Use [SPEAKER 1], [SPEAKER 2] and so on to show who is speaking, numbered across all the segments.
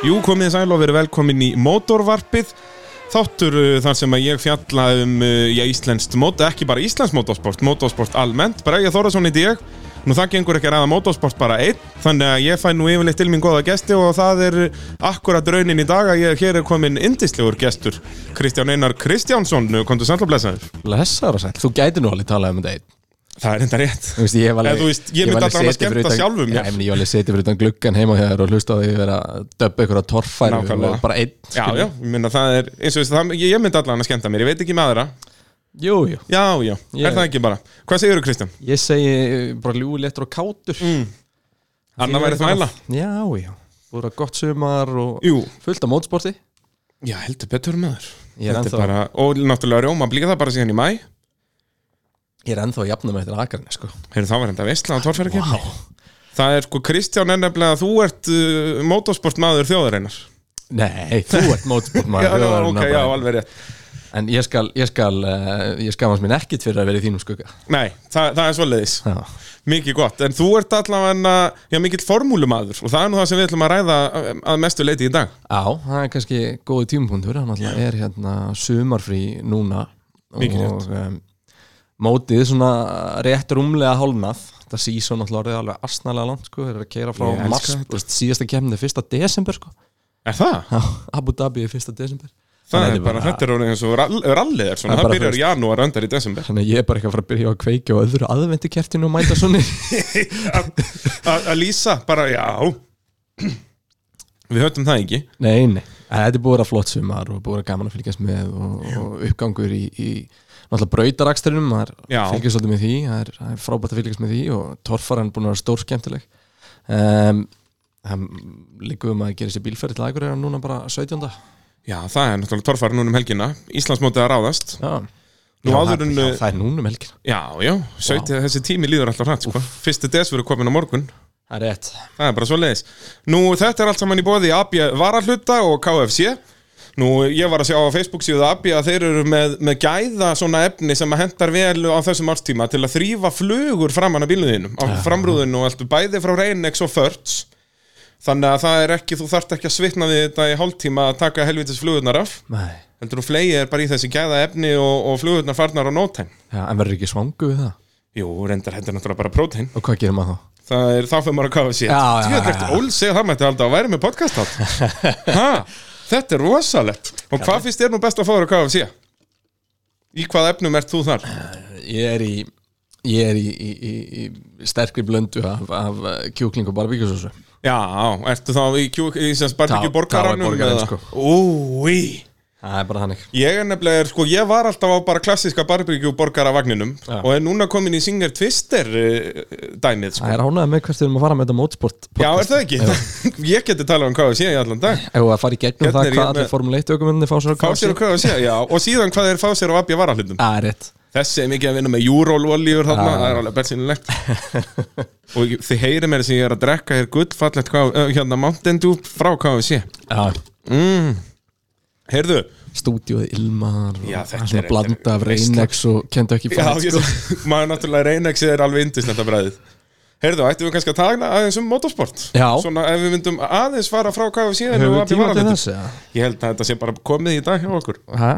[SPEAKER 1] Jú, komið þið sæl og verið velkomin í Mótorvarpið Þáttur uh, þar sem að ég fjalla um uh, já, íslenskt mót, ekki bara íslenskt mótorsport, mótorsport almennt Bara ég Þóraðsson í dag Nú það gengur ekki að ræða mótorsport bara einn Þannig að ég fæ nú yfirleitt til mín góða gesti og það er uh, akkurat raunin í dag að ég, hér er komin indislegur gestur Kristján Einar Kristjánsson, uh, komdu sæl og blessaður
[SPEAKER 2] Blessar og sæl, þú gæti nú alveg talað um þetta einn
[SPEAKER 1] Það er enda rétt
[SPEAKER 2] Þú veist, ég hef alveg
[SPEAKER 1] Eða þú veist, ég
[SPEAKER 2] hef
[SPEAKER 1] myndi
[SPEAKER 2] alveg
[SPEAKER 1] allan að
[SPEAKER 2] setið fyrir
[SPEAKER 1] skemmta
[SPEAKER 2] utan-
[SPEAKER 1] sjálfum
[SPEAKER 2] Já,
[SPEAKER 1] mér.
[SPEAKER 2] ég meina, ég hef alveg setið fyrir utan gluggan heima hjá þér og hlusta á því að vera að döbba ykkur að torfæri
[SPEAKER 1] Nákvæmlega.
[SPEAKER 2] og bara einn
[SPEAKER 1] Já,
[SPEAKER 2] skilur.
[SPEAKER 1] já, ég myndi að það er, eins og þess að ég myndi allan að skemmta mér, ég veit ekki með aðra
[SPEAKER 2] Jú, jú,
[SPEAKER 1] Já, já, er
[SPEAKER 2] Ég-
[SPEAKER 1] það ekki bara Hvað segirðu Kristján?
[SPEAKER 2] ég segi eh, bara ljúi léttur og kátur mm,
[SPEAKER 1] Anna væri þvæla
[SPEAKER 2] Já, já, þú eru að gott sumar og
[SPEAKER 1] Jú,
[SPEAKER 2] fullt af mótsporti
[SPEAKER 1] já, heldur betur maður
[SPEAKER 2] Ég er
[SPEAKER 1] Þetta er
[SPEAKER 2] ennþá-
[SPEAKER 1] bara, og náttúrulega rjóma blíka það bara síðan í mæ
[SPEAKER 2] Ég er ennþá að jafna með þetta akarni, sko
[SPEAKER 1] Heyrðu, þá var þetta veistla á torfærakeppni Það er sko, Kristján er nefnilega að þú ert uh, motorsport maður þjóðareinar
[SPEAKER 2] Nei, þú ert mótsport
[SPEAKER 1] Já,
[SPEAKER 2] maður
[SPEAKER 1] já, ok, já, alveg rétt
[SPEAKER 2] En ég skal, ég skal, uh, ég skamast mín ekkit fyrir að vera í þínum skugga
[SPEAKER 1] Nei, það, það er svoleiðis,
[SPEAKER 2] Já,
[SPEAKER 1] mikið gott En þú ert allavega, já, mikill formúlumadur Og það er nú það sem við ætlum að ræða um, að mestu leiti í dag
[SPEAKER 2] Já, það er kannski góði tímapunktur hann alltaf er hérna sumarfrí núna
[SPEAKER 1] Mikið
[SPEAKER 2] og um, mótið svona rétt rúmlega hálnað þetta sísón alltaf orðið alveg asnalega langt sko, þeir eru að keira frá
[SPEAKER 1] Ég elska
[SPEAKER 2] mars
[SPEAKER 1] þetta.
[SPEAKER 2] þú veist, síðasta kemni er fyrsta desember sko
[SPEAKER 1] Er það?
[SPEAKER 2] Já, Abu Dhabi er fyrsta desember
[SPEAKER 1] Það
[SPEAKER 2] Þannig
[SPEAKER 1] er bara, þetta er orðið eins og rall- rallið er svona
[SPEAKER 2] Það er
[SPEAKER 1] Það
[SPEAKER 2] bara
[SPEAKER 1] byrjar í janúar, öndar í desember
[SPEAKER 2] Þannig að ég er bara ekki að fara að byrja á að kveikja á öðru aðvendukertinu og mæta svona
[SPEAKER 1] að að lýsa bara já við höfum það ekki
[SPEAKER 2] Nei, nei, En þetta er búið að vera flott sumar og búið að vera gaman að fylgjast með og, og uppgangur í, í náttúrulega brautaraksturinnum, maður
[SPEAKER 1] Já.
[SPEAKER 2] fylgjast svolítið með því það er, það er frábært að fylgjast með því og torfaran búin að vera stór skemmtileg um, Það líkuðum að gera sér bílferði til aðgur er hann núna bara 17.
[SPEAKER 1] já það er náttúrulega torfæra núna um helgina Íslandsmótið að ráðast
[SPEAKER 2] Já,
[SPEAKER 1] Nú
[SPEAKER 2] já,
[SPEAKER 1] áður
[SPEAKER 2] það,
[SPEAKER 1] en,
[SPEAKER 2] já,
[SPEAKER 1] uh,
[SPEAKER 2] það er núna um helgina
[SPEAKER 1] já já, 17, þessi tími líður alltaf hrætt sko. fyrsti des verður komin á morgun
[SPEAKER 2] Það er rétt
[SPEAKER 1] það er bara svo leiðis nú þetta er allt saman í bóði AB Varahluta og KFC nú ég var að sjá á Facebook síðu AB að þeir eru með, með gæða svona efni sem að hendar vel á þessum árstíma til að þrýfa flugur framan að bíluðinum á framrúðinu og allt bæði frá Reynex og Förts Þannig að það er ekki, þú þarft ekki að svitna við þetta í hálftíma að taka helvitis flugurnar af
[SPEAKER 2] Nei.
[SPEAKER 1] heldur þú flegið er bara í þessi gæða efni og, og flugurnar farnar á nótæn
[SPEAKER 2] Já, En verður ekki svangu við það?
[SPEAKER 1] Jú, reyndar þetta er náttúrulega bara prótein
[SPEAKER 2] Og hvað gerir maður þá?
[SPEAKER 1] Það er þá fyrir maður að kafa sér
[SPEAKER 2] Já, já,
[SPEAKER 1] Tjöðlegt
[SPEAKER 2] já, já.
[SPEAKER 1] Óls segja það mætti halda að væri með podcast þátt. Ha, Þetta er rosalegt Og hvað finnst þér nú best að fá þér að kafa sér? Í hvað efnum ert þú þar?
[SPEAKER 2] Ég er í, ég er í, í, í, í sterkri blöndu af, af eh, kjúkling og barbíkjusósu
[SPEAKER 1] Já, á, ertu þá í, kjú, í sem spartikju
[SPEAKER 2] Tá-
[SPEAKER 1] borgaranum?
[SPEAKER 2] táarborgarinn,
[SPEAKER 1] eða?
[SPEAKER 2] sko.
[SPEAKER 1] Úi
[SPEAKER 2] Það er bara þannig
[SPEAKER 1] Ég er nefnilega, sko, ég var alltaf á bara klassíska barbegju borgaravagninum
[SPEAKER 2] Já.
[SPEAKER 1] og er núna komin í Singer Twister uh, dæmið, sko
[SPEAKER 2] Það er ánægða með hvert við erum að fara með þetta mótsport
[SPEAKER 1] Já, er það ekki? ég geti talað um hvað sé í allan dag
[SPEAKER 2] Ef við að fara í gegnum
[SPEAKER 1] Hérna
[SPEAKER 2] það
[SPEAKER 1] er ég
[SPEAKER 2] hvað
[SPEAKER 1] með-
[SPEAKER 2] allir Formule 1 ökumenninni fá sér að
[SPEAKER 1] Fá sér og hvað sé, já Og síðan hvað er fá sér og abja varahlutum
[SPEAKER 2] Það er Ah, rétt
[SPEAKER 1] Þessi er mikið að vinna með júrólolíur þarna,
[SPEAKER 2] Já.
[SPEAKER 1] það er alveg bensinulegt Og ég- þið heyrið mér sem ég er að drekka hér gullfallegt hvað, uh, hérna Mountain Dew frá KFC
[SPEAKER 2] Já
[SPEAKER 1] mm. Heyrðu
[SPEAKER 2] Stúdíóð Ilmar og
[SPEAKER 1] Já, þetta
[SPEAKER 2] allt svona
[SPEAKER 1] er- þetta
[SPEAKER 2] blanda
[SPEAKER 1] er
[SPEAKER 2] af
[SPEAKER 1] veisla.
[SPEAKER 2] Reynex og kendu ekki
[SPEAKER 1] Já,
[SPEAKER 2] fætt
[SPEAKER 1] ég,
[SPEAKER 2] sko.
[SPEAKER 1] maður náttúrulega reynexi er alveg indislegt að bræðið Heyrðu, ættum við kannski að tagna aðeins um motorsport
[SPEAKER 2] Já.
[SPEAKER 1] Svona ef við myndum aðeins fara frá KFC en
[SPEAKER 2] Höfum
[SPEAKER 1] við
[SPEAKER 2] við
[SPEAKER 1] varum í
[SPEAKER 2] tíma til
[SPEAKER 1] varalitum.
[SPEAKER 2] þess? eða?
[SPEAKER 1] Ég held að þetta sé bara komið í dag hjá okkur
[SPEAKER 2] Ha?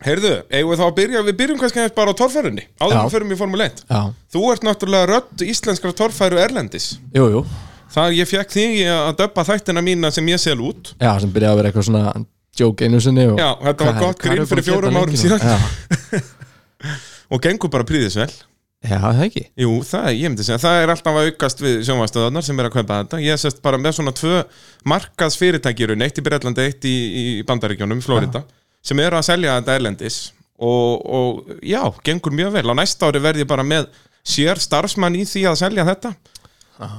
[SPEAKER 1] Heyrðu, eigum við þá að byrja, við byrjum kannski aðeins bara á torfærunni Áður
[SPEAKER 2] Já.
[SPEAKER 1] en við förum í Formule 1
[SPEAKER 2] Já,
[SPEAKER 1] Þú ert náttúrulega rödd íslenskra torfæru Erlendis
[SPEAKER 2] jú, jú
[SPEAKER 1] Það ég fekk þig í að döppa þættina mína sem ég sel út
[SPEAKER 2] Já, sem byrjaði að vera eitthvað svona joke einu sinni og...
[SPEAKER 1] Já, þetta var
[SPEAKER 2] Hvað-
[SPEAKER 1] gott
[SPEAKER 2] hvað
[SPEAKER 1] grín
[SPEAKER 2] erum við
[SPEAKER 1] fyrir
[SPEAKER 2] búin að
[SPEAKER 1] fjórum
[SPEAKER 2] gera
[SPEAKER 1] árum
[SPEAKER 2] lengi nú?
[SPEAKER 1] síðan og gengur bara príðis vel
[SPEAKER 2] Já, Já, það ekki
[SPEAKER 1] Jú, það er, ég myndi segja, það er alltaf að aukast við sjónvastöðarnar sem er að kaupa þetta Ég sest bara með svona tvö markas fyrirtækirun, eitt í Bretlandi, eitt í, í Bandaríkjónum, Florida sem eru að selja þetta erlendis og, og já, gengur mjög vel á næsta ári verð ég bara með sér starfsmann í því að selja þetta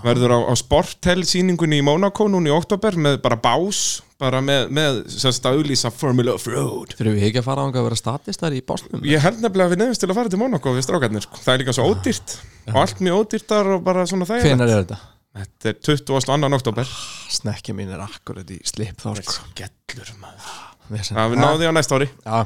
[SPEAKER 1] verður á, á sporttel sýningunni í Monaco núna í oktober með bara bás bara með, með sérst að auðlýsa Formula of Road
[SPEAKER 2] Þurfum við ekki að fara ánga að vera statistar í básnum?
[SPEAKER 1] Ég held nefnilega að við nefnist til að fara til Monaco við strákarnir, sko. það er líka svo ódýrt og allt mjög ódýrtar og bara svona það
[SPEAKER 2] Hvenær er þetta?
[SPEAKER 1] Þetta er 22. oktober
[SPEAKER 2] Snekki mín er akkurat í slip þá sko.
[SPEAKER 1] Skellur maður
[SPEAKER 2] Vesen.
[SPEAKER 1] Það við náðum því á næsta ári
[SPEAKER 2] Já,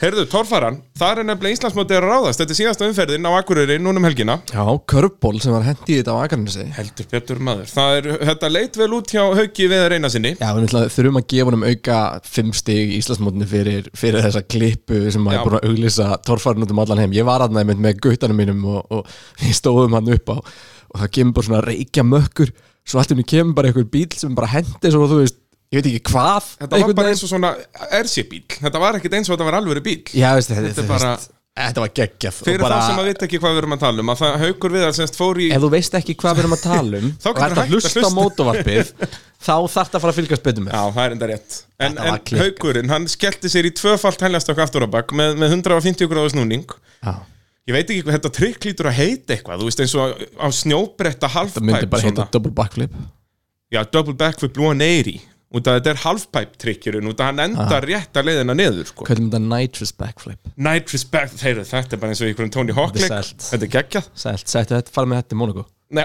[SPEAKER 1] Heyrðu, torfaran, þar er nefnilega Íslandsmótið að ráðast Þetta er síðasta umferðin á Akureyri núna um helgina
[SPEAKER 2] já körból sem var hendi í þetta á Akarnasi Já,
[SPEAKER 1] Heldur betur maður Það er, þetta leit vel út hjá Hauki Veðar Einarsinni
[SPEAKER 2] við náttúrulega þurfum að gefa honum auka fimm stig í Íslandsmótinu fyrir, fyrir þessa klippu sem maður
[SPEAKER 1] Já.
[SPEAKER 2] er búin að auglýsa torfærin út um allan heim. Ég var aðnaði mynd með gautanum mínum og, og við stóðum hann upp á og það kemur bara svona reykja mökkur svo allt um kemur bara einhver bíl sem bara hendi svo þú veist, ég veit ekki hvað
[SPEAKER 1] Þetta var bara eins og svona RC-bíl Þetta var ekkit eins og þetta var alvöru bíl
[SPEAKER 2] Já, veist, þetta,
[SPEAKER 1] Þetta er
[SPEAKER 2] þetta,
[SPEAKER 1] bara-
[SPEAKER 2] veist, þetta var geggjað og
[SPEAKER 1] Fyrir
[SPEAKER 2] bara,
[SPEAKER 1] þá sem að vita ekki hvað við erum að tala um að það, Haukur Viðar semst fór í
[SPEAKER 2] Ef þú veist ekki hvað við erum að tala um
[SPEAKER 1] Þá
[SPEAKER 2] og
[SPEAKER 1] getur
[SPEAKER 2] ert
[SPEAKER 1] hægt
[SPEAKER 2] að
[SPEAKER 1] að
[SPEAKER 2] hlusta á
[SPEAKER 1] hlusta.
[SPEAKER 2] mótovarpið þá þarft að fara að fylgjast betur með
[SPEAKER 1] Já, það er enda rétt En,
[SPEAKER 2] Þetta var
[SPEAKER 1] en
[SPEAKER 2] klikkað.
[SPEAKER 1] Haukurinn, hann skellti sér í tvöfalt heljastokk aftur á bak með, með 150 gráðu snúning
[SPEAKER 2] Já.
[SPEAKER 1] Ég veit ekki hvað þetta trikk lítur að heita eitthvað Þú veist eins og á snjóbretta
[SPEAKER 2] Það myndi
[SPEAKER 1] halfpipe
[SPEAKER 2] bara heita
[SPEAKER 1] svona.
[SPEAKER 2] double backflip
[SPEAKER 1] Já, double back with blue and airy Út að þetta er halfpipe trikkjurinn Út að hann endar rétt að leiðina niður sko.
[SPEAKER 2] Hvernig mynda nitrous backflip
[SPEAKER 1] Night respect, þeirra, þetta er bara eins og í einhverjum Tony Hawk
[SPEAKER 2] Þetta er
[SPEAKER 1] leik
[SPEAKER 2] sælt.
[SPEAKER 1] Þetta er geggjað
[SPEAKER 2] Sælt, sættu þetta, fara með þetta í Monaco
[SPEAKER 1] Nei.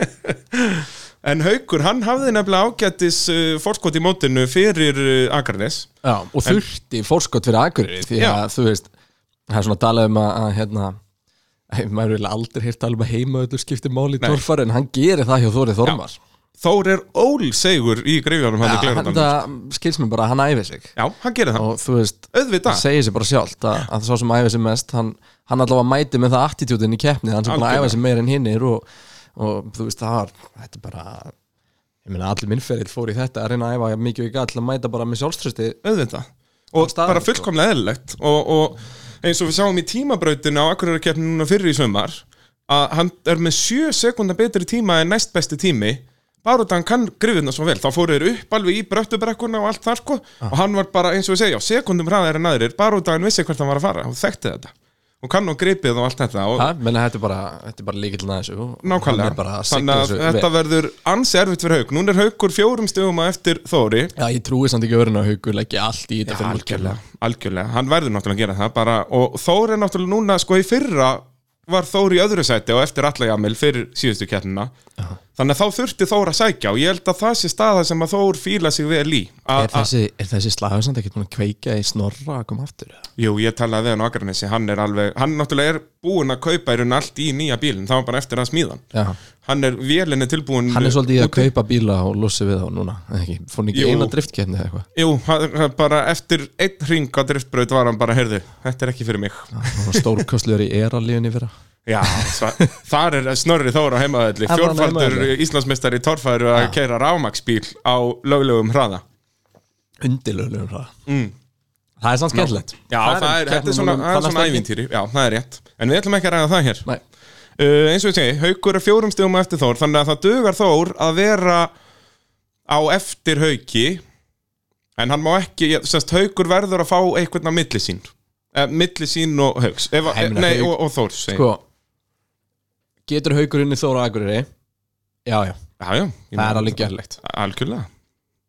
[SPEAKER 1] En Haukur, hann hafði nefnilega ágættis uh, fórskot í mótinu fyrir uh, Akarnes
[SPEAKER 2] Já, og þurfti fórskot fyrir Akureyri því að þú veist það er svona talað um að, að hérna hey, maður vil aldrei hýrt tala um að heima öllur skipti máli í
[SPEAKER 1] Nei.
[SPEAKER 2] torfar en hann gerir það hjá Þórið Þormar
[SPEAKER 1] Þór er ólsegur í greifjánum hann í
[SPEAKER 2] hann
[SPEAKER 1] Gleirandal
[SPEAKER 2] það skils mér bara að hann æfi sig
[SPEAKER 1] Já, hann gerir það,
[SPEAKER 2] og þú veist, það
[SPEAKER 1] auðvitað
[SPEAKER 2] segir sér bara sjálft að, að sá sem æfa sér mest hann, hann allavega mæti með það attitúdin í keppni hann sem bara æfa
[SPEAKER 1] Algjörlega.
[SPEAKER 2] sér meir en hinnir og, og þú veist, það var þetta er bara, ég meina allir minnferill fór í þetta að reyna að æfa mikið við gall að mæta bara með sjálfströsti
[SPEAKER 1] auðvitað og
[SPEAKER 2] staðar,
[SPEAKER 1] bara
[SPEAKER 2] sko.
[SPEAKER 1] fullkomlega eðlilegt og, og eins og við sáum í tímabrautinu á Akureyrakeppni núna fyrir í sömar að hann er með 7 sekundar betri tíma en næst besti tími bara út að hann kann grifina svo vel þá fóru þeir upp alveg í bröttubrekkuna og allt þar sko
[SPEAKER 2] Ah.
[SPEAKER 1] og hann var bara eins og við segja á sekundum hraðar en aðrir bara út að hann vissi hvert hann var að fara og þekkti þetta og kann og gripið og allt þetta og
[SPEAKER 2] Ha, menna, þetta er bara, þetta er bara líkillin að þessu og hann er bara
[SPEAKER 1] nákvæmlega
[SPEAKER 2] að sigla
[SPEAKER 1] þannig að
[SPEAKER 2] þessu
[SPEAKER 1] þetta
[SPEAKER 2] vel.
[SPEAKER 1] verður ansi erfitt fyrir haug núna er haugur fjórum stöðum að eftir Þóri
[SPEAKER 2] Já, ég trúi samt ekki öðrun að haugur leggja allt í þetta fyrir
[SPEAKER 1] algjörlega, algjörlega, hann verður náttúrulega að gera það bara, og Þór er náttúrulega núna sko í fyrra var Þór í öðru sæti og eftir alla jamil fyrir síðustu keppnina þannig að þá þurfti Þór að sækja og ég held að það sé staða sem að Þór fíla sig vel í a,
[SPEAKER 2] Er
[SPEAKER 1] a,
[SPEAKER 2] þessi, er þessi slagur samt ekkert búin að kveika í snorra að koma aftur? eða?
[SPEAKER 1] Jú, ég talaði við hann á Akranesi hann er alveg, hann náttúrulega er búin að kaupa í raun allt í nýja bílinn, það var bara eftir að smíðan
[SPEAKER 2] Já,
[SPEAKER 1] hann er vélinni tilbúin
[SPEAKER 2] hann er svolítið í að
[SPEAKER 1] úti.
[SPEAKER 2] kaupa bíla og losi við þá núna eða ekki, fór hann ekki
[SPEAKER 1] Jú.
[SPEAKER 2] eina driftkenni eða eitthvað
[SPEAKER 1] Jú, hann- hann bara eftir einn hring á driftbraut var hann bara, heyrðu, þetta er ekki fyrir mig
[SPEAKER 2] Hann var stórkostlegur í eralíunni fyrir
[SPEAKER 1] Já, sva- þar er Snorri Þór á heimaðalli
[SPEAKER 2] Hann var á
[SPEAKER 1] fjórfaldur
[SPEAKER 2] heimavelli.
[SPEAKER 1] Íslandsmeistari torfæru að keira rámaksbíl á löglegum hraða
[SPEAKER 2] undilulegum hraða mm. Það er samt skemmtilegt
[SPEAKER 1] Já, það, er, þetta er
[SPEAKER 2] um
[SPEAKER 1] svona, það er svona ævintýri Já, það er rétt En við ætlum ekki að ræða það hér
[SPEAKER 2] Nei,
[SPEAKER 1] uh, Eins og ég segi, Haukur er fjórum stegum á eftir Þór Þannig að það dugar Þór að vera á eftir Hauki En hann má ekki, ég- sérst, Haukur verður að fá einhvern að milli sín eh, Milli sín og Hauks Ef,
[SPEAKER 2] Nei, ég meina,
[SPEAKER 1] Nei,
[SPEAKER 2] Hauk-
[SPEAKER 1] og, og Þór segi.
[SPEAKER 2] sko Getur haugur inn í Þóra Akureyri? Já,
[SPEAKER 1] Já,
[SPEAKER 2] já,
[SPEAKER 1] já ég
[SPEAKER 2] það
[SPEAKER 1] meina,
[SPEAKER 2] er alveg gerlegt
[SPEAKER 1] Algjörlega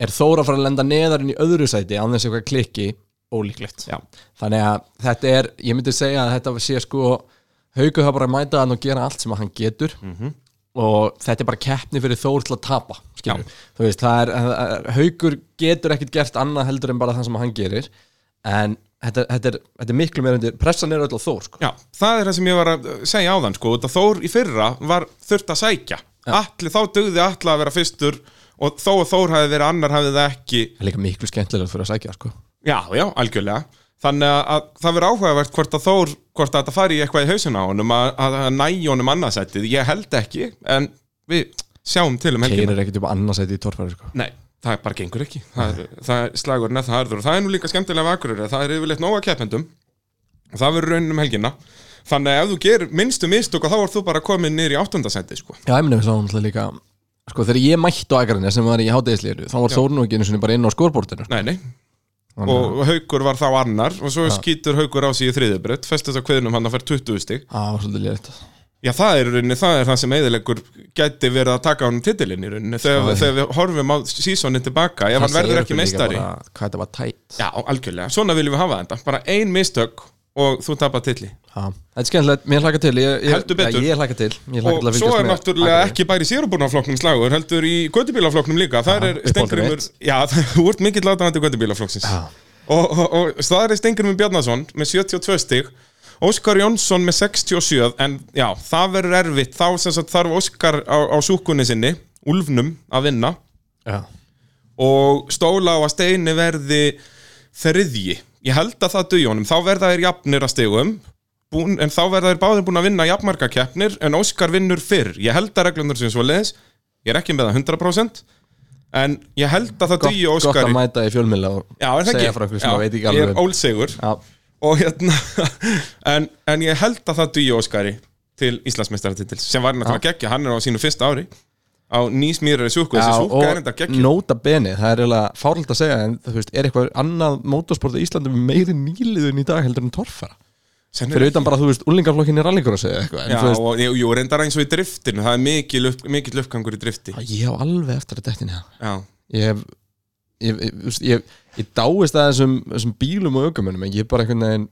[SPEAKER 2] er Þóra að fara að lenda neðar inn í öðru sæti án þess eitthvað klikki ólíklegt
[SPEAKER 1] Já.
[SPEAKER 2] þannig að þetta er, ég myndi segja að þetta sé sko haugu hafa bara að mæta hann og gera allt sem að hann getur -hmm. og þetta er bara keppni fyrir Þór til að tapa skilurðu. þú veist, það er, það er haugur getur ekkit gert annað heldur en bara það sem hann gerir en þetta, þetta, er, þetta er miklu meira undir pressan er öll á Þór sko.
[SPEAKER 1] Já, það er það sem ég var að segja áðan sko, út að Þór í fyrra var þurft að sækja Atli, þá dugði Atla að vera fyrstur og þó að Þór hafi verið annar hafi það ekki
[SPEAKER 2] það er líka miklu skemmtilega fyrir að sækja sko.
[SPEAKER 1] Já, já, algjörlega Þannig að, að það verið áhugavert hvort að Þór hvort að þetta fari í eitthvað í hausinn á honum að, að, að næja honum annarsættið, ég held ekki en við sjáum til um helgina
[SPEAKER 2] keirir ekkit upp annarsæti í torfæri sko.
[SPEAKER 1] Nei, það bara gengur ekki það er, það er slagur neð það harður og það er nú líka skemmtilega vakurur það er yfirleitt nóga keppendum og það verður raunin um helgina þannig að ef þú gerir minnstu mistök þá er þú bara komin niður í áttundasendi sko.
[SPEAKER 2] Já, ég minna við sáum alltaf líka Sko, þegar ég mætti á Akarinu sem var í hádegisleiru þá var Þórn og ekki einu sinni bara inn á sko. skorbortinu
[SPEAKER 1] Nei, nei og haukur var þá annar og svo skýtur haukur á sig í þriðubrödd festast á kveðinum hann að fær 20 stig
[SPEAKER 2] Það var svolítið létt
[SPEAKER 1] Já, það er, í rauninni, það er það sem eðilegur gæti verið að taka honum titilinn í rauninni þegar,
[SPEAKER 2] Já.
[SPEAKER 1] þegar við horfum á sísoni tilbaka ef hann verður ekki meistari
[SPEAKER 2] Hvað þetta var tætt
[SPEAKER 1] Já, algjörlega, svona viljum við hafa þetta bara ein mistök og þú tapar tilli
[SPEAKER 2] Já, þetta er skemmtilegt, mér hlaka til ég, ég,
[SPEAKER 1] Heldur betur.
[SPEAKER 2] ja, Ég hlaka til, ég hlaka til
[SPEAKER 1] og svo
[SPEAKER 2] að fylgjast
[SPEAKER 1] er
[SPEAKER 2] með
[SPEAKER 1] náttúrulega ekki bara í sérubúrnaflokknum slagur heldur í göttubílaflokknum líka þar er
[SPEAKER 2] uppáhaldið
[SPEAKER 1] Stengrimur
[SPEAKER 2] mitt.
[SPEAKER 1] já, þú ert mikill aðdæmandi göttubílaflokksins
[SPEAKER 2] Já.
[SPEAKER 1] og, og, og staðar er Stengrimur Bjarnason með 72 stig Óskar Jónsson með 67 en já, það verður erfitt þá sem sagt þarf Óskar á, á súkunni sinni Úlfnum að vinna
[SPEAKER 2] Já,
[SPEAKER 1] og stóla á að steini verði þriðji ég held að það duði honum, þá verða þær jafnir að stigum búin, en þá verða þær báðir búin að vinna jafnmarka keppnir en Óskar vinnur fyrr, ég held að reglundur sem svo leðis, ég er ekki með það 100% en ég held að það
[SPEAKER 2] gott,
[SPEAKER 1] duði
[SPEAKER 2] gott
[SPEAKER 1] Óskar
[SPEAKER 2] að mæta í fjölmiðla og
[SPEAKER 1] Já, er það
[SPEAKER 2] segja
[SPEAKER 1] ekki?
[SPEAKER 2] frá einhverju sem
[SPEAKER 1] Já,
[SPEAKER 2] maður veit ekki
[SPEAKER 1] ég er
[SPEAKER 2] alveg
[SPEAKER 1] ólsegur
[SPEAKER 2] Já,
[SPEAKER 1] og hérna en, en ég held að það dugi Óskari til Íslandsmeistaratitils sem var náttúrulega geggja, hann er á sínu fyrsta ári á nýsmýrari súku,
[SPEAKER 2] Já,
[SPEAKER 1] þessi súka er enda
[SPEAKER 2] og
[SPEAKER 1] geggja
[SPEAKER 2] nota beni, það er eiginlega fáralt að segja en þú veist, er eitthvað annað mótorsport í Íslandi meiri nýliðun í dag heldur en torfara fyrir utan bara, þú veist, úlingaflokkin í rallycrossi eða eitthvað, en
[SPEAKER 1] Já,
[SPEAKER 2] þú veist,
[SPEAKER 1] og jú, jú, reyndar eins og í driftinu Það er mikil, upp, mikil uppgangur í drifti
[SPEAKER 2] ég hef alveg eftir að dettin hérna
[SPEAKER 1] Já,
[SPEAKER 2] ég hef ég, ég, þú veist, ég, ég dáist að þessum, þessum bílum og aukumunum, ég hef bara einhvern veginn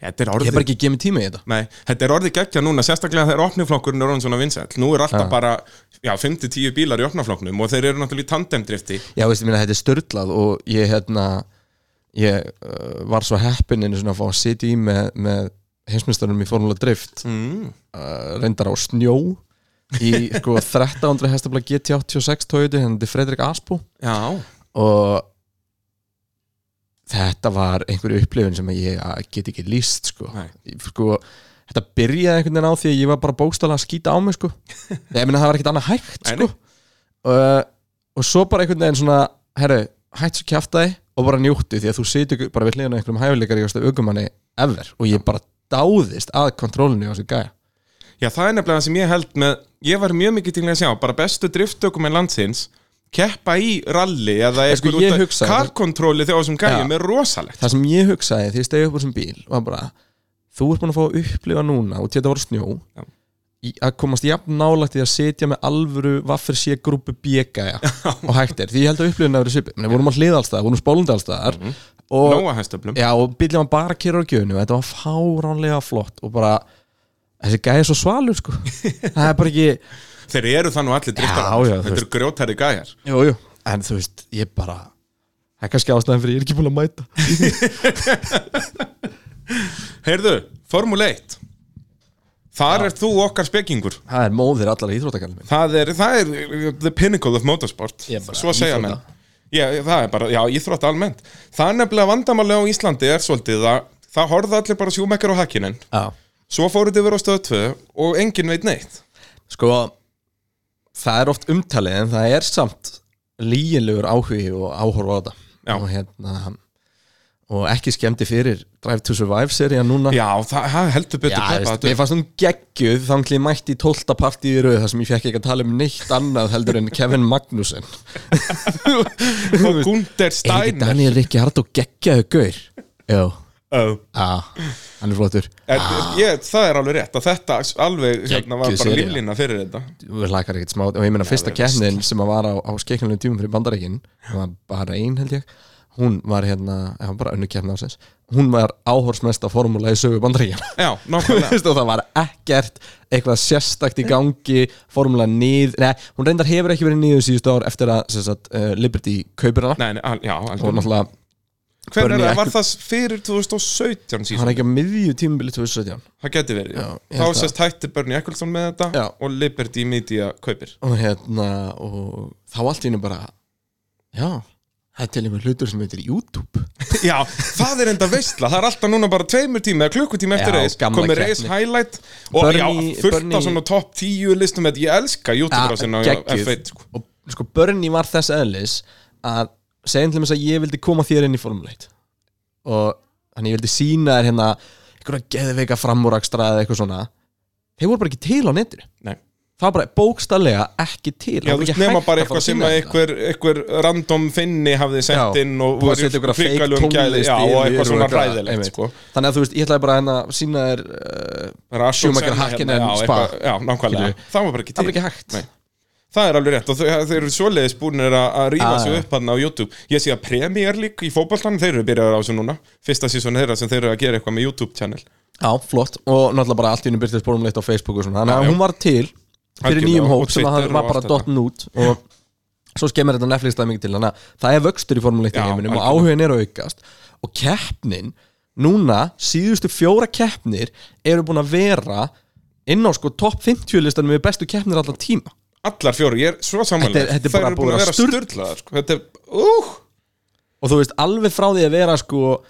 [SPEAKER 1] þetta er
[SPEAKER 2] ég
[SPEAKER 1] orðið
[SPEAKER 2] hef bara ekki gefið mér tíma í þetta
[SPEAKER 1] Nei, þetta er orðið geggja núna, sérstaklega þegar opniflokkurinn er orðin svona vinsæll Nú er alltaf
[SPEAKER 2] Já.
[SPEAKER 1] bara, já, 5-10 bílar í opnaflokknum Og þeir eru náttúrulega í tandemdrifti
[SPEAKER 2] Já, veist, ég minna, þetta er störlað og ég, hérna, ég uh, var svo heppin einu svona að fá að sitja í með, með heimsmyndstarunum í Formula Drift
[SPEAKER 1] mm.
[SPEAKER 2] uh, reyndar á snjó í sko 1300 hestafla GT86 tóiði henni Fredrik hérna Aspo
[SPEAKER 1] Já,
[SPEAKER 2] og þetta var einhverju upplifun sem ég að get ekki líst sko.
[SPEAKER 1] Nei.
[SPEAKER 2] Ég- sko þetta byrjaði einhvern veginn á því að ég var bara bókstala að skýta á mig sko ég meina það var ekkert annað hægt
[SPEAKER 1] Nei,
[SPEAKER 2] sko uh, og svo bara einhvern veginn svona herru, hætt svo kjaftaði og bara njóttu því að þú situr bara við hliðan á einhverjum hæfileikar í aukumanni ever og ég bara dáðist að kontrólinu á þessu gæja
[SPEAKER 1] já, það er nefnilega það sem ég held með Ég var mjög mikið til að sjá, bara bestu driftökum en landsins Keppa í rally eða
[SPEAKER 2] sko,
[SPEAKER 1] eitthvað
[SPEAKER 2] ég
[SPEAKER 1] út
[SPEAKER 2] hugsa-
[SPEAKER 1] Karkontróli þegar þessum gæjum er rosalegt
[SPEAKER 2] það sem ég hugsaði því ég stegi upp úr þessum bíl var bara, þú ert búin að fá að upplifa núna og til þetta voru snjó
[SPEAKER 1] Já.
[SPEAKER 2] í, að komast jafn nálægt í að sitja með alvöru vaffir sé grúpu bjegæja og hægt er, því ég held að upplifin að vera svipi menn við vorum að hliða allstaðar, vorum spólund allstaðar mm -hmm. og,
[SPEAKER 1] Nóa hæstöflum
[SPEAKER 2] já, og bílum var bara að kýra á gjönu þetta var fáránlega flott og bara, þessi gæja er svo svalur sko. það er bara ekki
[SPEAKER 1] Þeir eru þannig allir driftar
[SPEAKER 2] já, þú
[SPEAKER 1] Þetta eru grjótæri gæjar
[SPEAKER 2] jú, jú. en þú veist, ég bara það er kannski ástæðan fyrir ég er ekki búin að mæta
[SPEAKER 1] Heyrðu, Formule 1 Þar ert þú okkar spekingur
[SPEAKER 2] það er móðir allar íþróttakalmi
[SPEAKER 1] það er, það er uh, the pinnacle of motorsport
[SPEAKER 2] Ég er bara
[SPEAKER 1] Svo segja menn
[SPEAKER 2] íþrótta.
[SPEAKER 1] Já, það er bara, já, íþrótt almennt Það er nefnilega vandamálega á Íslandi er svolítið að það horfða allir bara sjúmekkar á hakkinin
[SPEAKER 2] já
[SPEAKER 1] Svo fóruð yfir á stöðu 2 og enginn veit neitt
[SPEAKER 2] Sko, það er oft umtalið en það er samt líginlegur áhugi og áhorfa á þetta
[SPEAKER 1] Já.
[SPEAKER 2] og hérna og ekki skemmti fyrir Drive to Survive serían núna
[SPEAKER 1] Já, það það heldur betur
[SPEAKER 2] Já,
[SPEAKER 1] peppa
[SPEAKER 2] veist,
[SPEAKER 1] þetta
[SPEAKER 2] mér
[SPEAKER 1] upp.
[SPEAKER 2] fannst hún geggjuð þannig ég mætti í 12. partí í rauð þar sem ég fekk ekki að tala um neitt annað heldur en Kevin Magnussen
[SPEAKER 1] Og Gunther
[SPEAKER 2] Er ekki
[SPEAKER 1] Steiner
[SPEAKER 2] Daniel Rikki Hart og geggjaðu gaur? Jó,
[SPEAKER 1] oh.
[SPEAKER 2] að, hann er flottur
[SPEAKER 1] en, ég, Það er alveg rétt að þetta alveg hérna, var
[SPEAKER 2] Geggjuð
[SPEAKER 1] bara
[SPEAKER 2] sería.
[SPEAKER 1] líflína fyrir þetta
[SPEAKER 2] við lakar ekkert smá og ég meina fyrsta keppnin sem að var á, á skeiknulegum tímum fyrir bandarækin var bara ein held ég hún var hérna, eða bara önnu keppni ásins hún var áhorsmesta formúla í sögu bandarækin
[SPEAKER 1] Já, nákvæmlega
[SPEAKER 2] og það var ekkert eitthvað sérstakt í gangi formúla nið, nei, hún reyndar hefur ekki verið niður síðustu ár eftir að sem sagt, uh, Liberty kaupir hana
[SPEAKER 1] Nei, nei, al- já, algjörlega
[SPEAKER 2] og náttúrulega
[SPEAKER 1] Hvernig
[SPEAKER 2] Bernie
[SPEAKER 1] var
[SPEAKER 2] Eccles-
[SPEAKER 1] það fyrir 2017
[SPEAKER 2] hann
[SPEAKER 1] síðan?
[SPEAKER 2] er ekki að miðju tímubili 2017
[SPEAKER 1] Það geti verið, já.
[SPEAKER 2] Já, ég
[SPEAKER 1] Þá
[SPEAKER 2] held það.
[SPEAKER 1] sérst hætti Bernie Eccleston með þetta
[SPEAKER 2] Já.
[SPEAKER 1] og Liberty Media kaupir.
[SPEAKER 2] og hérna og þá allt í henni bara já, það er til einhver hlutur sem heitir YouTube
[SPEAKER 1] Já, það er enda veistla. Það er alltaf núna bara tveimur tíma eða klukkutíma eftir
[SPEAKER 2] Já,
[SPEAKER 1] reis.
[SPEAKER 2] gamla
[SPEAKER 1] Komið
[SPEAKER 2] keppni.
[SPEAKER 1] reis highlight og
[SPEAKER 2] Bernie-
[SPEAKER 1] já, fullt af
[SPEAKER 2] Bernie-
[SPEAKER 1] svona top 10 listum þetta. Ég elska YouTube rásina á
[SPEAKER 2] geggjuð.
[SPEAKER 1] F1. Sko.
[SPEAKER 2] og sko Bernie var þess eðlis að segjum til þess að ég vildi koma þér inn í Formule 1 og þannig ég vildi sína þér hérna einhverja geðveika framúrakstra eða eitthvað svona þeir voru bara ekki til á netinu
[SPEAKER 1] Nei.
[SPEAKER 2] það var bara bókstallega ekki til
[SPEAKER 1] Já, þú
[SPEAKER 2] Það var
[SPEAKER 1] veist,
[SPEAKER 2] ekki
[SPEAKER 1] nema
[SPEAKER 2] hægt
[SPEAKER 1] bara
[SPEAKER 2] að fara
[SPEAKER 1] eitthvað
[SPEAKER 2] að
[SPEAKER 1] sem
[SPEAKER 2] sýna
[SPEAKER 1] að
[SPEAKER 2] þetta.
[SPEAKER 1] einhver, einhver random finni hafði sett
[SPEAKER 2] Já,
[SPEAKER 1] inn og
[SPEAKER 2] búið að setja ykkur að fake
[SPEAKER 1] hrikalegum gæði-
[SPEAKER 2] tónlist
[SPEAKER 1] Já,
[SPEAKER 2] yfir
[SPEAKER 1] og eitthvað svona
[SPEAKER 2] og eitthvað,
[SPEAKER 1] ræðilegt,
[SPEAKER 2] einmitt.
[SPEAKER 1] sko.
[SPEAKER 2] þannig að þú veist, ég ætlaði bara hérna að sína þér uh,
[SPEAKER 1] Bara Aston
[SPEAKER 2] Schumacher,
[SPEAKER 1] Senna
[SPEAKER 2] Hakkinen,
[SPEAKER 1] hérna, já,
[SPEAKER 2] Spa.
[SPEAKER 1] eitthvað- Já, nákvæmlega.
[SPEAKER 2] Skilju.
[SPEAKER 1] Það var bara ekki
[SPEAKER 2] það
[SPEAKER 1] til.
[SPEAKER 2] var ekki hægt
[SPEAKER 1] Nei. Það er alveg rétt og þau, þau eru svoleiðis búinir að að rífa
[SPEAKER 2] Ah.
[SPEAKER 1] sig upp hann á YouTube Ég sé að Premier League í fótballtann, þeir eru byrjaður á þessu núna Fyrsta sísón þeirra sem þeir eru að gera eitthvað með YouTube channel
[SPEAKER 2] Já, flott og náttúrulega bara allt í henni byrtist bólum leitt á Facebook og svona, þannig
[SPEAKER 1] Já,
[SPEAKER 2] að
[SPEAKER 1] já.
[SPEAKER 2] hún var til fyrir
[SPEAKER 1] Algjörlega,
[SPEAKER 2] nýjum
[SPEAKER 1] og
[SPEAKER 2] hóp sem
[SPEAKER 1] Twitter
[SPEAKER 2] að
[SPEAKER 1] og
[SPEAKER 2] var bara
[SPEAKER 1] allt þetta.
[SPEAKER 2] dotn út og svo skemmir þetta Netflix það mikið til þannig að það er vöxtur í formuleitt í
[SPEAKER 1] Já,
[SPEAKER 2] heiminum og
[SPEAKER 1] algjörlega.
[SPEAKER 2] áhugin er að aukast og keppnin, núna síðustu fjóra keppnir eru búin að vera inn á sko topp 50 listanum við bestu keppnir alltaf tíma
[SPEAKER 1] Allar fjóri, ég er svo samanlega
[SPEAKER 2] Þetta er- þetta er
[SPEAKER 1] Þær
[SPEAKER 2] bara
[SPEAKER 1] eru búin
[SPEAKER 2] búið
[SPEAKER 1] að
[SPEAKER 2] að
[SPEAKER 1] vera
[SPEAKER 2] sturl-
[SPEAKER 1] styrlaðar sko. Þetta er, úh,
[SPEAKER 2] og þú veist alveg frá því að vera sko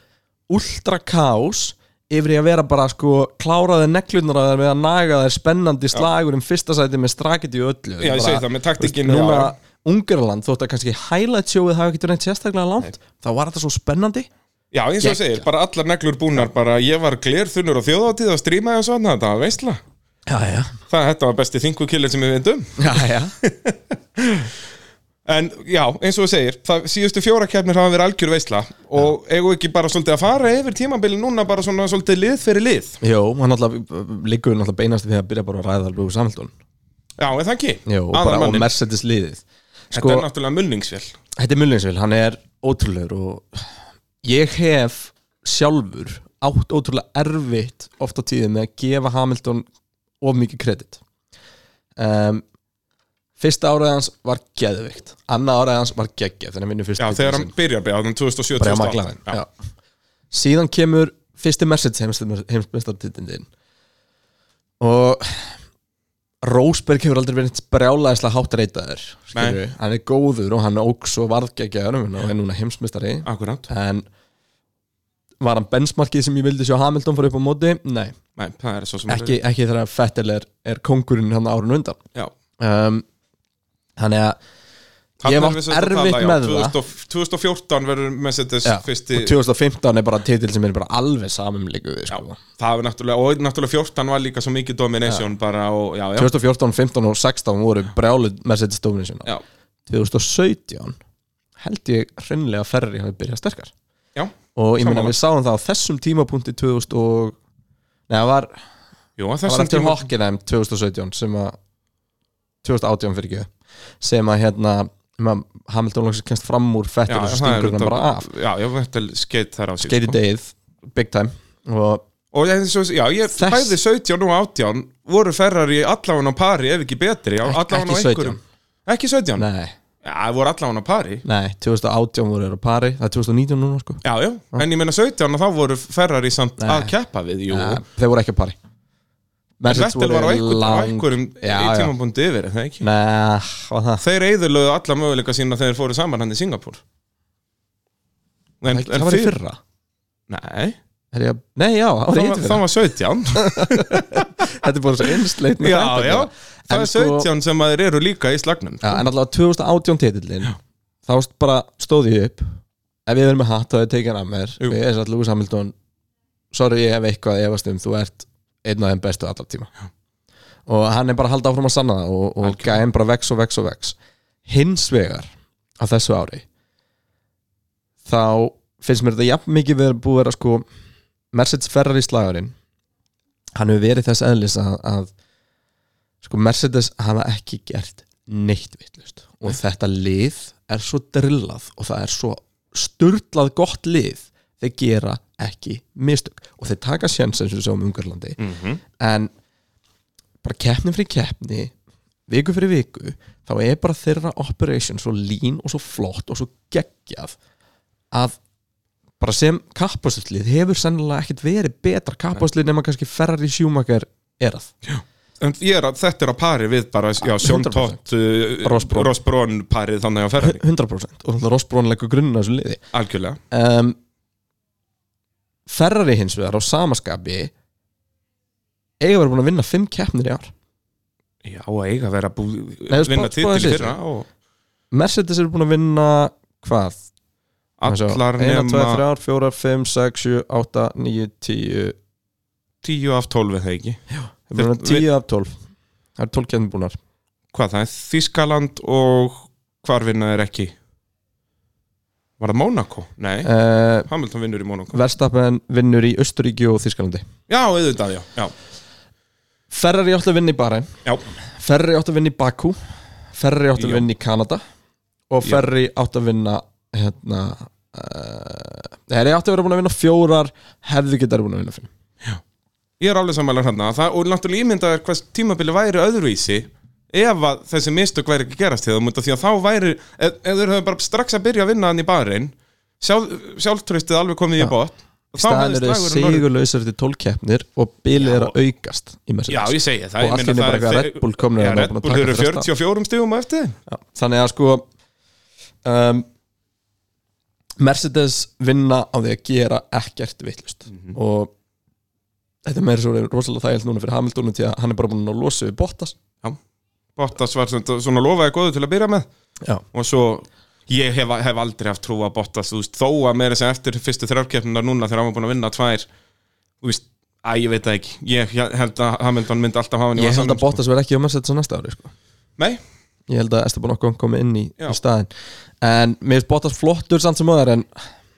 [SPEAKER 2] ultra kás yfir í að vera bara sko kláraði neglunar að þeir með að naga þeir spennandi slagur um fyrsta sæti með strakit í öllu
[SPEAKER 1] Já, ég
[SPEAKER 2] Bara,
[SPEAKER 1] segi það, með taktikinn,
[SPEAKER 2] þú veist, núna
[SPEAKER 1] já, já.
[SPEAKER 2] Ungarland þótt að kannski highlight sjóið hafa ekki reynt sérstaklega langt þá var þetta svo spennandi
[SPEAKER 1] já eins og þú segir,
[SPEAKER 2] Geggjað.
[SPEAKER 1] bara allar neglur búnar Bara ég var glerþunnur á þjóðáttíð að stríma og svona, þetta var veistla
[SPEAKER 2] já, já,
[SPEAKER 1] Það, þetta var besti þinkukillir sem við veitum
[SPEAKER 2] já, já.
[SPEAKER 1] En já, eins og þú segir, það, síðustu fjóra keppnir hafa verið algjör veisla og eigum við ekki bara svolítið að fara yfir tímabili núna bara svona svolítið lið fyrir lið
[SPEAKER 2] Jó, hann náttúrulega liggur náttúrulega beinast við að byrja bara að ræða alveg úr samhaldun
[SPEAKER 1] Já, er það ekki?
[SPEAKER 2] Jó, og, bara, og
[SPEAKER 1] Aðalmanninn.
[SPEAKER 2] Mercedes liðið sko,
[SPEAKER 1] Þetta er náttúrulega mulningsvél
[SPEAKER 2] Þetta er Mullinsvill, hann er ótrúlegur og ég hef sjálfur átt ótrúlega erfitt oft á tíðum með að gefa Hamilton of mikið kredit um, Fyrsta áraði hans var geðvikt Annað áraði hans var geggjað þannig að vinna
[SPEAKER 1] Já,
[SPEAKER 2] fyrsta
[SPEAKER 1] þegar hann byrjar byrja, þannig 2007
[SPEAKER 2] bara hjá McLaren já. síðan kemur fyrsti Mercedes heimsmyndstartitindin og Rósberg hefur aldrei verið brjálæðislega hátt reytaður skilurðu. hann er góður og hann óks og varðgeggjaður og er núna heimsmyndstari
[SPEAKER 1] Akkurát,
[SPEAKER 2] en var hann benchmarkið sem ég vildi sjá Hamilton fór upp á móti? Nei,
[SPEAKER 1] nei, það er svo sem
[SPEAKER 2] ekki, ekki þegar að Fettel er, er kongurinn hann árun undan
[SPEAKER 1] Já,
[SPEAKER 2] um, þannig að
[SPEAKER 1] Þarna
[SPEAKER 2] Ég hef
[SPEAKER 1] erum við
[SPEAKER 2] átt
[SPEAKER 1] sem sagt að
[SPEAKER 2] erfitt
[SPEAKER 1] tala, já,
[SPEAKER 2] með
[SPEAKER 1] 2000 2014 verður Mercedes
[SPEAKER 2] já,
[SPEAKER 1] fyrsti
[SPEAKER 2] og 2015 er bara titil sem er bara alveg samumlíku við sko
[SPEAKER 1] Það var náttúrulega, og náttúrulega 14 var líka svo mikið domination bara og já, já,
[SPEAKER 2] 2014, 15 og 16 voru brjálið Mercedes Domination
[SPEAKER 1] já,
[SPEAKER 2] 2017 held ég hreinlega að Ferrari hafi byrjað sterkar
[SPEAKER 1] já.
[SPEAKER 2] og ég meina
[SPEAKER 1] Sammála.
[SPEAKER 2] við sáum það á þessum tímapunkti 2000 og neða var,
[SPEAKER 1] Jú, að
[SPEAKER 2] það var
[SPEAKER 1] þessum
[SPEAKER 2] eftir
[SPEAKER 1] tíma
[SPEAKER 2] Hockenheim 2017 sem að 2018 fyrir ekki sem að hérna sem að Hamilton langsir kennst fram úr fettir og
[SPEAKER 1] það er
[SPEAKER 2] svo
[SPEAKER 1] Sko.
[SPEAKER 2] stingur hann
[SPEAKER 1] út
[SPEAKER 2] bara af
[SPEAKER 1] Já, já, þetta er skeitt þar á sig
[SPEAKER 2] Geitir Deið, big time og
[SPEAKER 1] Og ég, svo, já, ég
[SPEAKER 2] Þess-
[SPEAKER 1] bæði 17 og 18 voru ferrar í allafan á pari ef ekki betri,
[SPEAKER 2] Ekki-
[SPEAKER 1] allafan á
[SPEAKER 2] ekki
[SPEAKER 1] einhverjum Ekki 17?
[SPEAKER 2] nei,
[SPEAKER 1] Já, voru allafan á pari
[SPEAKER 2] nei 2018 voru þeir á pari það er 2019 núna sko
[SPEAKER 1] Já, já, en ég meina 17 og þá voru ferrar í samt
[SPEAKER 2] Nei.
[SPEAKER 1] að keppa við, jú
[SPEAKER 2] Nei, Eh, þeir voru ekki að pari Mercedes
[SPEAKER 1] Vettel var á einhverjum, á
[SPEAKER 2] lang-
[SPEAKER 1] einhverjum
[SPEAKER 2] Já,
[SPEAKER 1] í
[SPEAKER 2] já.
[SPEAKER 1] tímabundi yfir, er það ekki?
[SPEAKER 2] Nei, var það
[SPEAKER 1] Þeir eiðurlöðu alla möguleika sína þegar þeir fóru saman hann í Singapúr en,
[SPEAKER 2] Það var í fyrra
[SPEAKER 1] Nei,
[SPEAKER 2] Er ég, að- Nei, já,
[SPEAKER 1] það
[SPEAKER 2] það var í
[SPEAKER 1] var,
[SPEAKER 2] fyrra
[SPEAKER 1] það var 17
[SPEAKER 2] Þetta er búin svo einsleit með
[SPEAKER 1] Já,
[SPEAKER 2] þetta
[SPEAKER 1] já,
[SPEAKER 2] bara.
[SPEAKER 1] það
[SPEAKER 2] En
[SPEAKER 1] er
[SPEAKER 2] sko-
[SPEAKER 1] 17 sem að þeir eru líka í slagnum
[SPEAKER 2] Já, En allavega 2018 titillin Þá st- bara stóð ég upp Ef ég verið með hatt þá hefði tekið hann af mér
[SPEAKER 1] Jú.
[SPEAKER 2] Og ég er satt Lúi Samhildón Sorry, ég hef eitthvað efast um Þú ert einn af þeim bestu allar tíma Og hann er bara að halda áfram að sanna það Og, og
[SPEAKER 1] Algjörlega.
[SPEAKER 2] gæðin bara vex og vex og vex Hins vegar á þessu ári Þá finnst mér þetta jafn mikið verið búið að vera sko Mercedes Ferrari slagurinn Hann hefur verið þess eðlis að, að sko Mercedes hafa ekki gert neitt vittlust og þetta lið er svo drillað og það er svo sturlað gott lið þeir gera ekki mistök og þeir taka sjens eins og við sáum Ungarlandi
[SPEAKER 1] mm
[SPEAKER 2] en bara keppni fyrir keppni viku fyrir viku þá er bara þeirra operation svo lín og svo flott og svo geggjað að bara sem kappastuslið hefur sennilega ekkert verið betra kappastuslið nema kannski ferrar í sjúmakar erað
[SPEAKER 1] En ég er að þetta er á pari við bara, já, Sjón
[SPEAKER 2] 100%.
[SPEAKER 1] Tott, uh,
[SPEAKER 2] Rosbrón.
[SPEAKER 1] Rosbrón parið þannig á ferri,
[SPEAKER 2] 100% og það rostbrónleikur grunninn að þessu liði
[SPEAKER 1] algjörlega.
[SPEAKER 2] um, Ferrari hins vegar á samaskapi eiga verið búin að vinna fimm keppnir í ár
[SPEAKER 1] Já, og eiga að vera búið,
[SPEAKER 2] Nei,
[SPEAKER 1] vinna
[SPEAKER 2] spá-
[SPEAKER 1] titil
[SPEAKER 2] spáðu
[SPEAKER 1] í
[SPEAKER 2] þessu.
[SPEAKER 1] fyrra og
[SPEAKER 2] Mercedes eru búin að vinna hvað?
[SPEAKER 1] allar
[SPEAKER 2] 1, 2,
[SPEAKER 1] nema
[SPEAKER 2] 3, 4, 5, 6, 7, 8, 9, 10
[SPEAKER 1] 10 af 12 er það ekki.
[SPEAKER 2] Þeir búin að vinna
[SPEAKER 1] Þeir-
[SPEAKER 2] 10 af 12 Það eru 12 keppnir búinar
[SPEAKER 1] Hvað það er? Þískaland og hvar vinna er ekki? Var það Monaco? Nei,
[SPEAKER 2] uh,
[SPEAKER 1] Hamilton vinnur í Monaco.
[SPEAKER 2] Verstappen vinnur í Östuríki og Þískalandi
[SPEAKER 1] Já, auðvitað, já. Já,
[SPEAKER 2] Ferrari átti að vinna í Bahrein
[SPEAKER 1] já.
[SPEAKER 2] Ferrari átti að vinna í Baku Ferri átt að
[SPEAKER 1] Já.
[SPEAKER 2] vinna í Kanada og
[SPEAKER 1] Já.
[SPEAKER 2] Ferri átt að vinna hérna uh, Ferri átt að vera búin að vinna fjórar hefðu getað verið búin að vinna fimm
[SPEAKER 1] Ég er alveg sammála hérna það, og náttúrulega ímyndaður hvers tímabili væri öðruvísi ef að þessi mistök væri ekki að gerast til það því að þá væri, ef, ef þeir höfðu bara strax að byrja að vinna hann í barinn sjálf, sjálftröstið alveg komið í bótt
[SPEAKER 2] í staðan eru sigurlausar til tólkeppnir og bilið er að aukast í Mercedes
[SPEAKER 1] Já, ég segi það
[SPEAKER 2] Og
[SPEAKER 1] ég
[SPEAKER 2] allt í
[SPEAKER 1] meina
[SPEAKER 2] einu
[SPEAKER 1] það er-
[SPEAKER 2] bara eitthvað
[SPEAKER 1] þeir-
[SPEAKER 2] Red Bull komnir
[SPEAKER 1] Já,
[SPEAKER 2] þarna og
[SPEAKER 1] Red
[SPEAKER 2] búin að
[SPEAKER 1] Bull
[SPEAKER 2] taka
[SPEAKER 1] eru
[SPEAKER 2] fyrir
[SPEAKER 1] 44 stífum á eftir þeim.
[SPEAKER 2] Já, þannig að sko um, Mercedes vinna á því að gera ekkert vittlust
[SPEAKER 1] Mhm.
[SPEAKER 2] og þetta er meira svo rosalega þægild núna fyrir Hamiltonu því að hann er bara búin að losa við Bottas
[SPEAKER 1] Bottas var svona, svona lofaði góðu til að byrja með
[SPEAKER 2] Já.
[SPEAKER 1] og svo ég hef, hef aldrei haft trú að Bottas þú veist, þó að meira sem eftir fyrstu þrjárkeppnuna núna þegar hann var búin að vinna tvær þú veist, að ég veit það ekki ég held að Hamilton myndi alltaf hafa hann í
[SPEAKER 2] Ég held
[SPEAKER 1] vasanum,
[SPEAKER 2] að Bottas verði ekki á Mercedes á næsta ári sko.
[SPEAKER 1] sko. nei,
[SPEAKER 2] Ég held að Esteban Ocon komi inn í,
[SPEAKER 1] Já.
[SPEAKER 2] í staðin En mér finnst Bottas flottur samt sem öðar en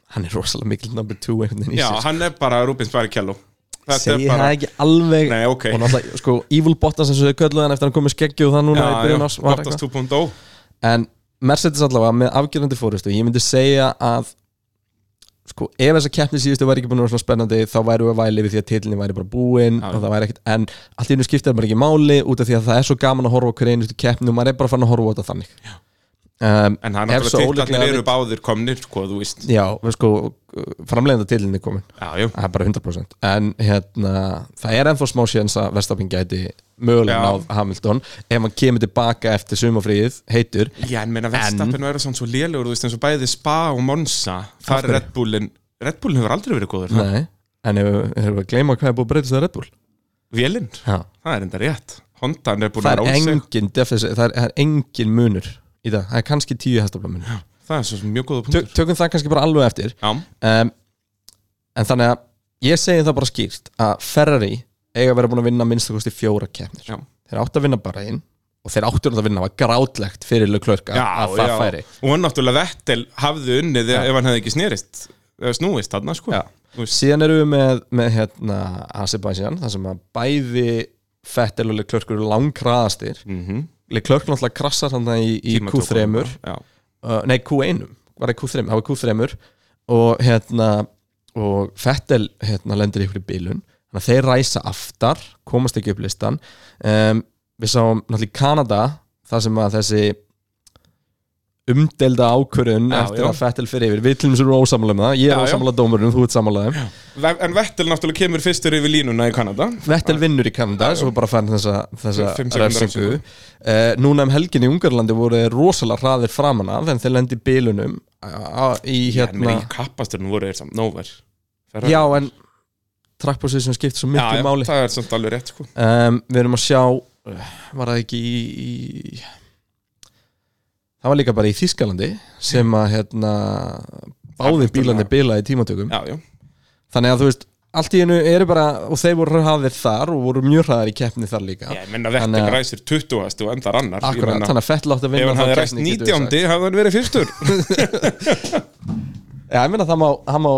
[SPEAKER 2] hann er rosalega mikil number two einhvern veginn í
[SPEAKER 1] já,
[SPEAKER 2] sér
[SPEAKER 1] hann er bara Rubins Barrichello þetta
[SPEAKER 2] Segir
[SPEAKER 1] er bara
[SPEAKER 2] það ekki alveg
[SPEAKER 1] Nei, ok.
[SPEAKER 2] Og náttúrulega, sko, Evil Bottas eins og þau kölluðu hann eftir að hann komið skeggju og það núna í
[SPEAKER 1] já,
[SPEAKER 2] byrjun
[SPEAKER 1] já,
[SPEAKER 2] ás var eitthvað.
[SPEAKER 1] Bottas 2.0
[SPEAKER 2] en Mercedes allavega með afgjörandi fórustu ég myndi segja að sko, ef þessa keppni síðustu væri ekki búin að vera svona spennandi þá væru við að væli við því að tilinni væri bara búin
[SPEAKER 1] Já, já.
[SPEAKER 2] og það væri ekkit, en allt í hennu skiptir bara ekki máli út af því að það er svo gaman að horfa á hverju einustu keppni og maður er bara fann að horfa á þetta þannig um,
[SPEAKER 1] en hann
[SPEAKER 2] Ef svo
[SPEAKER 1] náttúrulega
[SPEAKER 2] ólíklega
[SPEAKER 1] titlarnir eru
[SPEAKER 2] vill-
[SPEAKER 1] báðir komnir sko, þú veist,
[SPEAKER 2] já, við sko, framleiðenda tilinni komin
[SPEAKER 1] já, já
[SPEAKER 2] það er bara 100% en hérna, það er ennþá smá séns að Verstafin gæti mögulega
[SPEAKER 1] Já.
[SPEAKER 2] náð Hamilton ef hann kemur tilbaka eftir sumafríð heitur
[SPEAKER 1] Já, en meina Verstappen verður svona svo lélegur þú veist eins og bæði Spa og Monza
[SPEAKER 2] Af
[SPEAKER 1] þar er
[SPEAKER 2] hverju?
[SPEAKER 1] Red Bullin Red Bullin hefur aldrei verið góður það.
[SPEAKER 2] Nei, en hefur hef við að gleyma hvað er búið að breytast að Red Bull
[SPEAKER 1] Vélinn,
[SPEAKER 2] Já.
[SPEAKER 1] það er enda rétt Hondan er búin
[SPEAKER 2] Það
[SPEAKER 1] að
[SPEAKER 2] er
[SPEAKER 1] ráð sig
[SPEAKER 2] engin, defis, það er, það er engin munur í dag, það er kannski tíu hestafla munur
[SPEAKER 1] Það er svo sem mjög góða
[SPEAKER 2] Tök,
[SPEAKER 1] punktur
[SPEAKER 2] Tökum það kannski bara alveg eftir
[SPEAKER 1] Já,
[SPEAKER 2] um, En þannig að ég segi það bara skýrt að Ferrari eiga að vera búin að vinna minnstakosti fjóra keppnir
[SPEAKER 1] Já.
[SPEAKER 2] Þeir áttu að vinna bara einn og þeir áttu að vinna var grátlegt fyrir lögklörka
[SPEAKER 1] já,
[SPEAKER 2] að það
[SPEAKER 1] já.
[SPEAKER 2] færi
[SPEAKER 1] Og náttúrulega Vettel hafði unnið
[SPEAKER 2] Já.
[SPEAKER 1] ef hann hefði ekki snerist snúist þarna sko
[SPEAKER 2] Já.
[SPEAKER 1] Þú veist,
[SPEAKER 2] Síðan erum við með, með hérna, Azerbaijan, þar sem að bæði Fettel og lögklörkur langkraðastir
[SPEAKER 1] mhm,
[SPEAKER 2] Leclerc náttúrulega krassar hann í, í
[SPEAKER 1] tímatökum.
[SPEAKER 2] Q3 uh,
[SPEAKER 1] Já,
[SPEAKER 2] nei Q1 var það Q3, það var Q3 og hérna og Fettel hérna lendir ykkur í bílun þannig að þeir ræsa aftar komast ekki upp listan um, við sáum náttúrulega í Kanada þar sem að þessi umdelda ákvörun
[SPEAKER 1] Já,
[SPEAKER 2] eftir
[SPEAKER 1] já.
[SPEAKER 2] að Fettel fyrir yfir, við til þess erum ósamlega um það ég
[SPEAKER 1] Já,
[SPEAKER 2] er
[SPEAKER 1] já.
[SPEAKER 2] ósamlega dómurinn, þú ert samlega um
[SPEAKER 1] Ve- En Vettel náttúrulega kemur fyrstur yfir línuna í Kanada
[SPEAKER 2] Vettel vinnur í Kanada, svo bara fann þessa,
[SPEAKER 1] Fimm
[SPEAKER 2] þessa
[SPEAKER 1] sekúndna
[SPEAKER 2] refsingu
[SPEAKER 1] refsingu.
[SPEAKER 2] uh, Núna um helgin í Ungarlandi voru þeir rosalega hraðir framan af en þeir lendi í bilunum á- á- í
[SPEAKER 1] Já, en
[SPEAKER 2] hérna
[SPEAKER 1] meina, Í kappasturinn voru þeir samt nóver
[SPEAKER 2] Já, en trackposið sem skiptir svo miklu máli
[SPEAKER 1] Það er samt alveg rétt sko
[SPEAKER 2] um, Við erum að sjá eh, var það ekki í, í það var líka bara í Þískalandi sem að hérna báðir
[SPEAKER 1] Hamilton,
[SPEAKER 2] bílandi
[SPEAKER 1] já.
[SPEAKER 2] bila í tímatökum
[SPEAKER 1] Já, já
[SPEAKER 2] þannig að þú veist, allt í einu eru bara og þeir voru hraðir þar og voru mjög hraðir í keppni þar líka
[SPEAKER 1] Ég menna
[SPEAKER 2] Þannig
[SPEAKER 1] Vettel
[SPEAKER 2] að-
[SPEAKER 1] ræsir 20. og endar annar Ég
[SPEAKER 2] Akkurat,
[SPEAKER 1] meina,
[SPEAKER 2] þannig að Fettel átti að vinna
[SPEAKER 1] Ef hann
[SPEAKER 2] þá
[SPEAKER 1] hafði ræst
[SPEAKER 2] keppni, getum við sagt.
[SPEAKER 1] 19. hafði hann verið fyrstur
[SPEAKER 2] Já, ég meina það má, hann má,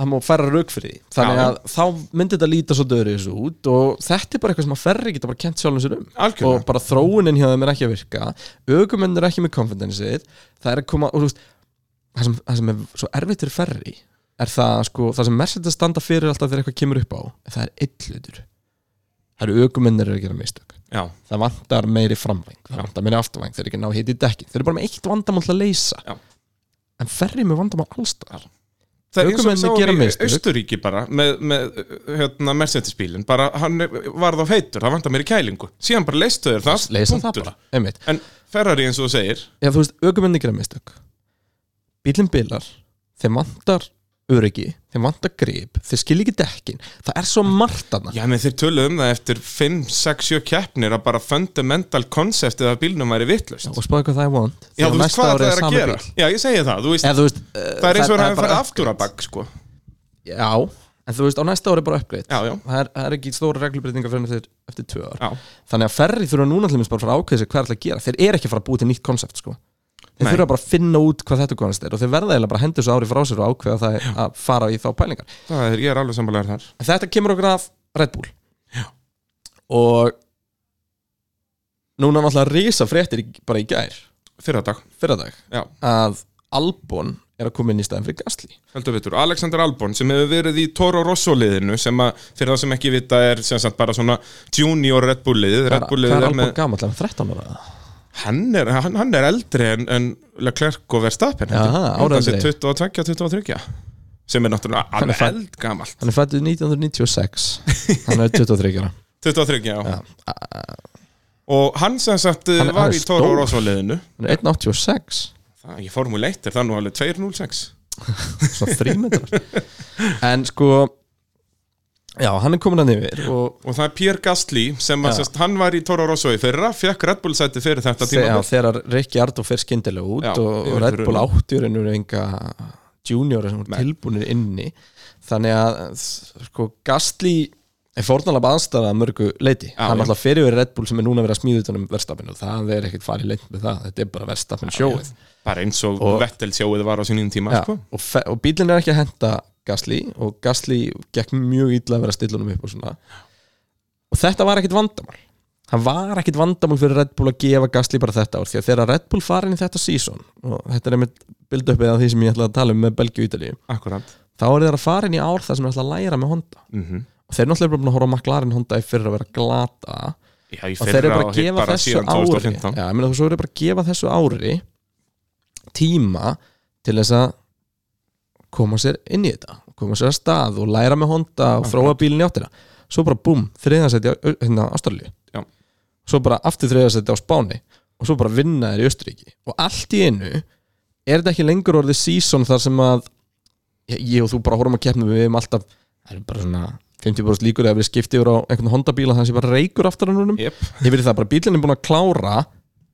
[SPEAKER 2] hann má færa rauk fyrir því Þannig
[SPEAKER 1] Já.
[SPEAKER 2] að þá myndi þetta líta svo döður þessu út og þetta er bara eitthvað sem að ferri geta bara kent sjálfum sér um
[SPEAKER 1] Algjörlega.
[SPEAKER 2] Og bara þróunin hjá þeim er ekki að virka Ögumenn er ekki með confidence-ið Það er að koma, og þú veist Það sem, það sem er svo erfitt fyrir ferri er það sko, það sem Mercedes standa fyrir alltaf þegar eitthvað kemur upp á, það er illutur Það eru ögumennir að gera mistök
[SPEAKER 1] Já,
[SPEAKER 2] það vantar meiri framvæng það vantar meiri afturvæng, þeir eru ekki að ná hitt í dekki þeir eru bara með eitt vandamál til að leysa
[SPEAKER 1] Já.
[SPEAKER 2] en ferri með vandamál allstar
[SPEAKER 1] það er eins og við
[SPEAKER 2] Ökumennirnir gera
[SPEAKER 1] sáum í
[SPEAKER 2] mistök.
[SPEAKER 1] Austuríki bara með, með hérna, Mercedes-bílinn bara hann var þá feitur, það vantar mér í kælingu síðan bara leistu þér það,
[SPEAKER 2] leysa það
[SPEAKER 1] punktur.
[SPEAKER 2] bara, einmitt
[SPEAKER 1] en Ferrari eins og þú segir
[SPEAKER 2] ef þú veist, aukumenni gera mistök bílinn bilar, þeir vantar öryggi, þeir vantar grip þeir skilja ekki dekkin, það er svo margt annað
[SPEAKER 1] já, menn þeir töluðu um það eftir 5, 6, 7 keppnir að bara fundamental conceptið af bílnum væri vittlust
[SPEAKER 2] og spáðu hvað það er vond
[SPEAKER 1] Já, þú veist hvað það er að gera Já, ég segi það, þú veist,
[SPEAKER 2] Eð, veist, eh,
[SPEAKER 1] það er eins og það hefur
[SPEAKER 2] bara
[SPEAKER 1] farið aftur að bakk sko.
[SPEAKER 2] upgrade. já, en þú veist, á næsta ári bara uppgreitt
[SPEAKER 1] Já, já,
[SPEAKER 2] það er, það er ekki stóra reglubreitinga fyrir eftir, eftir tvö
[SPEAKER 1] já
[SPEAKER 2] ár þannig að ferri þurfa núna til dæmis bara að fara að ákveða sig hvað er að gera þeir eru ekki að fara að búið til nýtt konsept sko. þeir
[SPEAKER 1] Nei.
[SPEAKER 2] þurfa bara að finna út hvað þetta konsept er og þeir verða eiginlega bara að henda þessu ári frá sér og ákveða það að fara í þá pælingar
[SPEAKER 1] Það er, ég er alveg sammálaður þar
[SPEAKER 2] en þetta kemur okkur af Red Bull Já. og núna náttúrulega risa fréttir í- bara í gær
[SPEAKER 1] Fyrra dag,
[SPEAKER 2] fyrradag
[SPEAKER 1] já,
[SPEAKER 2] að Albon er að koma inn í staðin fyrir Gasly
[SPEAKER 1] heldur betur Alexander Albon sem hefur verið í Toro Rosso liðinu sem að, fyrir það sem ekki vita er sem sagt bara svona junior Red Bull liðið Red Bull
[SPEAKER 2] Hvað
[SPEAKER 1] liðið
[SPEAKER 2] er
[SPEAKER 1] er
[SPEAKER 2] Albon
[SPEAKER 1] með,
[SPEAKER 2] gamall, er hann 13 ára?
[SPEAKER 1] hann er, hann, hann er eldri en, en Leclerc og Verstappen
[SPEAKER 2] Já,
[SPEAKER 1] held ég. Ég held að sé
[SPEAKER 2] ára
[SPEAKER 1] 22, 23 sem er náttúrulega
[SPEAKER 2] Hann er
[SPEAKER 1] alveg
[SPEAKER 2] fædd-
[SPEAKER 1] eldgamalt
[SPEAKER 2] Hann er fættið 1996 Hann er 23 ára
[SPEAKER 1] 23, já, og hann sem sagt eh,
[SPEAKER 2] Hann er- hann
[SPEAKER 1] var
[SPEAKER 2] er
[SPEAKER 1] í Toro
[SPEAKER 2] stór.
[SPEAKER 1] Rosso liðinu
[SPEAKER 2] Hann er 186
[SPEAKER 1] Það, ég formule 1 er það nú alveg 206
[SPEAKER 2] Svona 3 metrar En sko Já, hann er komin að yfir og
[SPEAKER 1] og það er Pierre Gasly sem að,
[SPEAKER 2] Já.
[SPEAKER 1] sest, hann var í Toro Rosso í fyrra, fekk Red Bull sæti fyrir þetta
[SPEAKER 2] þegar,
[SPEAKER 1] tíma
[SPEAKER 2] þegar Rikki Ardó fer skyndilega út
[SPEAKER 1] Já,
[SPEAKER 2] og, og
[SPEAKER 1] yfir
[SPEAKER 2] Red Bull
[SPEAKER 1] runum.
[SPEAKER 2] 80 er ennur enga junior sem
[SPEAKER 1] Nei.
[SPEAKER 2] voru tilbúinir inni þannig að sko Gasly er fórnalega aðstæða að mörgu leiti
[SPEAKER 1] Já,
[SPEAKER 2] hann
[SPEAKER 1] já.
[SPEAKER 2] alltaf fyrir við Red Bull sem er núna að vera að smíða utan um verstafinu og það er ekkert farið leint með það þetta er bara verstafin sjóið
[SPEAKER 1] bara eins og,
[SPEAKER 2] Og-
[SPEAKER 1] Vettel sjóið var á sínum tíma
[SPEAKER 2] Já,
[SPEAKER 1] sko.
[SPEAKER 2] og, fe- og bílinn er ekki að henda Gasly og Gasly gekk mjög illa að vera stillunum upp og svona og þetta var ekkit vandamál hann var ekkit vandamál fyrir Red Bull að gefa Gasly bara þetta ár því að þegar Red Bull farin í þetta season og þetta er einmitt bildöppið af því sem ég ætla að tala um með Belgíu og Ítalíu
[SPEAKER 1] akkurat
[SPEAKER 2] þá er þeir að farin í ár þar sem þeir ætla að læra með Honda
[SPEAKER 1] mm
[SPEAKER 2] og þeir eru náttúrulega bara búin að horfa á McLaren Honda í fyrir að vera glata
[SPEAKER 1] Já, í
[SPEAKER 2] og þeir eru
[SPEAKER 1] fyrra
[SPEAKER 2] bara að
[SPEAKER 1] hitt
[SPEAKER 2] gefa þessu
[SPEAKER 1] síðan
[SPEAKER 2] ári
[SPEAKER 1] 2015.
[SPEAKER 2] já, ég meina þú svo eru bara að gefa þessu ári tíma til þess að koma sér inn í þetta koma sér að stað og læra með honda og þróa bílinni áttina svo bara búm, þriðansætti á hérna, Ástralíu
[SPEAKER 1] Já.
[SPEAKER 2] svo bara aftur þriðansætti á Spáni og svo bara vinna þeir í Östuríki og allt í einu er þetta ekki lengur orðið season þar sem að ég ég og þú bara horfum að keppna við um alltaf það er bara svona 50% líkur eða við skipti yfir á einhvern Honda bíla þannig að ég bara reykur aftur hann húnum
[SPEAKER 1] Jep.
[SPEAKER 2] yfir í það bara bílinn er búin að klára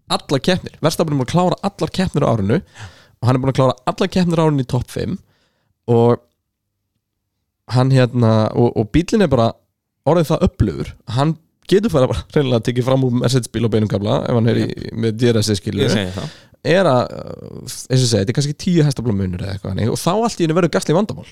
[SPEAKER 2] allar keppnir, verðstafnir er búin að klára allar keppnir á árinu og hann er búin að klára allar keppnir á árinu í topp 5 og hann hérna og, og bílinn er bara orðið það upplöfur hann getur fara bara reynilega að tekið fram úr Mercedes bíl á beinum kabla ef hann er í, með DRS skilur
[SPEAKER 1] ég segi það
[SPEAKER 2] er að, uh, eins og ég segi, þetta er kannski tíu hestafla munur eða eitthvað þannig og þá allt í henni verður gasli vandamál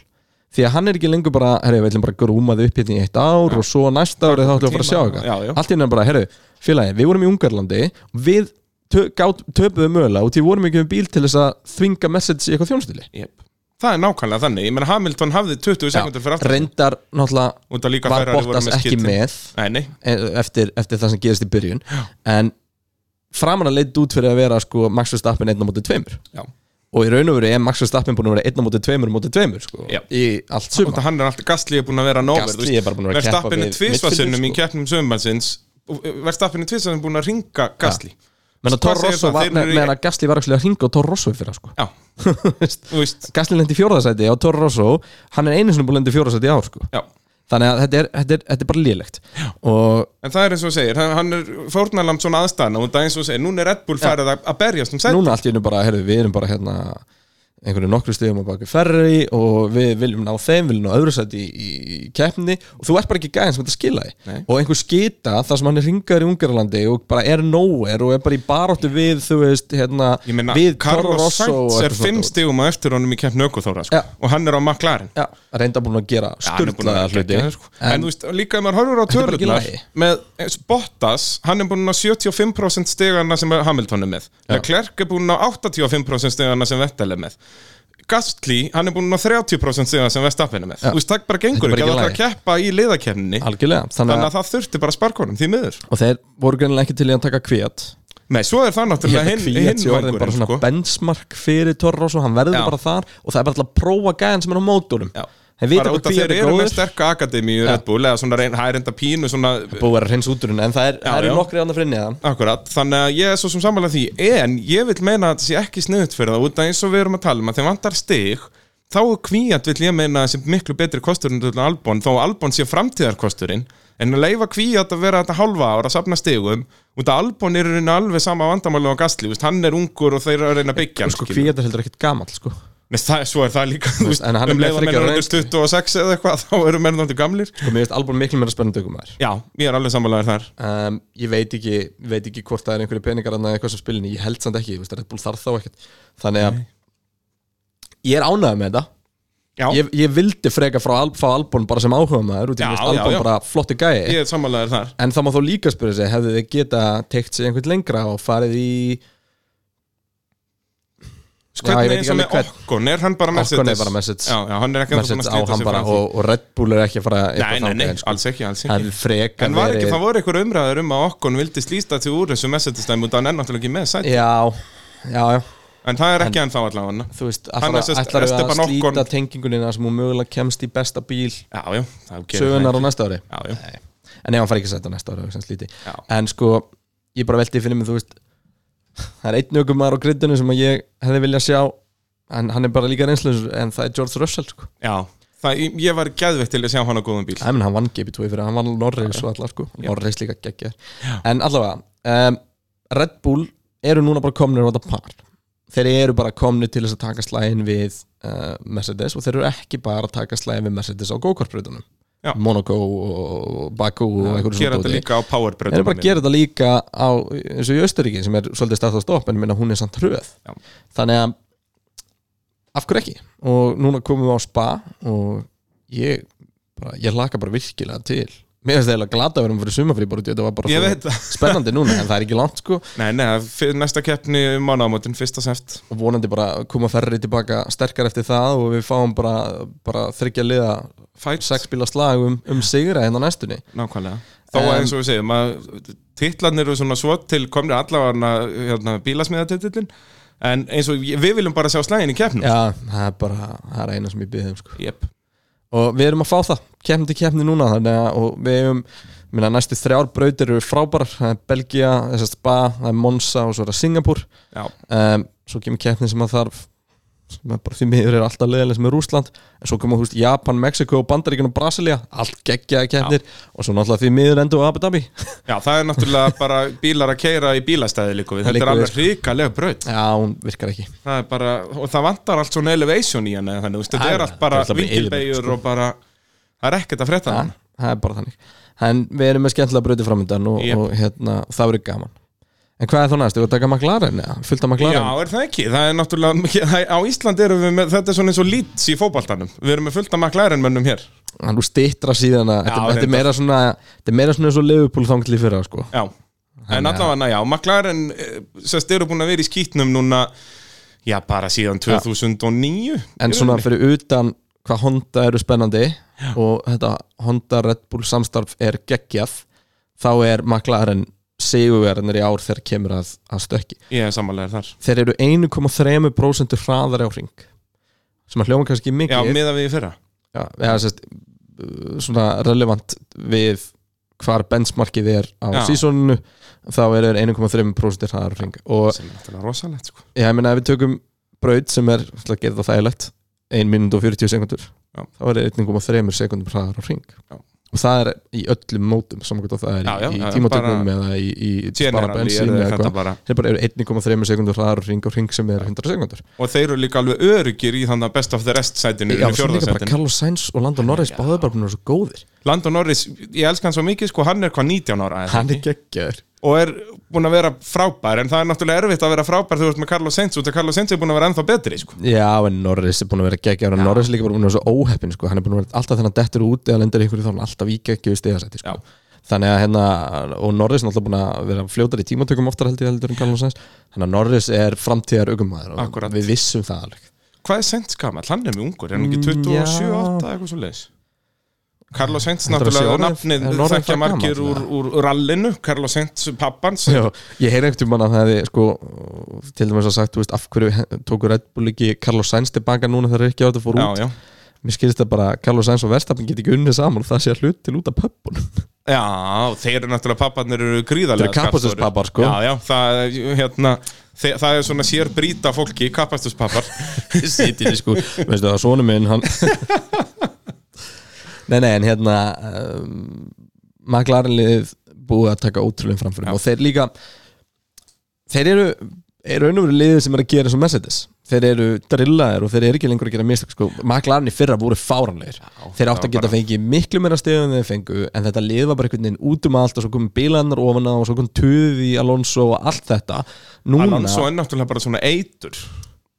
[SPEAKER 2] því að hann er ekki lengur bara, herru, við ætlum bara að grúma þið upp hérna í eitt ár og svo næsta árið þá ætlum við að fara að sjá
[SPEAKER 1] Tíma-
[SPEAKER 2] eitthvað
[SPEAKER 1] já, já.
[SPEAKER 2] allt í henni bara, herru, félagi, við vorum í Ungarlandi og við tö- gát- töpuðum mögulega og því vorum ekki með bíl til þess að þvinga message í eitthvað þjónustili
[SPEAKER 1] Jep. það er nákvæmlega þannig, ég menn Hamilton hafði 20 sekundur fyrir aftur
[SPEAKER 2] reyndar, náttúrulega,
[SPEAKER 1] og það líka
[SPEAKER 2] var
[SPEAKER 1] Ferrari voru
[SPEAKER 2] Bottas ekki
[SPEAKER 1] skitin.
[SPEAKER 2] með
[SPEAKER 1] nei, nei,
[SPEAKER 2] e- eftir, eftir það sem gerist í byrjun en framan að leitt út fyrir að vera sko, Max Verstappen 1 á móti 2
[SPEAKER 1] Já.
[SPEAKER 2] og í raun og veru er Max Verstappen búin að vera 1 á móti 2 móti 2 sko,
[SPEAKER 1] Já.
[SPEAKER 2] í allt
[SPEAKER 1] Út
[SPEAKER 2] suma
[SPEAKER 1] af hann er alltaf Gasly er búin að vera nóver
[SPEAKER 2] Gasly er bara búinn að vera að keppa
[SPEAKER 1] Verstappen er
[SPEAKER 2] við sko.
[SPEAKER 1] tvisvarsinnum
[SPEAKER 2] midfielder,
[SPEAKER 1] í keppnum sömbansins Verstappen er tvisvarsinnum búin að ringa Gasly
[SPEAKER 2] menn að
[SPEAKER 1] Hvað
[SPEAKER 2] Tor
[SPEAKER 1] segir
[SPEAKER 2] Rosso
[SPEAKER 1] það?
[SPEAKER 2] var,
[SPEAKER 1] Þeir eru í-
[SPEAKER 2] menn að Gasly var actually að ringa og Tor Rosso fyrir það sko
[SPEAKER 1] já, þú veist
[SPEAKER 2] Gasly lendi í fjórðasæti á Tor Rosso hann er einu sinni búin að lendi í fjórðasæti á sko
[SPEAKER 1] já.
[SPEAKER 2] þannig að þetta er, þetta er, þetta er bara lélegt og
[SPEAKER 1] En það er eins og þú segir, hann, hann er fórnalamb svona aðstæðna og það er eins og þú segir, núna er Red Bull færið að, að berjast um sætt
[SPEAKER 2] núna allt í einu bara, herðu, við erum bara hérna einhverju nokkru stegum á baki ferri og við viljum ná þeim, viljum ná öðru sætt í, í, í keppni og þú ert bara ekki gæðin sem þetta skila því
[SPEAKER 1] Nei.
[SPEAKER 2] og einhver skita þar sem hann er ringaður í Ungarlandi og bara er nowhere og er bara í baróttu við, þú veist, hérna
[SPEAKER 1] Ég meina,
[SPEAKER 2] við Toro
[SPEAKER 1] Carlos
[SPEAKER 2] Rosso og
[SPEAKER 1] Sainz er
[SPEAKER 2] eitthvað
[SPEAKER 1] fimm
[SPEAKER 2] svona.
[SPEAKER 1] stigum á eftir honum í keppn aukuþóra sko.
[SPEAKER 2] Já.
[SPEAKER 1] og hann er á McLaren
[SPEAKER 2] Já, reynda búin að gera
[SPEAKER 1] Já, hann er búinn
[SPEAKER 2] sturlaða
[SPEAKER 1] að
[SPEAKER 2] hluti
[SPEAKER 1] gegja það, sko. en, þú veist, líka ef maður horfur á
[SPEAKER 2] Þetta er bara ekki í
[SPEAKER 1] tölunar
[SPEAKER 2] lagi.
[SPEAKER 1] með eins og Bottas, hann er búinn að 75% stigana sem Hamilton er með Leclerc er búinn að 85% stigana sem Vettel er með Gastli, hann er búinn að 30% stigana sem Vestappen er með,
[SPEAKER 2] Já.
[SPEAKER 1] þú veist, það bara gengur
[SPEAKER 2] Þetta er
[SPEAKER 1] ekki að
[SPEAKER 2] bara
[SPEAKER 1] það
[SPEAKER 2] ekki
[SPEAKER 1] að keppa í liðakefninni
[SPEAKER 2] algjörlega, þannig
[SPEAKER 1] þannig
[SPEAKER 2] að
[SPEAKER 1] að það þurfti bara sparkunum, því miður
[SPEAKER 2] og þeir voru greinilega ekki til í að taka kviat
[SPEAKER 1] Nei, svo er það náttúrulega
[SPEAKER 2] Ég held að
[SPEAKER 1] hinn
[SPEAKER 2] Kvíat sé orðin
[SPEAKER 1] vængurinn,
[SPEAKER 2] bara svona
[SPEAKER 1] sko.
[SPEAKER 2] benchmark fyrir Torros og hann verður
[SPEAKER 1] Já.
[SPEAKER 2] bara þar og það er bara alltaf að prófa gæðan sem er á mótorum
[SPEAKER 1] Já.
[SPEAKER 2] Þeir vita
[SPEAKER 1] bara út
[SPEAKER 2] hvað
[SPEAKER 1] af
[SPEAKER 2] Kvíat
[SPEAKER 1] þeir
[SPEAKER 2] er
[SPEAKER 1] eru með
[SPEAKER 2] góður
[SPEAKER 1] sterka akademi í Red Bull eða svona reyn, það er enda pínu svona
[SPEAKER 2] búið að hreins úturinn en það er, það eru
[SPEAKER 1] já.
[SPEAKER 2] nokkri annað fyrir neðan
[SPEAKER 1] Akkurat, þannig að ég er svo sem samanlega því En ég vil meina að það sé ekki sniðut fyrir það Út af eins og við erum að tala um að þeim vantar stig Þá er kvíat vill ég meina sem miklu betri kosturinn til Albon Þó að Albon sé framtíðarkosturinn En að leifa kvíat að vera þetta hálfa ára að safna stigum Út af Albon er í rauninni alveg sama vandamáli á Gastli veist, Hann er ungur og þeir eru að reyna að byggja hann
[SPEAKER 2] sko
[SPEAKER 1] skilur.
[SPEAKER 2] Kvíat er heldur ekkit gamall sko sko
[SPEAKER 1] Nei, það, Svo er það líka þú veist,
[SPEAKER 2] en hann er
[SPEAKER 1] Um
[SPEAKER 2] með
[SPEAKER 1] leifa
[SPEAKER 2] þriggja ára
[SPEAKER 1] mennur 26 eða eitthvað Þá eru mennur náttúrulega gamlir
[SPEAKER 2] Sko, mér veist albúin miklu meira spennandi aukum maður
[SPEAKER 1] Já, ég er alveg samanlega þar
[SPEAKER 2] um, ég veit ekki, veit ekki hvort það er einhverju peningar annað eitthvað sem spilinni, ég held samt ekki ég veist, Red Bull þarf þá ekkert þannig að ég er ánægð með þetta
[SPEAKER 1] Já.
[SPEAKER 2] ég, ég vildi freka frá Al- fá Albon bara sem áhuga maður út í
[SPEAKER 1] Já,
[SPEAKER 2] mér finnst
[SPEAKER 1] já,
[SPEAKER 2] Albon
[SPEAKER 1] já.
[SPEAKER 2] bara flotti gæi
[SPEAKER 1] ég er samanlegaður þar
[SPEAKER 2] en það má þó líka spyrja sig hefði þið geta teikt sig einhvern lengra og farið í
[SPEAKER 1] Sko,
[SPEAKER 2] Já, ég
[SPEAKER 1] Hvernig
[SPEAKER 2] veit
[SPEAKER 1] eins
[SPEAKER 2] ekki
[SPEAKER 1] og
[SPEAKER 2] alveg
[SPEAKER 1] með Okkon, er hann bara Mercedes?
[SPEAKER 2] Okkon er bara Mercedes.
[SPEAKER 1] Já, já, hann er ekki
[SPEAKER 2] Mercedes á hann bara
[SPEAKER 1] og
[SPEAKER 2] og, og Red Bull er ekki að fara
[SPEAKER 1] Nei, nei, nei,
[SPEAKER 2] þangað, sko.
[SPEAKER 1] alls ekki, alls
[SPEAKER 2] hefði
[SPEAKER 1] ekki
[SPEAKER 2] freka
[SPEAKER 1] En var ekki,
[SPEAKER 2] verið-
[SPEAKER 1] það voru einhver umræður um að Okkon vildi slýsta til úr þessu Mercedes-dæmi og hann er náttúrulega ekki með sæti
[SPEAKER 2] Já, já, já
[SPEAKER 1] En það er ekki ennþá allavega
[SPEAKER 2] Þú veist,
[SPEAKER 1] Hann er sem sagt
[SPEAKER 2] ætlar að
[SPEAKER 1] Esteban
[SPEAKER 2] slíta
[SPEAKER 1] Ocon.
[SPEAKER 2] Okkon. tengingunina sem hún mögulega kemst í besta bíl
[SPEAKER 1] Já, já, það gerir það
[SPEAKER 2] sögunar á
[SPEAKER 1] ekki.
[SPEAKER 2] næsta ári
[SPEAKER 1] Já, já,
[SPEAKER 2] En ef hann fær ekki sætt á næsta ári, sem slíti
[SPEAKER 1] Já.
[SPEAKER 2] En sko, ég bara velti fyrir mig, þú veist Það er einn ökumar á grittinu sem að ég hefði viljað sjá En hann er bara líka reynslu En það er George Russell, sko
[SPEAKER 1] já Það, ég var geðveitt til að sjá hann á góðum bíl
[SPEAKER 2] Æ, menn, hann vann GP2 fyrir, hann vann Norreis og allar sko Norreis líka geggjar En allavega, um, Red Bull eru núna bara komnir á þetta par Þeir eru bara komnir til þess að taka slægin við uh, Mercedes og þeir eru ekki bara að taka slægin við Mercedes á go-kartbröðunum
[SPEAKER 1] Já.
[SPEAKER 2] Monaco og Baku og einhverju
[SPEAKER 1] Gera þetta
[SPEAKER 2] svona dóti
[SPEAKER 1] líka á
[SPEAKER 2] Þeir eru
[SPEAKER 1] powerbröðum
[SPEAKER 2] bara að gera þetta líka á, eins og í Austuríki sem er svolítið stætt á stopp en ég minna hún er samt hröð
[SPEAKER 1] Já.
[SPEAKER 2] Þannig að af hverju ekki og núna komum við á spa og ég, bara, ég laka bara virkilega til mér finnst það eiginlega glata að vera fyrir sumafrí bara út í að þetta var bara
[SPEAKER 1] Ég
[SPEAKER 2] svo
[SPEAKER 1] veit það.
[SPEAKER 2] spennandi núna en það er ekki langt sko
[SPEAKER 1] Nei, nei, það er fyr- næsta keppni mánámótin, fyrsta seft
[SPEAKER 2] og vonandi bara koma ferri tilbaka sterkar eftir það og við fáum bara, bara þryggja liða
[SPEAKER 1] Fight,
[SPEAKER 2] sex bíla slag um, um sigra hérna á næstunni
[SPEAKER 1] nákvæmlega Þó að
[SPEAKER 2] Em,
[SPEAKER 1] eins og við segjum að titlarnir eru svona svo til komnir allavega hérna, bílasmiðatitillin En eins og ég- við viljum bara sjá slægin í keppnum
[SPEAKER 2] Já, það er bara, það er eina sem ég byggði um sko
[SPEAKER 1] Jep.
[SPEAKER 2] og við erum að fá það kemni til kemni núna þannig að og við hefum minna, næstu þrjár brautir eru frábærar það er Belgia, þess að Spa, það er Monza og svo er það Singapur
[SPEAKER 1] Já,
[SPEAKER 2] um, svo kemur kemni sem að þarf sem að bara því miður er alltaf leiðileg sem er Rúsland en svo koma húst Japan, Mexiko, Bandaríkjun og Brasilia allt geggjaði kemnir og svo náttúrulega því miður endur á Abu Dhabi
[SPEAKER 1] Já, það er náttúrulega bara bílar að keira í bílastæði líka við. Þetta
[SPEAKER 2] Liggur
[SPEAKER 1] er
[SPEAKER 2] við, sko.
[SPEAKER 1] alveg ríkalega braut.
[SPEAKER 2] já, hún virkar ekki
[SPEAKER 1] Það er bara, og það vantar allt svona elevation í hana, þannig, þú veist, þetta
[SPEAKER 2] Það er-
[SPEAKER 1] er allt bara
[SPEAKER 2] það er alltaf
[SPEAKER 1] vinkilbegjur
[SPEAKER 2] sko.
[SPEAKER 1] og bara, það er ekkert að frétta
[SPEAKER 2] það,
[SPEAKER 1] það.
[SPEAKER 2] það er bara þannig en við erum með skemmtilega brautir framöndan og,
[SPEAKER 1] Jep.
[SPEAKER 2] og hérna, það verður gaman en hvað er þá næst, þú ert að taka McLaren eða? fullt af
[SPEAKER 1] Já,
[SPEAKER 2] McLaren
[SPEAKER 1] er það ekki? Það er náttúrulega, það er- á Íslandi erum við með, þetta er svona eins og lýts í fótbaltanum. Við erum með fullt af McLaren mönnum hér.
[SPEAKER 2] hann úr stittra síðan að þetta, þetta er
[SPEAKER 1] reyndar.
[SPEAKER 2] meira svona þetta er meira svona eins og Liverpool þangli fyrra sko.
[SPEAKER 1] Já, en allavega, já, McLaren, eh, sérst, eru búin að vera í skýtnum núna, já, bara síðan 2009.
[SPEAKER 2] en svona fyrir utan hvað Honda eru spennandi og þetta Honda Red Bull samstarf er geggjað þá er McLaren sigurverðinir í ár þegar kemur að, að stökki
[SPEAKER 1] Ég er samanlega þar.
[SPEAKER 2] þeir eru 1,3% hraðari á ring sem að hljóma kannski
[SPEAKER 1] Já,
[SPEAKER 2] mikið
[SPEAKER 1] miða við í fyrra.
[SPEAKER 2] Já, eða, sest, svona relevant við hvar benchmarkið er á
[SPEAKER 1] Já.
[SPEAKER 2] sísoninu þá eru þeir 1,3% hraðari á ring og
[SPEAKER 1] Sem er náttúrulega rosalegt, sko.
[SPEAKER 2] Já, ég meina ef við tökum braut sem er, ég ætla að gera það þægilegt 1 minúnd og 40 sekundur
[SPEAKER 1] Já.
[SPEAKER 2] þá er 1,3 sekundum hraðar á ring
[SPEAKER 1] Já.
[SPEAKER 2] og það er í öllum mótum samkvæmt að það er
[SPEAKER 1] Já, já,
[SPEAKER 2] í,
[SPEAKER 1] já,
[SPEAKER 2] í tímatökum eða í, í
[SPEAKER 1] Generally
[SPEAKER 2] bara bensín
[SPEAKER 1] eru
[SPEAKER 2] eða
[SPEAKER 1] þetta
[SPEAKER 2] eitthvað.
[SPEAKER 1] bara-
[SPEAKER 2] þeir bara eru 1,3 sekundur hraðar á ring og ring sem er 100 sekundur
[SPEAKER 1] og þeir eru líka alveg örugir í þannig að best of the rest sætinu
[SPEAKER 2] Já,
[SPEAKER 1] í
[SPEAKER 2] sem líka bara
[SPEAKER 1] fjórðarsætinu.
[SPEAKER 2] Carlos Sainz og Landon Norris báðu bara búin að vera svo góðir
[SPEAKER 1] Landon Norris, ég elska hann svo mikið sko, hann er hvað 19 ára eða
[SPEAKER 2] hann
[SPEAKER 1] ekki?
[SPEAKER 2] er geggjaður
[SPEAKER 1] og er búin að vera frábær en það er náttúrulega erfitt að vera frábær þegar þú ert með Carlos Sainz út af Carlos Sainz er búin að vera ennþá betri sko.
[SPEAKER 2] Já, en Norris er búin að vera geggjaður og Norris er líka bara búin að vera svo óheppin sko. hann er búin að vera alltaf þennan dettur út eða lendir ykkur þá er hann alltaf í geggju stigasæti sko. þannig að hérna, og Norris er alltaf búin að vera fljótar í tímatökum oftar held ég heldur en Carlos Sainz þannig að Norris er framtíðar ökumæður og
[SPEAKER 1] Akkúrat.
[SPEAKER 2] við vissum það alveg
[SPEAKER 1] hvað er Sainz gammal? hann er mjög ungur, er hann ekki
[SPEAKER 2] Mm,
[SPEAKER 1] 27,
[SPEAKER 2] já.
[SPEAKER 1] 8 eitthvað svo leiðis Carlos Sainz
[SPEAKER 2] Heldur að sé
[SPEAKER 1] náttúrulega
[SPEAKER 2] orðið-
[SPEAKER 1] nafnið
[SPEAKER 2] er hann orðið
[SPEAKER 1] þekkja
[SPEAKER 2] það
[SPEAKER 1] margir
[SPEAKER 2] gamall,
[SPEAKER 1] úr, úr rallinu Carlos Sainz pappans
[SPEAKER 2] Já, ég heyri einhvern tímann að það hefði sko, til dæmis að sagt, þú veist, af hverju he- tóku Red Bull ekki Carlos Sainz tilbaka núna þegar ekki á þetta fór
[SPEAKER 1] já,
[SPEAKER 2] út
[SPEAKER 1] já.
[SPEAKER 2] mér skilist það bara, að Carlos Sainz og Verstappen get ekki unnið saman og það sé að hlut til út af pöppun
[SPEAKER 1] já, þeir eru náttúrulega papparnir eru gríðarlega
[SPEAKER 2] Þeir eru kappaksturspapar, sko.
[SPEAKER 1] já, já, það, hérna, þe það er svona sér brýta fólki, kapastuspappar
[SPEAKER 2] sitinni sko veistu það, sonu minn hann nei, nei, en hérna um, McLaren liðið búið að taka ótrúlega framfyrir og þeir líka þeir eru, eru unnumveru liðið sem er að gera eins og Mercedes þeir eru drillaðir og þeir eru ekki lengur að gera mistök sko, McLaren í fyrra voru fáranlegir þeir
[SPEAKER 1] það
[SPEAKER 2] áttu
[SPEAKER 1] var
[SPEAKER 2] að geta
[SPEAKER 1] bara-
[SPEAKER 2] fengið miklu meira stegum en þeir fengu, en þetta lið var bara einhvern veginn út um allt og svo komum bílanar ofan á og svo kom tuði í Alonso og allt þetta núna,
[SPEAKER 1] Alonso er náttúrulega bara svona eitur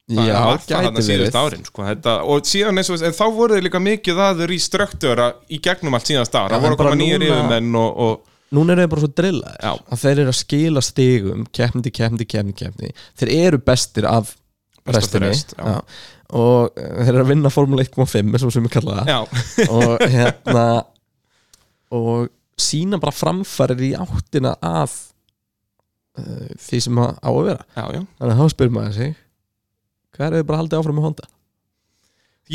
[SPEAKER 1] það
[SPEAKER 2] Já,
[SPEAKER 1] var það
[SPEAKER 2] gæti
[SPEAKER 1] þarna síðust
[SPEAKER 2] verið.
[SPEAKER 1] árin sko, þetta, og síðan eins og en þá voru þeir líka mikið aður í ströktöra í gegnum allt síðast ára,
[SPEAKER 2] Já,
[SPEAKER 1] það voru
[SPEAKER 2] en
[SPEAKER 1] að
[SPEAKER 2] bara
[SPEAKER 1] koma nýjir
[SPEAKER 2] núna-
[SPEAKER 1] yfirmenn og, og
[SPEAKER 2] núna eru þeir bara svo drillaðir
[SPEAKER 1] Já.
[SPEAKER 2] að þeir eru að skila stigum keppni, keppni, keppni, keppni þeir eru bestir af
[SPEAKER 1] Best af
[SPEAKER 2] restinni
[SPEAKER 1] rest, já.
[SPEAKER 2] og eh, þeir eru að vinna Formule 1.5 sem sem við kalla það
[SPEAKER 1] já,
[SPEAKER 2] og hérna og sína bara framfærir í áttina af uh, því sem að á að vera
[SPEAKER 1] já, já
[SPEAKER 2] þannig að þá spyrir maður sig hvað er þið bara haldið áfram með Honda?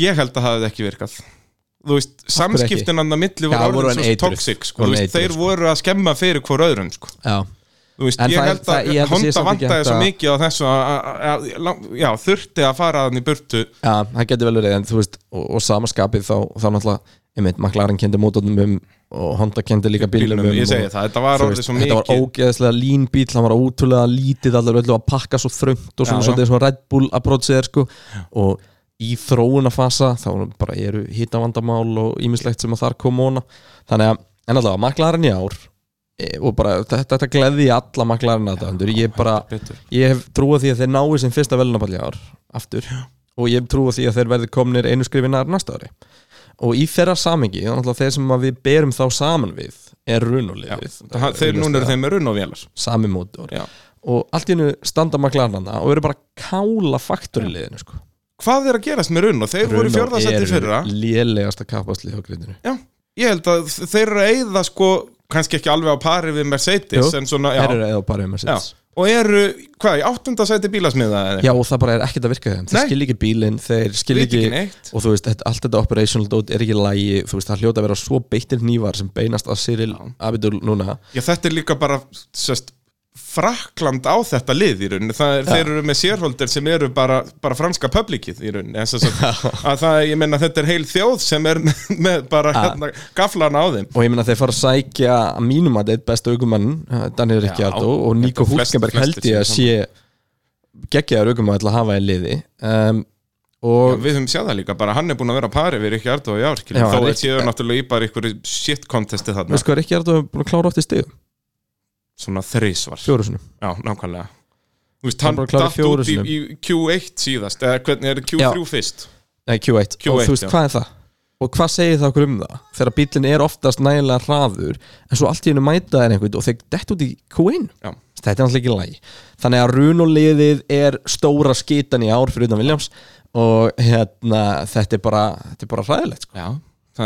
[SPEAKER 1] ég held að það hefði ekki virkað þú veist,
[SPEAKER 2] hverju ekki?
[SPEAKER 1] samskiptin hann að milli
[SPEAKER 2] Já,
[SPEAKER 1] voru
[SPEAKER 2] voru
[SPEAKER 1] orðin
[SPEAKER 2] en
[SPEAKER 1] svo
[SPEAKER 2] eitruð.
[SPEAKER 1] toxic sko,
[SPEAKER 2] Voru
[SPEAKER 1] þú
[SPEAKER 2] en
[SPEAKER 1] veist,
[SPEAKER 2] eitruð,
[SPEAKER 1] þeir
[SPEAKER 2] sko.
[SPEAKER 1] voru að skemma fyrir hvor öðrum sko.
[SPEAKER 2] Já.
[SPEAKER 1] þú veist,
[SPEAKER 2] En
[SPEAKER 1] ég
[SPEAKER 2] það-
[SPEAKER 1] held að
[SPEAKER 2] það- ég held að sé
[SPEAKER 1] Honda
[SPEAKER 2] samt ekki
[SPEAKER 1] vantaði
[SPEAKER 2] hægt
[SPEAKER 1] svo
[SPEAKER 2] að-
[SPEAKER 1] mikið á þessu að- að- að- lang- já, þurfti að fara þannig burtu
[SPEAKER 2] Já, það getur vel verið en þú veist og, og samaskapið þá, þá náttúrulega einmitt, McLaren kendi mótornum um og Honda kendi líka bílnum um
[SPEAKER 1] ég segi
[SPEAKER 2] og,
[SPEAKER 1] það, þetta var
[SPEAKER 2] þú
[SPEAKER 1] orðið
[SPEAKER 2] veist,
[SPEAKER 1] svo
[SPEAKER 2] þetta var
[SPEAKER 1] mikið
[SPEAKER 2] ógeðslega lín bíl, hann var ótrúlega lítið allar öllu að pakka svo þröngt og svona
[SPEAKER 1] Já, já.
[SPEAKER 2] svolítið svona Red Bull approachið er sko og í þróunafasa þá bara eru hitavandamál og ýmislegt sem að þar kom óna þannig að, en allavega, McLaren í ár e, og bara, þetta, þetta gleði ég alla McLaren aðdæðandur, ég bara
[SPEAKER 1] betur
[SPEAKER 2] ég hef trúið því að þeir nái sem fyrsta velunapall í ár aftur og ég hef trúið því að þeir verði komnir einu skrifinar næsta ári og í þeirra samingi, þannig að þeir sem að við berum þá saman við er
[SPEAKER 1] Já,
[SPEAKER 2] runulegið
[SPEAKER 1] það- þeir núna eru þeim með runn og vélar
[SPEAKER 2] sami mótor
[SPEAKER 1] Já.
[SPEAKER 2] og allt í hennu standa maklarnana og eru bara að kála faktur í liðinu sko.
[SPEAKER 1] hvað er að gerast með runn og þeir voru í fjörðasetti fyrra
[SPEAKER 2] lélegasta kapaslið á grindinu
[SPEAKER 1] já, ég held að þeir eru að eyða sko, kannski ekki alveg á pari við Mercedes
[SPEAKER 2] Jú,
[SPEAKER 1] en svona,
[SPEAKER 2] þeir
[SPEAKER 1] já,
[SPEAKER 2] eru eða bara um að
[SPEAKER 1] já
[SPEAKER 2] setja
[SPEAKER 1] og eru, hvað, í áttunda seti bílasmiða
[SPEAKER 2] Já og það bara er ekkert að virka þeim
[SPEAKER 1] Nei.
[SPEAKER 2] Þeir skilja ekki bílinn, þeir skilja
[SPEAKER 1] Vita ekki
[SPEAKER 2] ekki
[SPEAKER 1] neitt.
[SPEAKER 2] Og þú veist, þetta, allt þetta operational dót er ekki í lagi Þú veist, það hljóta að vera svo beittir nývar Sem beinast að Cyril Abidul núna
[SPEAKER 1] Já, þetta er líka bara sest, frakland á þetta lið í rauninni, það er, þeir eru með sérholder sem eru bara, bara franska publikið í rauninni, þess að, að það, ég menna þetta er heil þjóð sem er með bara
[SPEAKER 2] Já.
[SPEAKER 1] hérna, gaflana á þeim
[SPEAKER 2] Og ég meina þeir fara að sækja að mínum að eitt besta augumann eh, Daniel Ricciardo og Nico
[SPEAKER 1] Þetta flest-
[SPEAKER 2] Hulkenberg held
[SPEAKER 1] flestir
[SPEAKER 2] ég að sé Geggjaður augumann til að hafa í liði um,
[SPEAKER 1] og
[SPEAKER 2] Og
[SPEAKER 1] við höfum séð það líka, bara hann er búin að vera á pari við ekki Ardó í ár, skilur,
[SPEAKER 2] Já,
[SPEAKER 1] þó
[SPEAKER 2] Rick-
[SPEAKER 1] er séu náttúrulega í bara einhverju shit contesti þarna
[SPEAKER 2] veist hvað Ricciardo hefur búin að klára oft í stigum
[SPEAKER 1] svona þrísvar,
[SPEAKER 2] Fjóru sinum
[SPEAKER 1] já, nákvæmlega Þú veist,
[SPEAKER 2] Hann
[SPEAKER 1] hann
[SPEAKER 2] bara kláraði
[SPEAKER 1] datt út í,
[SPEAKER 2] fjórum
[SPEAKER 1] í Q1 síðast, eða hvernig er Q3 fyrst
[SPEAKER 2] Nei, Q8. og
[SPEAKER 1] Q8,
[SPEAKER 2] þú veist
[SPEAKER 1] já.
[SPEAKER 2] hvað er það og hvað segir það okkur um það þegar bílinn er oftast nægilega hraður en svo allt í hennu mæta þeir einhvern og þeir dett út í Q1
[SPEAKER 1] Já.
[SPEAKER 2] þetta er alltaf ekki lægi þannig að runoliðið er stóra skitan í ár fyrir utan Williams og hérna þetta er bara, þetta er bara hræðilegt sko.
[SPEAKER 1] Já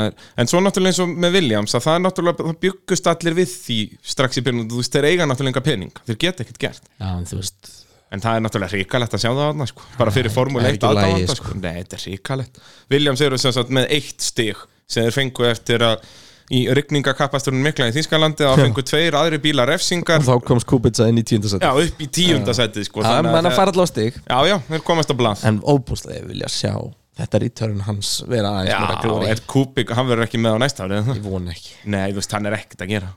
[SPEAKER 1] Er, en svo náttúrulega eins og með Williams að það er náttúrulega, það byggust allir við því strax í byrjun, þú veist, þeir eiga náttúrulega enga pening þeir geta ekkert gert,
[SPEAKER 2] Já, en þú veist
[SPEAKER 1] en það er náttúrulega ríkalegt að sjá það aðna, sko, bara fyrir
[SPEAKER 2] það
[SPEAKER 1] formule
[SPEAKER 2] er
[SPEAKER 1] 1
[SPEAKER 2] ekki í lagi,
[SPEAKER 1] aðdáanda, sko. nei, þetta er ríkalegt Williams eru sem sagt með eitt stig sem þeir fengu eftir að í rigningakapasturinn mikla í Þýskalandi að fengu tveir aðri bílar refsingar
[SPEAKER 2] og þá komst Kubica inn í
[SPEAKER 1] já,
[SPEAKER 2] tíundasætt
[SPEAKER 1] upp í tíundasæti, sko
[SPEAKER 2] það
[SPEAKER 1] þannig
[SPEAKER 2] menn að
[SPEAKER 1] að,
[SPEAKER 2] fara allavega á stig
[SPEAKER 1] já, já, þeir komast að blað
[SPEAKER 2] en óbúslega ég vilja sjá þetta return hans vera aðeins
[SPEAKER 1] já,
[SPEAKER 2] meira glóri
[SPEAKER 1] er Kubik, hann verður ekki með á næsta árið
[SPEAKER 2] ég vona ekki
[SPEAKER 1] nei, þú veist, hann er ekkert að gera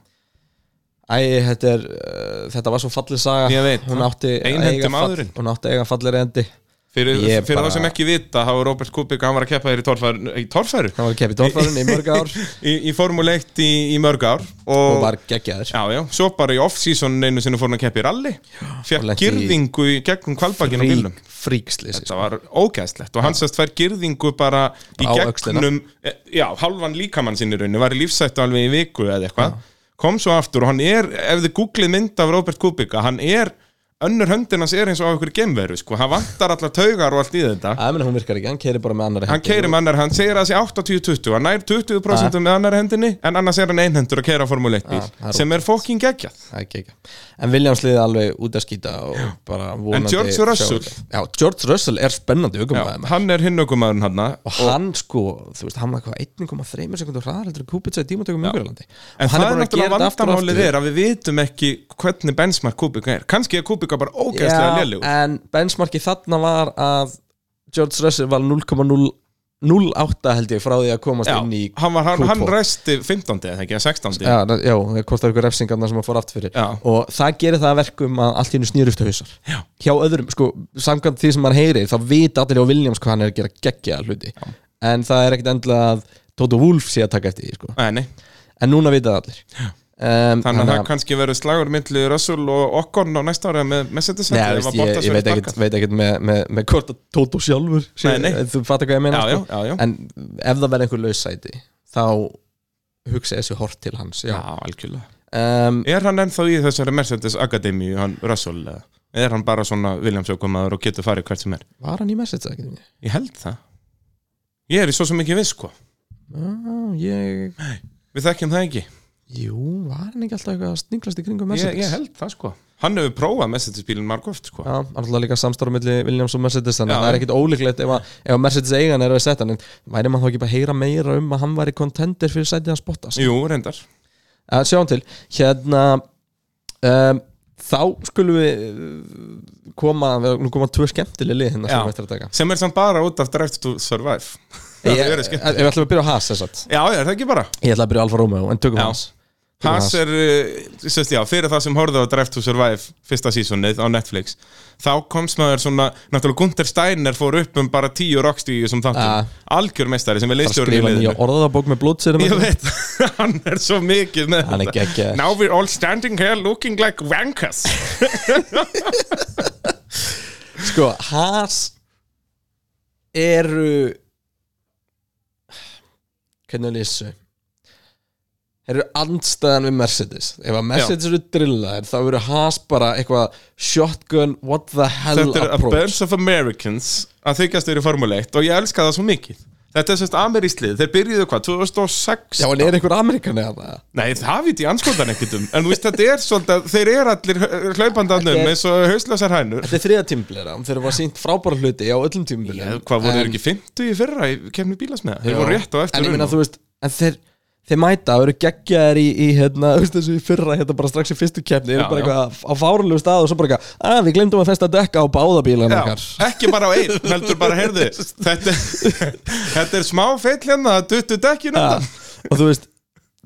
[SPEAKER 2] Æ, þetta, er, uh, þetta var svo fallið saga
[SPEAKER 1] Ég veit,
[SPEAKER 2] Hún átti að
[SPEAKER 1] einhendi
[SPEAKER 2] eiga fall-
[SPEAKER 1] maðurinn.
[SPEAKER 2] Hún átti að eiga fallir endi
[SPEAKER 1] Fyrir,
[SPEAKER 2] Ég
[SPEAKER 1] fyrir
[SPEAKER 2] bara-
[SPEAKER 1] þá sem ekki vita, þá er Robert Kubik hann var að keppa þér í torfæru, í, torfæru?
[SPEAKER 2] Hann var að keppa í torfarinn í mörg ár
[SPEAKER 1] í, í Formule 1 í, í mörg ár og,
[SPEAKER 2] Og var geggjaður
[SPEAKER 1] já, já, svo bara í off-season einu sinni fór hann að keppa í rally
[SPEAKER 2] og
[SPEAKER 1] fekk
[SPEAKER 2] lenti í-
[SPEAKER 1] girðingu í gegnum kvalbakinn á bílum
[SPEAKER 2] Frík, sko. Fríkslýs
[SPEAKER 1] þetta var ógæðslegt og hann sérst fær girðingu bara í
[SPEAKER 2] Á
[SPEAKER 1] gegnum e, já, halvan líkamann sinni í rauninu, var í lífsættu alveg í viku eða eitthvað, kom svo aftur og hann er, ef þið googlið mynd af Robert Kubica hann er, önnur höndin hans er eins og á ykkur gemveru, sko, hann vantar allar taugar og allt í þetta
[SPEAKER 2] Æ, menn hún virkar ekki, hann keiri bara með annari
[SPEAKER 1] hann
[SPEAKER 2] hendi.
[SPEAKER 1] keirir með annar, hann segir að það sé 80-20 hann nær 20% með annar hendinni en annars er hann einhendur að keira Formule 1 bíl
[SPEAKER 2] Ah, það er
[SPEAKER 1] sem er fokkin geggjað
[SPEAKER 2] Það er geggja En Williams liði alveg út að skýta og bara vonandi
[SPEAKER 1] En George
[SPEAKER 2] sjá
[SPEAKER 1] Russell?
[SPEAKER 2] þetta. Já, George Russell er spennandi
[SPEAKER 1] Já,
[SPEAKER 2] aukumæðum
[SPEAKER 1] hann er hinnugumadurinn hann
[SPEAKER 2] Og hann sko, þú veist, hann var eitthvað 1,3 sekundur hraðar heldur en Kubica í tímatökum umhverjulandi
[SPEAKER 1] en það er náttúrulega vandamálið
[SPEAKER 2] þér
[SPEAKER 1] er að við vitum ekki hvernig benchmark Kubica er kannski er Kubica bara ógeðslega lélugur
[SPEAKER 2] en benchmarki þarna var að George Russell var 0,08 held ég frá því að komast
[SPEAKER 1] Já,
[SPEAKER 2] inn í
[SPEAKER 1] hann, var, hann,
[SPEAKER 2] Q2.
[SPEAKER 1] hann resti 15. eða ekki, eða 16.
[SPEAKER 2] Já, na- já, það kostar ykkur refsingarna sem að fór aftur fyrir
[SPEAKER 1] Já.
[SPEAKER 2] og það gerir það að verkum að allt í hennu snýrust hausar já. hjá öðrum, sko, samkvæmt því sem hann heyrir þá vita allir á Williams hvað hann er að gera geggja hluti, en það er ekkit endilega að Toto Wolff sé að taka eftir því, sko,
[SPEAKER 1] Nei, nei,
[SPEAKER 2] en núna vita það allir um,
[SPEAKER 1] Þannig að það kannski verður slagur myndli Russell og Okkon á næsta ára með, með setja
[SPEAKER 2] Nei, veist, ég, ég veit ekkert, veit ekkert með, með, með hvort að Tóto sjálfur sé-
[SPEAKER 1] Nei, nei.
[SPEAKER 2] Þú fattar hvað ég meina
[SPEAKER 1] Já, já,
[SPEAKER 2] sko?
[SPEAKER 1] já, já.
[SPEAKER 2] En ef það verður einhver lausæti Þá hugsa ég þessi hort til hans Já,
[SPEAKER 1] algjörlega
[SPEAKER 2] um,
[SPEAKER 1] Er hann ennþá í þessari Mercedes Academy, hann Russell eða? Eða Er hann bara svona Williamsjókamaður og getur farið hvert sem er?
[SPEAKER 2] Var hann í message ekki?
[SPEAKER 1] Ég held það Ég er í svo sem ekki viss sko
[SPEAKER 2] Já, ég
[SPEAKER 1] Við þekkjum það ekki
[SPEAKER 2] Jú, var hann ekki alltaf eitthvað að sninglast í kringum
[SPEAKER 1] ég,
[SPEAKER 2] Mercedes?
[SPEAKER 1] ég held það sko Hann hefur prófað Mercedes-bílinn margóft sko
[SPEAKER 2] Já, alltaf líka samstarf milli Williams og Mercedes þannig
[SPEAKER 1] Já.
[SPEAKER 2] að það er ekkit ólíklegt ef, að, ef að Mercedes eigan er að setja hann en væri maður þá ekki bara að heyra meira um að hann væri contender fyrir sætið hans Bottas
[SPEAKER 1] Jú, reyndar
[SPEAKER 2] að sjá hann til hérna um, þá skulum við uh, koma, við nú koma tvö skemmtileg lið hérna sem
[SPEAKER 1] Já.
[SPEAKER 2] við ættum að taka
[SPEAKER 1] Sem er samt bara út af Drive to Survive Það
[SPEAKER 2] ég,
[SPEAKER 1] er
[SPEAKER 2] ég,
[SPEAKER 1] skemmt
[SPEAKER 2] ég ætlum að byrja á Haas þess að
[SPEAKER 1] Já, já, er það ekki bara
[SPEAKER 2] ég ætla að byrja á Alfa Romeo en tökum
[SPEAKER 1] Já.
[SPEAKER 2] Haas Tökum
[SPEAKER 1] Haas er, uh, sérst, já, fyrir það sem horfðu á Drive to Survive fyrsta sísonið á Netflix þá komst maður svona, náttúrulega Gunther Steiner fór upp um bara tíu rockstíu sem þáttum,
[SPEAKER 2] Ja.
[SPEAKER 1] algjör meistari sem er
[SPEAKER 2] bara
[SPEAKER 1] leistjórn í
[SPEAKER 2] skrifa nýja
[SPEAKER 1] liðinu
[SPEAKER 2] orðabók með blótserum
[SPEAKER 1] Ég veit, hann er svo mikið með
[SPEAKER 2] Hann er geggjaður.
[SPEAKER 1] Now we're all standing here looking like wankers
[SPEAKER 2] Sko, Haas eru hvernig vil ég þessu eru andstæðan við Mercedes ef að Mercedes eru drillaðir þá eru Haas bara eitthvað shotgun what the hell
[SPEAKER 1] Þetta er a
[SPEAKER 2] approach
[SPEAKER 1] bunch of Americans að þykjast eru Formule 1 og ég elska það svo mikið Þetta er sérst ameríslið, þeir byrjuðu hvað, 2006
[SPEAKER 2] Já, en er einhver Amerikan eða það?
[SPEAKER 1] Nei, það veit ég anskotan ekkert um En þú veist, þetta er svolítið, þeir eru allir hlaupandarnum
[SPEAKER 2] Þetta er-
[SPEAKER 1] um eins og hauslösar hænur
[SPEAKER 2] Þetta er þriða tímblera, þeir var sínt frábæra hluti á öllum tímblera
[SPEAKER 1] Eða, Hvað voru þeir ekki 50 í fyrra í kemni bílasmiða? Þeir voru rétt á eftir
[SPEAKER 2] En ég meina
[SPEAKER 1] Runau.
[SPEAKER 2] þú veist En þeir, þeir mæta og eru geggjaðir í, í hérna, þú veist þessu í fyrra hérna bara strax í fyrstu keppni eru
[SPEAKER 1] Já,
[SPEAKER 2] bara
[SPEAKER 1] já.
[SPEAKER 2] eitthvað á fárulegu stað og svo bara eitthvað að við glemdum að festa dekka á báðabílan
[SPEAKER 1] Já,
[SPEAKER 2] okkar
[SPEAKER 1] ekki bara á einn, heldur bara heyrðu Þetta, þetta er smá feill hérna, það duttu dekkinu
[SPEAKER 2] ja. og þú veist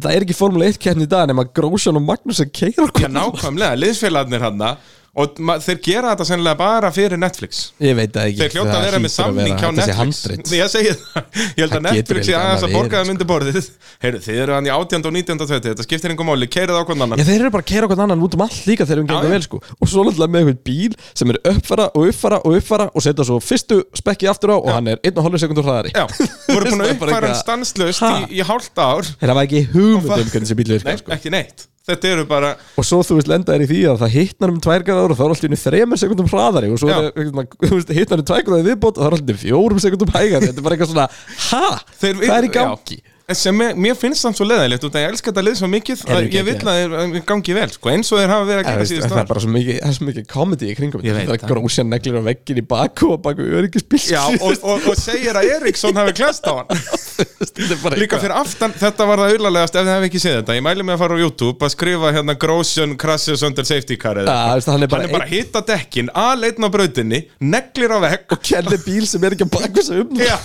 [SPEAKER 2] það er ekki Formule 1 keppni í dag nema Grósjan og Magnús að keira
[SPEAKER 1] Já, nákvæmlega, liðsfélagarnir hann Og ma- þeir gera þetta sennilega bara fyrir Netflix
[SPEAKER 2] ég veit það ekki
[SPEAKER 1] Þeir hljóta að vera með samning hjá Netflix
[SPEAKER 2] Netflix
[SPEAKER 1] Ég segi það, ég held að
[SPEAKER 2] Það getur
[SPEAKER 1] Netflix
[SPEAKER 2] ekki
[SPEAKER 1] sé aðeins að
[SPEAKER 2] annað verið,
[SPEAKER 1] borga þeim undir borðið Heyrðu, þið eru hann í 18. og 19. og 20 Þetta skiptir engum máli, keirið á hvernig annan
[SPEAKER 2] Já, þeir eru bara að keira okkur annan út um allt líka þegar við
[SPEAKER 1] Já,
[SPEAKER 2] gengum
[SPEAKER 1] já.
[SPEAKER 2] vel sko Og svo náttúrulega með einhvern bíl sem er uppfara og uppfara og uppfara Og setja svo fyrstu spekki aftur á og hann er 1,5 sekundur hraðari
[SPEAKER 1] Já, voru búin að
[SPEAKER 2] Það er bara
[SPEAKER 1] uppfæra hann
[SPEAKER 2] eitthvað-
[SPEAKER 1] stanslust
[SPEAKER 2] Ha?
[SPEAKER 1] í, í hálft ár
[SPEAKER 2] Þeir hafa ekki hugmynd um
[SPEAKER 1] Og fa-
[SPEAKER 2] hvernig þessi bíl
[SPEAKER 1] Nei,
[SPEAKER 2] virkar sko.
[SPEAKER 1] ekki neitt Þetta eru bara,
[SPEAKER 2] Og svo þú veist lenda þér í því að það hitnar um tværgráður og þá er alltaf innu þremur sekundum hraðari og svo
[SPEAKER 1] Já.
[SPEAKER 2] er, hérna, þú veist, hitnar um tværgráður viðbót og þá er alltaf innu fjórum sekundum hægari Þetta er bara eitthvað svona, ha?
[SPEAKER 1] Þeir við-
[SPEAKER 2] Hvað er í
[SPEAKER 1] já.
[SPEAKER 2] gangi?
[SPEAKER 1] En sem mér, mér finnst það svo leðilegt út að ég elska þetta lið svo mikið
[SPEAKER 2] Heyrðu,
[SPEAKER 1] að ég vil
[SPEAKER 2] geggjað.
[SPEAKER 1] að þeir- að þeir gangi vel sko, eins og þeir hafa verið að
[SPEAKER 2] En,
[SPEAKER 1] gera
[SPEAKER 2] veist,
[SPEAKER 1] síðust
[SPEAKER 2] það er
[SPEAKER 1] ára
[SPEAKER 2] bara svo mikið, það er svo mikið komedi í kringum
[SPEAKER 1] Ég
[SPEAKER 2] þetta.
[SPEAKER 1] veit
[SPEAKER 2] Það er
[SPEAKER 1] það.
[SPEAKER 2] grósja neglir á veggin í baku og baku öryggisbíl
[SPEAKER 1] Já, og, og, og segir að Eriksson hafi klast á hann
[SPEAKER 2] Þetta er bara
[SPEAKER 1] Líka
[SPEAKER 2] eitthvað.
[SPEAKER 1] fyrir aftan, þetta var það urlalegast ef þið hef ekki séð þetta, ég mæli mig að fara á YouTube að skrifa hérna Grosjön crashes under safety car
[SPEAKER 2] Já,
[SPEAKER 1] eða
[SPEAKER 2] þú veist, hann er
[SPEAKER 1] Hann
[SPEAKER 2] bara,
[SPEAKER 1] er bara að hita dekkin, aðleitna á brautinni neglir á vegg
[SPEAKER 2] einn kenni bíl sem er ekki að baka þessu um
[SPEAKER 1] Já,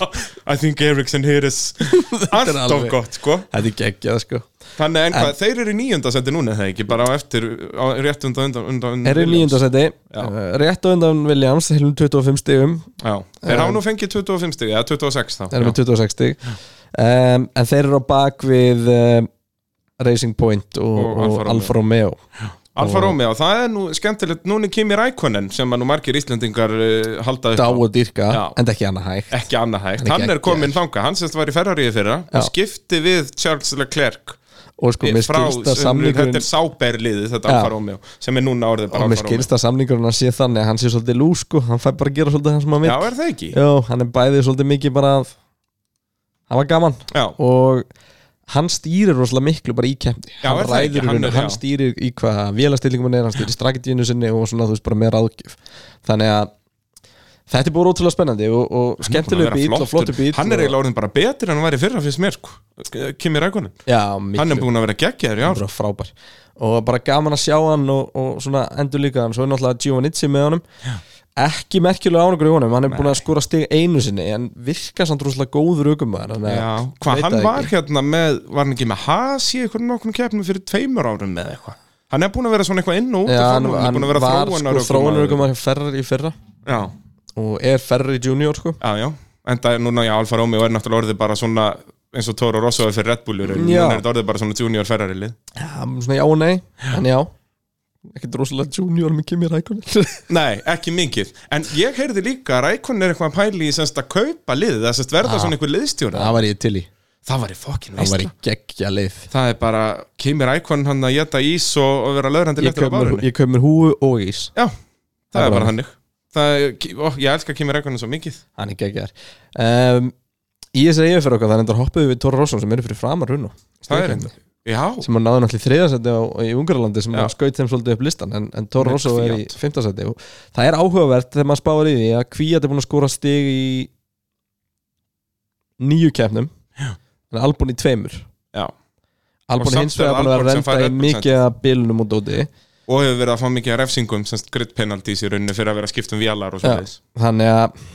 [SPEAKER 1] I think Eriksson here is
[SPEAKER 2] er
[SPEAKER 1] allt of
[SPEAKER 2] alveg-
[SPEAKER 1] gott sko
[SPEAKER 2] Þetta er geggjað sko
[SPEAKER 1] Þannig en hvað, þeir eru í níunda seti núna eða ekki, bara á eftir, á, rétt undan undan, undan
[SPEAKER 2] Er í
[SPEAKER 1] Williams.
[SPEAKER 2] nýjundasendi,
[SPEAKER 1] Já.
[SPEAKER 2] Eh, rétt á undan Williams, heilum 25 stigum
[SPEAKER 1] Já, þeir hafa nú fengið 25 stig, eða 26 þá
[SPEAKER 2] Það eru með
[SPEAKER 1] Já.
[SPEAKER 2] 26 stig um, En þeir eru á bak við um, Racing Point og,
[SPEAKER 1] Og
[SPEAKER 2] og,
[SPEAKER 1] Alfa Romeo.
[SPEAKER 2] Alfa Romeo
[SPEAKER 1] Alfa Romeo, það er nú skemmtilegt, núna er Kimi Rækonen sem að nú margir Íslendingar uh, halda upp
[SPEAKER 2] Dá
[SPEAKER 1] á.
[SPEAKER 2] og dýrka,
[SPEAKER 1] Já.
[SPEAKER 2] en ekki annað hægt
[SPEAKER 1] ekki annað hægt,
[SPEAKER 2] Hann er
[SPEAKER 1] hann er
[SPEAKER 2] geggjaður.
[SPEAKER 1] komin þanga hann semst var í Ferraríi fyrra
[SPEAKER 2] Já.
[SPEAKER 1] og skipti við Charles Leclerc
[SPEAKER 2] Og sko, mér
[SPEAKER 1] frá, eh,
[SPEAKER 2] skilst að
[SPEAKER 1] þetta
[SPEAKER 2] samlingurinn
[SPEAKER 1] er sáberliðið þetta
[SPEAKER 2] Já.
[SPEAKER 1] Alfa Romeo, sem er núna orðið
[SPEAKER 2] Og
[SPEAKER 1] bara
[SPEAKER 2] mér
[SPEAKER 1] Alfa Romeo
[SPEAKER 2] skilst að samlingurinn að sé þannig að hann sé svolítið lú sko Hann fær bara að gera svolítið hann sem hann
[SPEAKER 1] Já,
[SPEAKER 2] vil
[SPEAKER 1] er það ekki?
[SPEAKER 2] Jó, hann er bæðið svolítið mikið bara að Hann var gaman
[SPEAKER 1] Já,
[SPEAKER 2] og hann stýrir rosalega miklu bara í kemdi
[SPEAKER 1] Já,
[SPEAKER 2] hann
[SPEAKER 1] er það ekki?
[SPEAKER 2] ræður í
[SPEAKER 1] Hann
[SPEAKER 2] raun
[SPEAKER 1] er-
[SPEAKER 2] og hann
[SPEAKER 1] já.
[SPEAKER 2] stýrir í hvað vélastillingum hann er, hann stýrir strategiðinu sinni og svona þú veist bara með ráðgjöf þannig að þetta er búin ótrúlega spennandi og, og skemmtilega bíl og flottu bíl
[SPEAKER 1] hann er
[SPEAKER 2] og-
[SPEAKER 1] eiginlega orðin bara betur en hann var í fyrra fyrst mér sko. Kimi Rækonen
[SPEAKER 2] já,
[SPEAKER 1] hann er
[SPEAKER 2] miklu,
[SPEAKER 1] búin að vera geggjaður í
[SPEAKER 2] hann
[SPEAKER 1] ár
[SPEAKER 2] er frábær og bara gaman að sjá hann og, og svona endur líka hann, svo er náttúrulega Giovannizzi með honum já. ekki merkjulega ánugur í honum hann er búin að skora stig einu sinni en virka samt rosalega góður aukumæður
[SPEAKER 1] já, hvað hann var hérna með var hann ekki með Haas í einhvern nokkrum keppnum fyrir tveimur árum með eitthvað hann er búin að vera svona eitthvað inn og út
[SPEAKER 2] Já,
[SPEAKER 1] af
[SPEAKER 2] hann,
[SPEAKER 1] formúlunni,
[SPEAKER 2] hann
[SPEAKER 1] búin að vera
[SPEAKER 2] var sko
[SPEAKER 1] þróunarökumaður.
[SPEAKER 2] þróunarökum að ferri í fyrra
[SPEAKER 1] já,
[SPEAKER 2] og er ferri junior sko
[SPEAKER 1] já, já, en það er núna já, Alfa Romeo er náttúrulega orðið bara svona eins og Toro Rosso er fyrir Red Bull í rauninni.
[SPEAKER 2] Já.
[SPEAKER 1] Núna er þetta orðið bara svona junior ferrarilið
[SPEAKER 2] Já, svona já og nei, en já ekkert rosalega junior með Kimi Rækonen
[SPEAKER 1] Nei, ekki mikið En ég heyrði líka að Rækon er eitthvað að pæli í semst að kaupa liðið Það semst verða svona einhver liðstjóra
[SPEAKER 2] Það var ég til í,
[SPEAKER 1] Það var í fokkin
[SPEAKER 2] það
[SPEAKER 1] veist
[SPEAKER 2] var ég geggja leið
[SPEAKER 1] Það er bara, kemur Rækon hann að geta ís og, og vera löðrandi
[SPEAKER 2] Ég
[SPEAKER 1] léttur á
[SPEAKER 2] kaup mér-
[SPEAKER 1] bárunni
[SPEAKER 2] ég kaup mér húu og ís
[SPEAKER 1] Já, það,
[SPEAKER 2] er
[SPEAKER 1] er
[SPEAKER 2] bara-
[SPEAKER 1] bara hannig Það er, ó, ég elska Kimi Rækonin svo mikið
[SPEAKER 2] Hann er geggjar um, Í þessi eigið fyrir okkar, það er endar hoppuðu við Tóra Rósson sem eru fyrir framar hún
[SPEAKER 1] Það er einnig Já,
[SPEAKER 2] sem hann náði náttúrulega þriðasendi á, í Ungarlandi sem
[SPEAKER 1] Já.
[SPEAKER 2] hann skaut þeim svolítið upp listan en, en Toro
[SPEAKER 1] Með
[SPEAKER 2] Rosso er í
[SPEAKER 1] Kvíat.
[SPEAKER 2] fymtasendi og það er áhugavert þegar maður spáir í því að Kvíat er búin að skora stig í nýju keppnum en Albon í tveimur
[SPEAKER 1] já Og
[SPEAKER 2] Albon
[SPEAKER 1] samt
[SPEAKER 2] hins vegar
[SPEAKER 1] er
[SPEAKER 2] búin að vera
[SPEAKER 1] Albon sem
[SPEAKER 2] að
[SPEAKER 1] fær
[SPEAKER 2] renda
[SPEAKER 1] Red
[SPEAKER 2] í
[SPEAKER 1] Bull
[SPEAKER 2] mikið að bilunum og dóti
[SPEAKER 1] Og hefur verið að fá mikið af refsingum semst grittpenaldís í rauninni fyrir að vera skipt um vélar og svo
[SPEAKER 2] Já. þannig að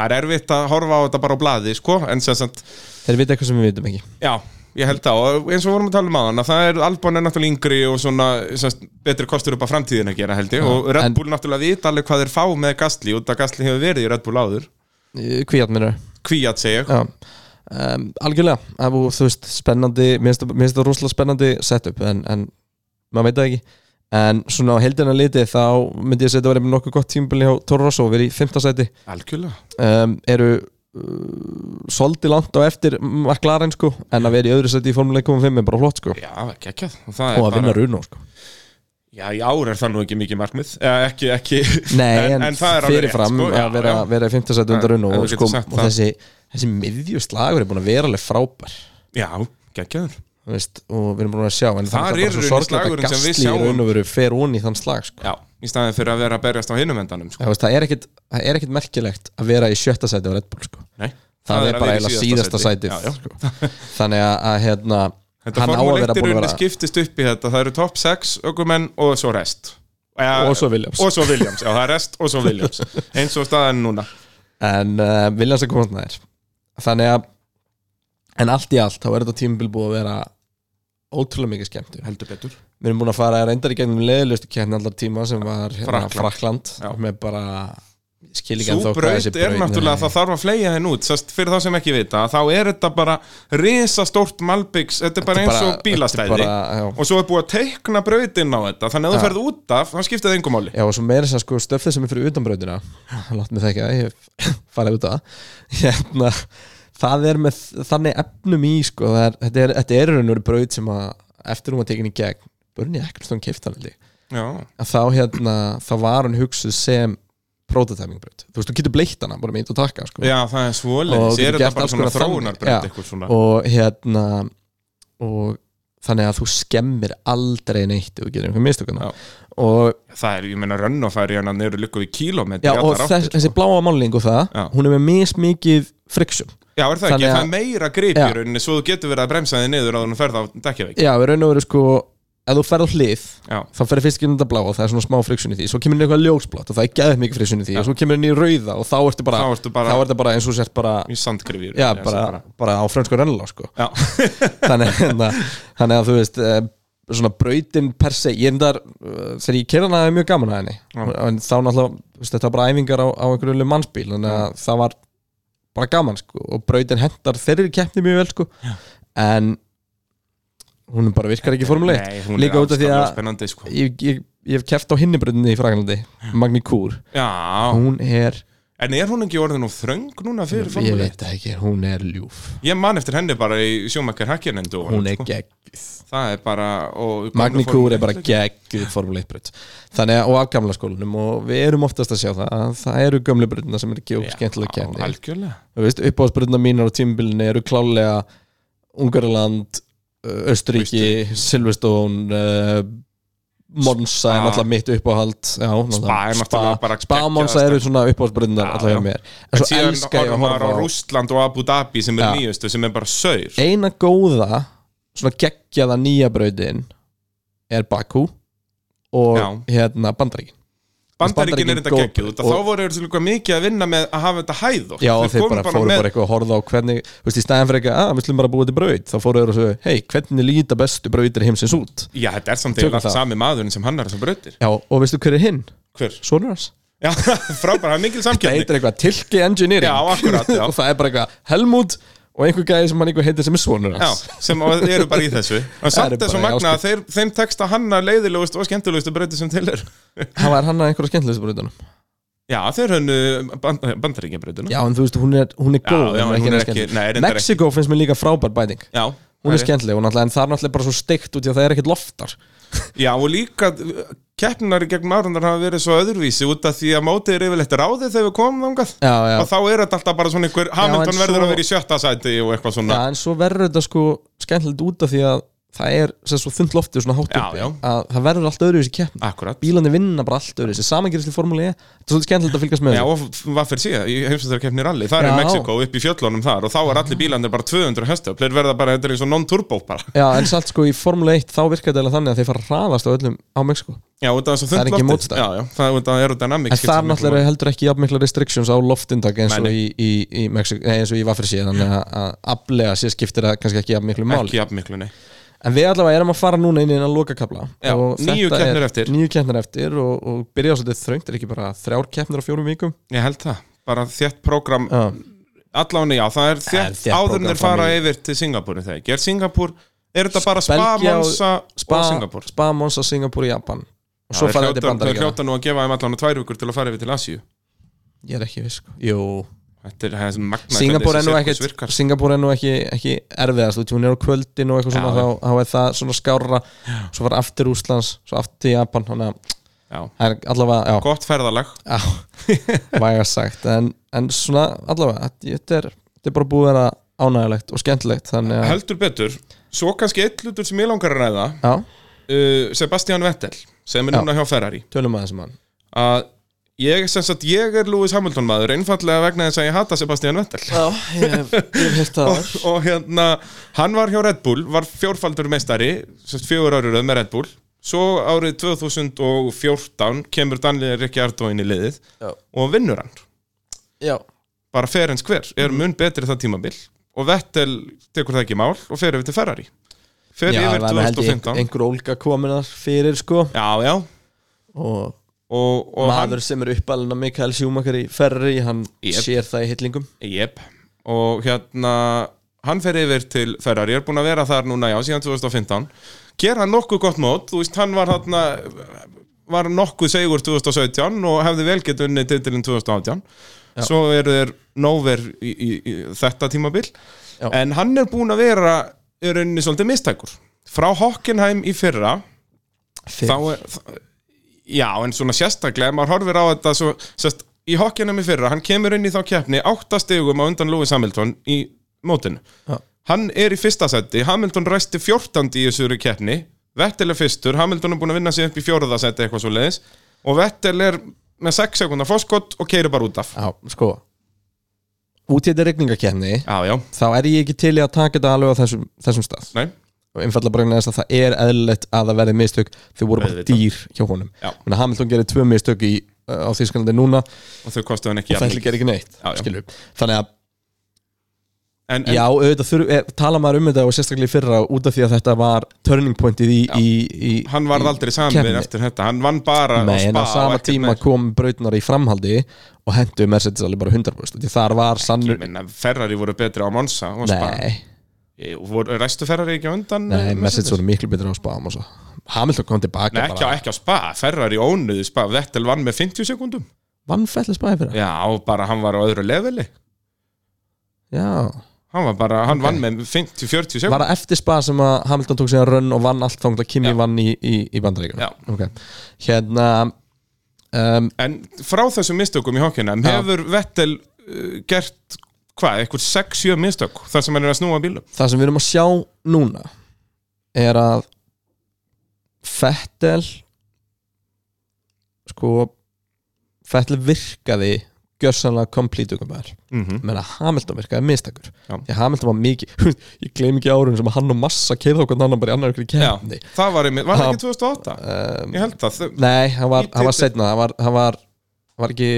[SPEAKER 1] Það er erfitt að horfa á þetta bara á blaði, sko En sem sagt,
[SPEAKER 2] þeir vita eitthvað sem við vitum ekki
[SPEAKER 1] Já, ég held það og eins og við vorum að tala um aðan að það er Albon er náttúrulega yngri og svona semst, betri kostur upp á framtíðin að gera held ég og Red
[SPEAKER 2] en-
[SPEAKER 1] Bull náttúrulega vita alveg hvað þeir fá með Gastli út að Gastli hefur verið í Red Bull áður
[SPEAKER 2] Kvíat minnur
[SPEAKER 1] Kvíat segja ég
[SPEAKER 2] Já Um, algjörlega, það var þú veist spennandi, mér finnst það- mér finnst það rosalega spennandi setup en, en maður veit það ekki en svona á heldina litið þá myndi ég segja að þetta verið með nokkuð gott tímabili hjá Toro Rosso, við erum í 15 seti
[SPEAKER 1] Algjörlega
[SPEAKER 2] um, eru uh, svolítið langt á eftir McLaren sko, en að vera í öðru seti í Formule 1.5 er bara flott sko
[SPEAKER 1] Já, geggjað og, það
[SPEAKER 2] og
[SPEAKER 1] er
[SPEAKER 2] að vinna
[SPEAKER 1] bara,
[SPEAKER 2] Runo sko
[SPEAKER 1] Já, í ár er það nú ekki mikið markmið eh, ekki, ekki
[SPEAKER 2] Nei, en,
[SPEAKER 1] það er alveg rétt,
[SPEAKER 2] fyrirfram
[SPEAKER 1] sko, já,
[SPEAKER 2] að vera,
[SPEAKER 1] já.
[SPEAKER 2] vera í 15 seti
[SPEAKER 1] En-
[SPEAKER 2] undan Runo
[SPEAKER 1] en
[SPEAKER 2] og,
[SPEAKER 1] þú getur
[SPEAKER 2] sko,
[SPEAKER 1] sagt
[SPEAKER 2] og
[SPEAKER 1] það.
[SPEAKER 2] þessi, þessi miðjuslagur er búin að vera alveg frábær
[SPEAKER 1] Já, geggjaður
[SPEAKER 2] þú veist, og við erum búin að sjá
[SPEAKER 1] Þar
[SPEAKER 2] en það
[SPEAKER 1] er
[SPEAKER 2] er bara
[SPEAKER 1] í
[SPEAKER 2] svo
[SPEAKER 1] rauninni
[SPEAKER 2] sorglegt að
[SPEAKER 1] slagurinn sem við
[SPEAKER 2] Gastli í
[SPEAKER 1] sjáum.
[SPEAKER 2] raun og veru fer ón í þann slag sko.
[SPEAKER 1] Já, í staðin fyrir að vera að berjast á hinum endanum sko.
[SPEAKER 2] það, veist, það, er ekkit, það er ekkit merkilegt að vera í sjötta sæti á Red Bull sko.
[SPEAKER 1] Nei,
[SPEAKER 2] það, er
[SPEAKER 1] að vera
[SPEAKER 2] bara
[SPEAKER 1] í
[SPEAKER 2] eiginlega síðasta sæti
[SPEAKER 1] Já, já.
[SPEAKER 2] sko. þannig að, að hérna,
[SPEAKER 1] Þetta
[SPEAKER 2] hann á að
[SPEAKER 1] formule 1
[SPEAKER 2] vera
[SPEAKER 1] er
[SPEAKER 2] búin að
[SPEAKER 1] unni
[SPEAKER 2] vera
[SPEAKER 1] skiptist upp í þetta Það eru top 6 ökumenn og svo rest ja,
[SPEAKER 2] Og svo Williams.
[SPEAKER 1] Og svo Williams, já það er rest og svo Williams Eins og staðan núna
[SPEAKER 2] en uh, Viljans er komast nær þannig að en allt í allt þá er þetta tímabil búið að vera ótrúlega mikið skemmtur
[SPEAKER 1] Heldur betur
[SPEAKER 2] við erum búin að fara reyndar í gegnum leðilustu kérni allar tíma sem var hérna,
[SPEAKER 1] Frakkland.
[SPEAKER 2] Frakland
[SPEAKER 1] Já.
[SPEAKER 2] með bara ég skil ekki
[SPEAKER 1] Sú
[SPEAKER 2] ennþá hvað
[SPEAKER 1] braut
[SPEAKER 2] þessi
[SPEAKER 1] er náttúrulega
[SPEAKER 2] Nei.
[SPEAKER 1] Það þarf að fleia henn út Sest, Fyrir þá sem ekki vita Þá er þetta bara risastórt Malbyggs Þetta er bara eins og bílastæði
[SPEAKER 2] þetta er bara, já.
[SPEAKER 1] Og svo er búið að teikna brautinn á þetta Þannig að
[SPEAKER 2] Já.
[SPEAKER 1] þú ferð út af, þá skiptir það engum máli
[SPEAKER 2] Já, og svo meira þess að sko stöfðið sem er fyrir utanbröðina Látt mig þekka, ég hef farið út á það Hérna Það er með þannig efnum í sko það er, Þetta er, þetta er raunur bröð sem að Eftir hún var tekin í gegn Börni Ekkerstón kiftan held ég
[SPEAKER 1] Já,
[SPEAKER 2] Að þá hérna, þá var hún hugsuð sem Prototyping bröð Þú veist, þú getur bleitt hana bara með ít og taka sko
[SPEAKER 1] já það er
[SPEAKER 2] Og
[SPEAKER 1] svoleiðis
[SPEAKER 2] þú
[SPEAKER 1] Er
[SPEAKER 2] getur
[SPEAKER 1] þetta
[SPEAKER 2] gert
[SPEAKER 1] bara
[SPEAKER 2] alls
[SPEAKER 1] svona
[SPEAKER 2] konar þannig. Já.
[SPEAKER 1] þróunarbraut eitthvað svona.
[SPEAKER 2] Og hérna Og þannig að þú skemmir aldrei neitt Ef þú getur einhver mistökana
[SPEAKER 1] Já.
[SPEAKER 2] Og
[SPEAKER 1] Það er, ég meina, rönnofæri hérna niður líka við kílómetri
[SPEAKER 2] Já,
[SPEAKER 1] í
[SPEAKER 2] og
[SPEAKER 1] allar áttir,
[SPEAKER 2] þess, þessi bláa málingu það,
[SPEAKER 1] Já.
[SPEAKER 2] hún er með mismikið friksjum.
[SPEAKER 1] Já, er það ekki?
[SPEAKER 2] Þannig að-
[SPEAKER 1] Það er meira grip í
[SPEAKER 2] Já.
[SPEAKER 1] rauninni svo þú getur verið að bremsa þig niður á þannig ferð á dekkjaveik
[SPEAKER 2] Já, við raun og veru sko, ef þú ferð á hlið,
[SPEAKER 1] Já,
[SPEAKER 2] þá ferði fyrst ekki þetta bláa og það er svona smá friksjun í því, svo kemur niður eitthvað ljósblátt og það er geðið mikið friksjun í því, og svo kemur niður rauða og þá ertu bara,
[SPEAKER 1] Þá ertu bara-
[SPEAKER 2] þá ertu bara eins og sért bara,
[SPEAKER 1] í sandgrifi í
[SPEAKER 2] já,
[SPEAKER 1] rauninni,
[SPEAKER 2] bara,
[SPEAKER 1] þessi
[SPEAKER 2] bara á frönsku rennlá, sko.
[SPEAKER 1] bara. Já,
[SPEAKER 2] þannig, þannig, þannig að þú veist, eh, svona brautin per se, ég endar, eh, þegar ég kerði hana, það er mjög gaman að henni, en þá náttúrulega, þú veist, þetta var bara æfingar á, á einhverju mannsbíl, þannig að það var bara gaman sko og brautin hendar þeirri keppni mjög vel sko en hún bara virkar ekki formuleitt
[SPEAKER 1] Nei, hún
[SPEAKER 2] Líka
[SPEAKER 1] er
[SPEAKER 2] út af því að-
[SPEAKER 1] afskaplega spennandi sko.
[SPEAKER 2] ég, ég, ég hef keppt á hinni brautinni í Fraklandi Magni Kúr,
[SPEAKER 1] Já,
[SPEAKER 2] hún er
[SPEAKER 1] en er hún ekki orðin og þröng núna fyrir
[SPEAKER 2] ég
[SPEAKER 1] formule?
[SPEAKER 2] veit það ekki, hún er ljúf
[SPEAKER 1] Ég man eftir henni bara í sjómakkar hakkinendu
[SPEAKER 2] hún er gegg
[SPEAKER 1] sko. Það er bara og,
[SPEAKER 2] Magni
[SPEAKER 1] gömlu Formule
[SPEAKER 2] Kúr er bara
[SPEAKER 1] 1 líka.
[SPEAKER 2] gegg formuleitt braut þannig að og á gamla skólanum og við erum oftast að sjá það að það eru gömlu brautina sem er ekki
[SPEAKER 1] Já,
[SPEAKER 2] skemmtilega keppni
[SPEAKER 1] Algjörlega
[SPEAKER 2] Þú veist, uppáðsbröðna mínar á tímbilinu eru klálega Ungarland, uh, Östuríki, Silverstone, uh, Monsa er
[SPEAKER 1] Spa.
[SPEAKER 2] náttúrulega mitt uppáhald já,
[SPEAKER 1] Spa er
[SPEAKER 2] náttúrulega-
[SPEAKER 1] náttúrulega bara
[SPEAKER 2] Spa og
[SPEAKER 1] geggjað
[SPEAKER 2] Monsa eru svona uppáðsbröðnar
[SPEAKER 1] Já,
[SPEAKER 2] alltaf hjá
[SPEAKER 1] já.
[SPEAKER 2] mér En
[SPEAKER 1] En
[SPEAKER 2] svo
[SPEAKER 1] síðan
[SPEAKER 2] elska ég að
[SPEAKER 1] horfum maður á
[SPEAKER 2] horfa á
[SPEAKER 1] Rústland og Abu Dhabi sem er
[SPEAKER 2] Já.
[SPEAKER 1] nýjustu sem er bara saur
[SPEAKER 2] eina góða, svona geggjaða nýja bröðin er Bakú og hérna Bandaríkin
[SPEAKER 1] Bandaríkin er
[SPEAKER 2] Bandaríkin
[SPEAKER 1] þetta
[SPEAKER 2] góð-
[SPEAKER 1] geggjuð út af-
[SPEAKER 2] og-
[SPEAKER 1] Þá voru þeir líka mikið að vinna með að hafa þetta hæð
[SPEAKER 2] Já, og þeir bara fóru bara eitthvað að horfa á hvernig Þú veist, í stæðan fyrir eitthvað, að, við slum bara búið til braut Þá fóru þeir og svo, hei, hvernig líta bestu brautir heimsins út
[SPEAKER 1] Já, þetta er samt
[SPEAKER 2] Tökum
[SPEAKER 1] eiginlega
[SPEAKER 2] það.
[SPEAKER 1] sami maðurinn sem hann er sem brautir
[SPEAKER 2] Já, og veistu hver er hinn?
[SPEAKER 1] Hver?
[SPEAKER 2] Svonur hans
[SPEAKER 1] Já, frábæra, það er mikil
[SPEAKER 2] Það
[SPEAKER 1] samkjöfni
[SPEAKER 2] heitir eitthvað Tilki Engineering
[SPEAKER 1] Já, akkurat, já.
[SPEAKER 2] Og það er bara eitthvað Helmut og og einhver gæði sem hann einhver heitir sem er svonur
[SPEAKER 1] Já,
[SPEAKER 2] hans
[SPEAKER 1] sem og eru bara í þessu En
[SPEAKER 2] eru
[SPEAKER 1] samt er
[SPEAKER 2] bara
[SPEAKER 1] svo
[SPEAKER 2] í
[SPEAKER 1] magna að þeir, þeim tekst að hanna leiðilegust og skemmtilegustu breytu sem til er
[SPEAKER 2] hann var hann að einhverja skemmtilegstu breytunum
[SPEAKER 1] Já, þeir hönnu band, bandaríkja breytuna
[SPEAKER 2] já en þú veist hún er, hún er góð
[SPEAKER 1] já, hún
[SPEAKER 2] en
[SPEAKER 1] er
[SPEAKER 2] eins
[SPEAKER 1] ekki
[SPEAKER 2] skemmtileg.
[SPEAKER 1] Nei, reyndar ekki
[SPEAKER 2] Mexiko finnst mér líka frábær bæting
[SPEAKER 1] Já,
[SPEAKER 2] hún
[SPEAKER 1] það
[SPEAKER 2] er skemmtileg og náttúrulega en það er náttúrulega bara svo steikt út í að það er ekkert loftar
[SPEAKER 1] Já, og líka keppnari gegn árunar hafa verið svo öðruvísi út af því að mótið er yfirleitt ráðið þegar við komum þangað
[SPEAKER 2] já, já.
[SPEAKER 1] og þá er þetta alltaf bara svona einhver Hamilton
[SPEAKER 2] en
[SPEAKER 1] verður
[SPEAKER 2] svo-
[SPEAKER 1] að vera í sjötta sæti og eitthvað
[SPEAKER 2] já
[SPEAKER 1] svona
[SPEAKER 2] en svo verður þetta sko skemmtilegt út af því að það er sem svo þund loftið svona hátt
[SPEAKER 1] Já,
[SPEAKER 2] uppi
[SPEAKER 1] já.
[SPEAKER 2] að það verður allt öðru í þessi keppni
[SPEAKER 1] Akkurat
[SPEAKER 2] bílandi vinna bara allt öðru í þessi samangerðisli formúli E. þetta er svolítið skemmtilegt að fylgjast með
[SPEAKER 1] Já,
[SPEAKER 2] þessu.
[SPEAKER 1] og hvað fyrir síðan, í heimsvæðarkeppni rally Það er
[SPEAKER 2] Já.
[SPEAKER 1] Mexiko upp í fjöllunum þar og þá er allir bílandir bara 200 höstöfl Þeir verða bara, þetta er eins og non-turbo bara
[SPEAKER 2] Já, en samt sko í Formule 1 þá virkar þetta eiginlega þannig að þeir fara að raðast á öllum á Mexiko
[SPEAKER 1] Já, út af þessu
[SPEAKER 2] Það er
[SPEAKER 1] þunnt
[SPEAKER 2] ekki
[SPEAKER 1] loftið.
[SPEAKER 2] mótstaða.
[SPEAKER 1] Já, já, það er út af aerodynamics
[SPEAKER 2] En
[SPEAKER 1] skiptir
[SPEAKER 2] þar
[SPEAKER 1] miklu
[SPEAKER 2] náttúrulega
[SPEAKER 1] máli.
[SPEAKER 2] eru heldur ekki jafn mikla restrictions á loftindak eins og
[SPEAKER 1] Nei,
[SPEAKER 2] í, í, í, Mexiko, nei, eins og í Vaffir síðan þannig að- að aflega sér skiptir það kannski ekki jafn miklu máli
[SPEAKER 1] Ekki jafn miklu, nei
[SPEAKER 2] En við allavega erum að fara núna inn í enn lokakabla
[SPEAKER 1] Já,
[SPEAKER 2] og
[SPEAKER 1] níu
[SPEAKER 2] þetta
[SPEAKER 1] keppnir
[SPEAKER 2] er-
[SPEAKER 1] eftir.
[SPEAKER 2] Níu keppnir eftir og, og byrja á svolítið þröngt er ekki bara þrjár keppnir á fjórum vikum
[SPEAKER 1] Ég held það, bara þétt prógram
[SPEAKER 2] Já,
[SPEAKER 1] Alláni, já, það er
[SPEAKER 2] Það er
[SPEAKER 1] þétt
[SPEAKER 2] þétt prógramm
[SPEAKER 1] Áðurnir fara
[SPEAKER 2] fram í-
[SPEAKER 1] yfir til Singapúr Þegar ger Singapúr, er þetta bara Spa,
[SPEAKER 2] Belgía og-
[SPEAKER 1] Monsa
[SPEAKER 2] Spa,
[SPEAKER 1] og Singapúr
[SPEAKER 2] Spa, Monsa, Singapur, Japan og
[SPEAKER 1] Já,
[SPEAKER 2] svo
[SPEAKER 1] þeir
[SPEAKER 2] fara þetta
[SPEAKER 1] hljóta- Þeir
[SPEAKER 2] bandaríkjana
[SPEAKER 1] hljóta nú að gefa þeim allan tvær vikur til að fara yfir til Asíu
[SPEAKER 2] Ég er ekki viss sko. Jú,
[SPEAKER 1] Þetta er það sem magna
[SPEAKER 2] Singapur er nú ekkit Singapur er nú ekki, ekki erfiðast þú veist, hún er á kvöldin og eitthvað
[SPEAKER 1] Já,
[SPEAKER 2] svona þá, þá er það svona skárra svo var aftur Úslands, svo aftur til Japan þannig að
[SPEAKER 1] Já,
[SPEAKER 2] það er allavega já,
[SPEAKER 1] gott ferðalag
[SPEAKER 2] já, væga sagt en, en svona allavega þetta þetta er, þetta er bara búið að vera ánægilegt og skemmtilegt þannig að
[SPEAKER 1] Heldur betur, svo kannski eitt hlutur sem ég langar að ræða
[SPEAKER 2] já,
[SPEAKER 1] uh, Sebastian Vettel, sem er
[SPEAKER 2] Já.
[SPEAKER 1] núna hjá Ferrari
[SPEAKER 2] tölum
[SPEAKER 1] um
[SPEAKER 2] að þessum mann
[SPEAKER 1] að ég, sem sagt, ég er Lewis Hamilton maður einfallega vegna þess að ég hata Sebastian Vettel
[SPEAKER 2] já, ég hef, ég hef hitt það
[SPEAKER 1] og, og hérna, hann var hjá Red Bull var fjórfaldur meistari sem sagt, fjögur árið með Red Bull svo árið 2014 kemur Danlið Ricciardo inn í liðið
[SPEAKER 2] Já.
[SPEAKER 1] og vinnur hann
[SPEAKER 2] já,
[SPEAKER 1] bara fer eins hver,
[SPEAKER 2] Mm.
[SPEAKER 1] er mun betri það tímabil og Vettel tekur það ekki í mál og fer yfir til Ferrari fer yfir
[SPEAKER 2] það er held ég
[SPEAKER 1] 2015
[SPEAKER 2] einhver ólga komin þar fyrir sko
[SPEAKER 1] já, já,
[SPEAKER 2] og
[SPEAKER 1] og, og hann
[SPEAKER 2] maður sem er uppalinn að Mikael Sjúmakar í Ferri, hann
[SPEAKER 1] Yep.
[SPEAKER 2] sér það í hillingum
[SPEAKER 1] Jep, og hérna hann fer yfir til Ferrari, er búin að vera þar núna já, síðan 2015 gera nokkuð gott mót, þú veist, hann var hérna var nokkuð segur 2017 og hefði vel gett unni titilin 2018 svo eru þeir nóver í, í, í þetta tímabil
[SPEAKER 2] Já.
[SPEAKER 1] en hann er búin að vera er unni svolítið mistækur frá Hockenheim í fyrra
[SPEAKER 2] Fyrr.
[SPEAKER 1] þá er þá- já, en svona sérstaklega, ef maður horfir á þetta svo, sérst, í hokkjanum í fyrra, hann kemur inn í þá keppni átta stigum á undan Lewis Hamilton í mótinu
[SPEAKER 2] Já.
[SPEAKER 1] hann er í fyrsta seti, Hamilton ræsti 14 í þessu keppni, Vettel er fyrstur Hamilton er búin að vinna sig upp í fjóraða seti eitthvað svo leiðis, og Vettel er með 6 sekundar fórskott og keiri bara út af
[SPEAKER 2] Já, sko Út í þetta regningakefni
[SPEAKER 1] já, já,
[SPEAKER 2] Þá er ég ekki til í að taka þetta alveg á þessum, þessum stað
[SPEAKER 1] nei,
[SPEAKER 2] Og einfallega bara vegna þess að það er eðlilegt að það verði mistök Þau voru bara
[SPEAKER 1] Auðvitað.
[SPEAKER 2] dýr hjá honum
[SPEAKER 1] Já.
[SPEAKER 2] Menna, Hamilton gerir tvö mistök í, uh, á Þýskalandi núna
[SPEAKER 1] og þau kostuðu hann ekki
[SPEAKER 2] Og
[SPEAKER 1] jafn
[SPEAKER 2] það
[SPEAKER 1] mikið.
[SPEAKER 2] gerir ekki neitt
[SPEAKER 1] Já, já.
[SPEAKER 2] skilurðu. Þannig að
[SPEAKER 1] en, en
[SPEAKER 2] já, auðvitað þurf, eh, tala maður um þetta og sérstaklega í fyrra út af því að þetta var turning pointið í, í, í
[SPEAKER 1] hann varð aldrei samir
[SPEAKER 2] keppni.
[SPEAKER 1] eftir þetta, hann vann bara
[SPEAKER 2] Nei, en
[SPEAKER 1] Spa
[SPEAKER 2] á
[SPEAKER 1] og
[SPEAKER 2] sama
[SPEAKER 1] ekkert
[SPEAKER 2] tíma
[SPEAKER 1] meir.
[SPEAKER 2] kom brautnar í framhaldi og hendu Mercedes alveg bara 100% Því þar var
[SPEAKER 1] Ég
[SPEAKER 2] sannur
[SPEAKER 1] meina, Ferrari voru betri á Monsa og Spa
[SPEAKER 2] Nei,
[SPEAKER 1] Jú, voru, Ræstu Ferrari ekki á undan?
[SPEAKER 2] Nei,
[SPEAKER 1] eh,
[SPEAKER 2] Mercedes voru miklu betur á spa um Hamilton kom tilbaka
[SPEAKER 1] Nei, ekki, á-
[SPEAKER 2] bara
[SPEAKER 1] ekki á spa, Ferrari ónuðu spa Vettel vann með 50 sekundum
[SPEAKER 2] Vann fætla spa yfir það?
[SPEAKER 1] Já, og bara hann var á öðru leveli
[SPEAKER 2] Já,
[SPEAKER 1] Hann var bara, hann vann með 50-40 sekundum
[SPEAKER 2] var það eftir spa sem að Hamilton tók sér að rönn og vann allt þangað Kimi
[SPEAKER 1] Já.
[SPEAKER 2] vann í, í, í bandaríkjum
[SPEAKER 1] Já.
[SPEAKER 2] Hérna um,
[SPEAKER 1] En frá þessum mistökum í hokkina
[SPEAKER 2] Já.
[SPEAKER 1] hefur Vettel uh, gert hvað, eitthvað 6-7 mistök þar sem hann er að snúa bílum
[SPEAKER 2] Það sem við erum að sjá núna er að Fettel sko Fettel virkaði gjörsanlega complete um ukumæður
[SPEAKER 1] mm
[SPEAKER 2] menna Hamilton virkaði mistakur
[SPEAKER 1] Já.
[SPEAKER 2] því að Hamilton var mikið ég gleym ekki árun sem að hann og Massa keirði okkur annan bara í annar ykkur
[SPEAKER 1] Já,
[SPEAKER 2] kemni
[SPEAKER 1] það var einmitt, var það
[SPEAKER 2] Ha.
[SPEAKER 1] ekki 2008?
[SPEAKER 2] um,
[SPEAKER 1] Ég held það, þau-
[SPEAKER 2] nei, hann var,
[SPEAKER 1] Í
[SPEAKER 2] hann var
[SPEAKER 1] titil.
[SPEAKER 2] setna hann var, hann var, var ekki,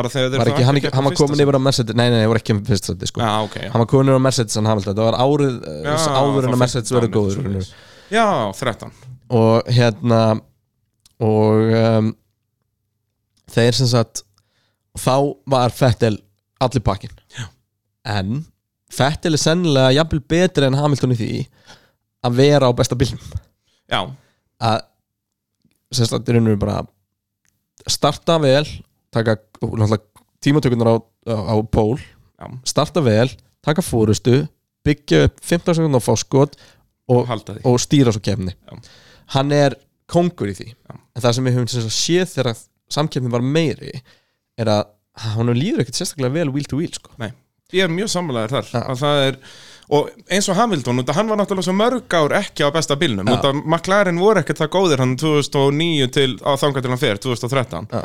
[SPEAKER 1] bara þegar þeir
[SPEAKER 2] var
[SPEAKER 1] fara
[SPEAKER 2] ekki hann,
[SPEAKER 1] að
[SPEAKER 2] ekki,
[SPEAKER 1] keppa
[SPEAKER 2] hann var
[SPEAKER 1] fyrsta
[SPEAKER 2] komin
[SPEAKER 1] sinn.
[SPEAKER 2] yfir á Mercedes nei, nei, nei, voru ekki um fyrst seti sko.
[SPEAKER 1] Já, ok, já,
[SPEAKER 2] hann var komin yfir á Mercedes en Hamilton það var árið
[SPEAKER 1] Já,
[SPEAKER 2] já, áður en
[SPEAKER 1] þá
[SPEAKER 2] að Mercedes
[SPEAKER 1] 15
[SPEAKER 2] verið góður
[SPEAKER 1] eitthvað
[SPEAKER 2] raunur.
[SPEAKER 1] svoleiðis. já 13
[SPEAKER 2] og hérna og um, þeir sem sagt þá var Fettel allir pakkin en Fettil er sennilega jafnvel betri en Hamilton í því að vera á besta bílnum
[SPEAKER 1] já,
[SPEAKER 2] að sem sagt í rauninu bara starta vel taka og náttúrulega tímatökunar á, á, á pól
[SPEAKER 1] Já.
[SPEAKER 2] starta vel, taka fórustu byggja upp 15 sekundar á fáskot og,
[SPEAKER 1] halda því
[SPEAKER 2] og stýra svo kemni
[SPEAKER 1] Já.
[SPEAKER 2] hann er kongur í því
[SPEAKER 1] Já.
[SPEAKER 2] en það sem við höfum sem sagt séð þegar samkefni var meiri er að hann líður ekkert sérstaklega vel wheel to wheel sko.
[SPEAKER 1] Nei. ég er mjög sammálaður þar
[SPEAKER 2] Já.
[SPEAKER 1] að það er, og eins og Hamilton út af hann var náttúrulega svo mörg ár ekki á besta bílnum
[SPEAKER 2] Já.
[SPEAKER 1] út af McLaren voru ekkert það góðir hann 2009 til, á þangar til hann fer 2013,
[SPEAKER 2] Já.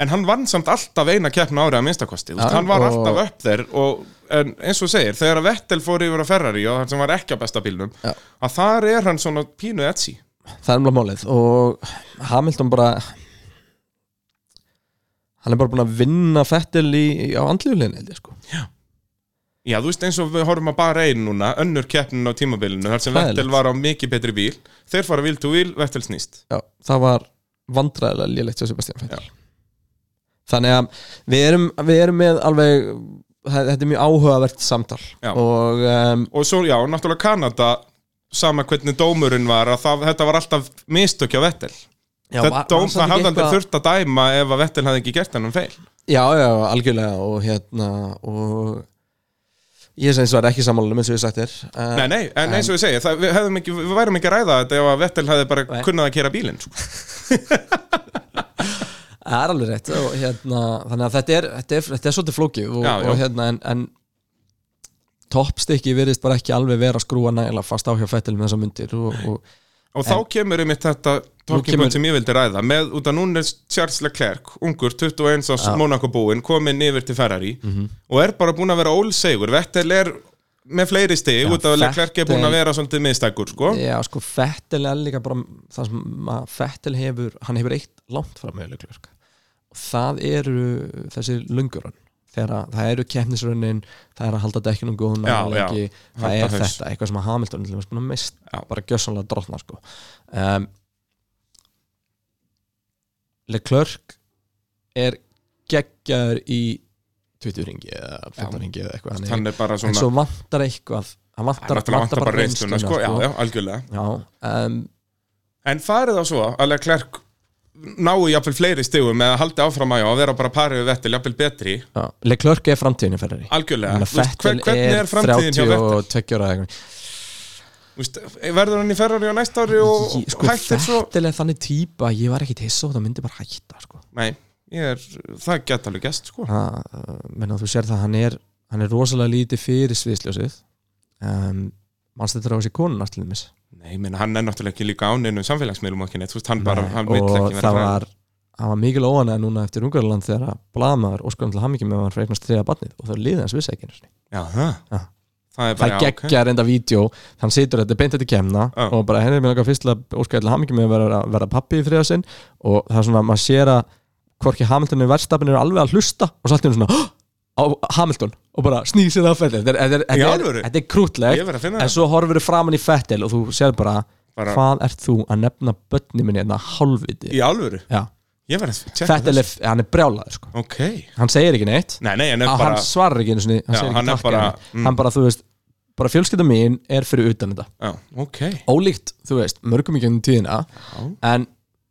[SPEAKER 1] en hann vann samt alltaf eina keppna árið að minnstakosti ja,
[SPEAKER 2] Já,
[SPEAKER 1] hann var
[SPEAKER 2] og-
[SPEAKER 1] alltaf upp þeir og en, eins og þú segir, þegar að Vettel fór yfir að Ferrari og hann sem var ekki á besta bílnum
[SPEAKER 2] Já.
[SPEAKER 1] að þar er hann svona pínu etsi
[SPEAKER 2] það er umlað málið og Hamilton bara hann er bara búin að vinna Fettil í, í- á andliðulegin held ég sko
[SPEAKER 1] Já, þú veist eins og við horfum að bara einu núna önnur keppnin á tímabilinu, þar sem
[SPEAKER 2] Hræðilegt.
[SPEAKER 1] Vettel var á mikið betri bíl þeir fara vil to vil, Vettel snýst
[SPEAKER 2] Já, það var vandræðilega lélegt hjá Sebastian Vettel Þannig að við erum, við erum með alveg þetta er mjög áhugavert samtal
[SPEAKER 1] Já.
[SPEAKER 2] og um,
[SPEAKER 1] og svo, já, náttúrulega Kanada sama hvernig dómurinn var að það, þetta var alltaf mistök hjá Vettel
[SPEAKER 2] já,
[SPEAKER 1] það,
[SPEAKER 2] var-
[SPEAKER 1] dóm,
[SPEAKER 2] var samt
[SPEAKER 1] það
[SPEAKER 2] ekki
[SPEAKER 1] hafði aldrei
[SPEAKER 2] eitthvað-
[SPEAKER 1] þurft að dæma ef að Vettel hafði ekki gert hennan feil
[SPEAKER 2] Já, já, algjörlega og hérna og ég er sem svo er ekki sammálunum eins og ég sagt þér uh,
[SPEAKER 1] Nei, nei, en eins og ég segi, það, við, hefðum ekki, við værum ekki að ræða þetta ef að Vettel hafði bara
[SPEAKER 2] Nei.
[SPEAKER 1] kunnað að kera bílinn sko.
[SPEAKER 2] Það er alveg rétt og hérna, þannig að þetta er, þetta er, þetta er svolítið flókið og,
[SPEAKER 1] Já, já.
[SPEAKER 2] og hérna en, en toppstykki virðist bara ekki alveg vera að skrúa nægilega fast á hjá Fettil með þessar myndir og, og
[SPEAKER 1] og þá kemur einmitt þetta talking
[SPEAKER 2] kemur-
[SPEAKER 1] point sem ég vildi ræða með, út að núna er Charles Leclerc ungur, 21 ás Monaco búinn komin yfir til Ferrari
[SPEAKER 2] Mhm.
[SPEAKER 1] og er bara búinn að vera ólsegur Vettel er með fleiri stig
[SPEAKER 2] Já,
[SPEAKER 1] út af að Leclerc er búinn að
[SPEAKER 2] Vettel-
[SPEAKER 1] vera svolítið miðstækur sko.
[SPEAKER 2] Já, sko, Fettil er líka bara það sem að Fettil hefur hann hefur eitt langt fram með Leclerc og það eru þessi löngurun þegar að það eru keppnisrunnin það er að halda dekkinum góðun
[SPEAKER 1] Já,
[SPEAKER 2] ekki, það
[SPEAKER 1] Halda
[SPEAKER 2] er
[SPEAKER 1] haus.
[SPEAKER 2] þetta, eitthvað sem að Hamilton er búin að mist,
[SPEAKER 1] Já.
[SPEAKER 2] bara gjössanlega drotna sko. um, Leclerc er geggjaður í 20 ringi eða 15 ringi eða eitthvað hann er,
[SPEAKER 1] hann er bara
[SPEAKER 2] en
[SPEAKER 1] svona
[SPEAKER 2] svo vantar eitthvað hann vantar,
[SPEAKER 1] Náttúrulega vantar bara reynsluna sko, já,
[SPEAKER 2] sko.
[SPEAKER 1] já, algjörlega
[SPEAKER 2] Já, um,
[SPEAKER 1] En farið þá svo að Leclerc náu jafnvel fleiri stigum eða haldi áfram að já, að vera bara parið við Vettel jafnvel betri,
[SPEAKER 2] já. Leclerc er framtíðinu Ferrari
[SPEAKER 1] algjörlega Þú
[SPEAKER 2] Þannig
[SPEAKER 1] veist,
[SPEAKER 2] að
[SPEAKER 1] hver, Hvernig er framtíðin hjá Vettel?
[SPEAKER 2] og tekjur að
[SPEAKER 1] Þú veist, verður hann í Ferrari á næsta ári og
[SPEAKER 2] sko,
[SPEAKER 1] hættir svo?
[SPEAKER 2] Vettel er þannig típa að ég var ekkit hissa og það myndi bara hætta sko.
[SPEAKER 1] Nei, ég er, það geta alveg gest sko
[SPEAKER 2] ha, menn að þú sér það hann er, hann er rosalega lítið fyrir sviðsljósið um, mannst þetta á þessi konun náttúrulega
[SPEAKER 1] Nei, menn hann er náttúrulega ekki líka áninu samfélagsmiðlum og ekki neitt, þú veist, hann bara, hann vill
[SPEAKER 2] og
[SPEAKER 1] ekki vera
[SPEAKER 2] það
[SPEAKER 1] frægur.
[SPEAKER 2] var hann var mikil óanæða núna eftir Ungarland þegar að blaðmaður óskanum til hamingjum með að hann freknast þriða barnið og það liði hans vissi ekki einu sinni.
[SPEAKER 1] Já, það
[SPEAKER 2] Já.
[SPEAKER 1] Það er
[SPEAKER 2] það
[SPEAKER 1] bara,
[SPEAKER 2] er
[SPEAKER 1] já, ok
[SPEAKER 2] geggja reynda vídeo hann situr þetta beint þetta kemna
[SPEAKER 1] Já.
[SPEAKER 2] og bara henni er mér langar fyrst til að óskæði til hamingi með að vera, vera pappi í þriða sinn og það er svona að maður sér að hvorki Hamilton og verðstapin eru alveg að hlusta og satt henni svona "Hå!" á Hamilton og bara snýr sér að Fettel þetta er, þetta
[SPEAKER 1] Í
[SPEAKER 2] er,
[SPEAKER 1] alvöru?
[SPEAKER 2] þetta er, þetta er krútlegt
[SPEAKER 1] Ég verð að finna
[SPEAKER 2] en
[SPEAKER 1] það
[SPEAKER 2] svo horfur þú framan í Fettel og þú sér bara,
[SPEAKER 1] Bara-
[SPEAKER 2] hvað ert þú að nefna börni minni hérna hálfviti
[SPEAKER 1] Í alvöru,
[SPEAKER 2] Já.
[SPEAKER 1] ég verð að tjekka
[SPEAKER 2] Fettel er, hann er brjálaður sko.
[SPEAKER 1] Ok,
[SPEAKER 2] hann segir ekki neitt
[SPEAKER 1] nei, nei, en er
[SPEAKER 2] að
[SPEAKER 1] bara
[SPEAKER 2] hann svarar ekki einu sinni hann,
[SPEAKER 1] Já,
[SPEAKER 2] segir ekki
[SPEAKER 1] hann er
[SPEAKER 2] takk
[SPEAKER 1] bara-
[SPEAKER 2] eða neitt.
[SPEAKER 1] mm.
[SPEAKER 2] hann bara, þú veist, bara fjölskylda mín er fyrir utan þetta
[SPEAKER 1] Já, ok
[SPEAKER 2] ólíkt, þú veist, mörgum í gegnum tíðina en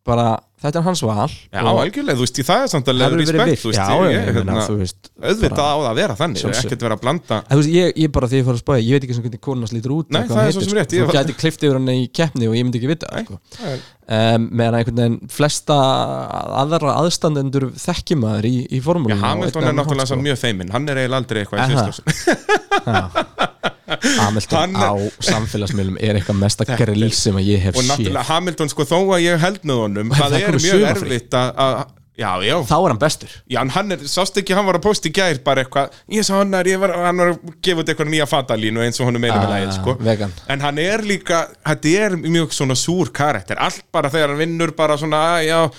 [SPEAKER 2] bara þetta er hans val
[SPEAKER 1] Já,
[SPEAKER 2] og
[SPEAKER 1] algjörlega, þú veist, í það er samt
[SPEAKER 2] það
[SPEAKER 1] alveg
[SPEAKER 2] hefur verið
[SPEAKER 1] respekt,
[SPEAKER 2] vilt
[SPEAKER 1] þú veist,
[SPEAKER 2] já,
[SPEAKER 1] ég,
[SPEAKER 2] ég, ég,
[SPEAKER 1] hérna,
[SPEAKER 2] meina, þú veist
[SPEAKER 1] auðvitað
[SPEAKER 2] bara-
[SPEAKER 1] á það að vera þannig,
[SPEAKER 2] Sjálfsögðu.
[SPEAKER 1] ekkert vera að blanda
[SPEAKER 2] En þú veist, ég, ég bara því ég fór að spája, ég veit ekki eins og hvernig konunars lítur út
[SPEAKER 1] Nei,
[SPEAKER 2] hvað
[SPEAKER 1] það er
[SPEAKER 2] hún
[SPEAKER 1] svo
[SPEAKER 2] heitir,
[SPEAKER 1] sem rétt,
[SPEAKER 2] sko.
[SPEAKER 1] ég
[SPEAKER 2] Þú
[SPEAKER 1] var-
[SPEAKER 2] gæti klift yfir hann í keppni og ég myndi ekki vita
[SPEAKER 1] Nei.
[SPEAKER 2] sko.
[SPEAKER 1] Það er-
[SPEAKER 2] um, meðan einhvern veginn flesta aðra aðstandendur þekkimaður í, í
[SPEAKER 1] Já,
[SPEAKER 2] formúlum
[SPEAKER 1] Hamilton er náttúrulega svo mjög feiminn, hann er eiginlega aldrei eitthvað í
[SPEAKER 2] sko. Aha.
[SPEAKER 1] sérstofs Hann
[SPEAKER 2] Hamilton
[SPEAKER 1] er-
[SPEAKER 2] á samfélagsmiðlum er eitthvað mesta grill sem að ég hef
[SPEAKER 1] Og
[SPEAKER 2] séð
[SPEAKER 1] náttúrulega Hamilton, sko, þó að ég held með honum, það
[SPEAKER 2] það
[SPEAKER 1] er
[SPEAKER 2] komu
[SPEAKER 1] mjög
[SPEAKER 2] sumarfrí.
[SPEAKER 1] erfitt að- að, já, já
[SPEAKER 2] þá er hann bestur
[SPEAKER 1] Já, en hann er, sást ekki, hann var að posta í gær bara eitthvað, ég sá hann er, ég var, hann var að gefa út eitthvað nýja fatalínu eins og honum meina með
[SPEAKER 2] Ah,
[SPEAKER 1] lægin, sko
[SPEAKER 2] vegan.
[SPEAKER 1] En hann er líka, þetta er mjög svona súr karakter, allt bara þegar hann vinnur bara svona, "Ah, já,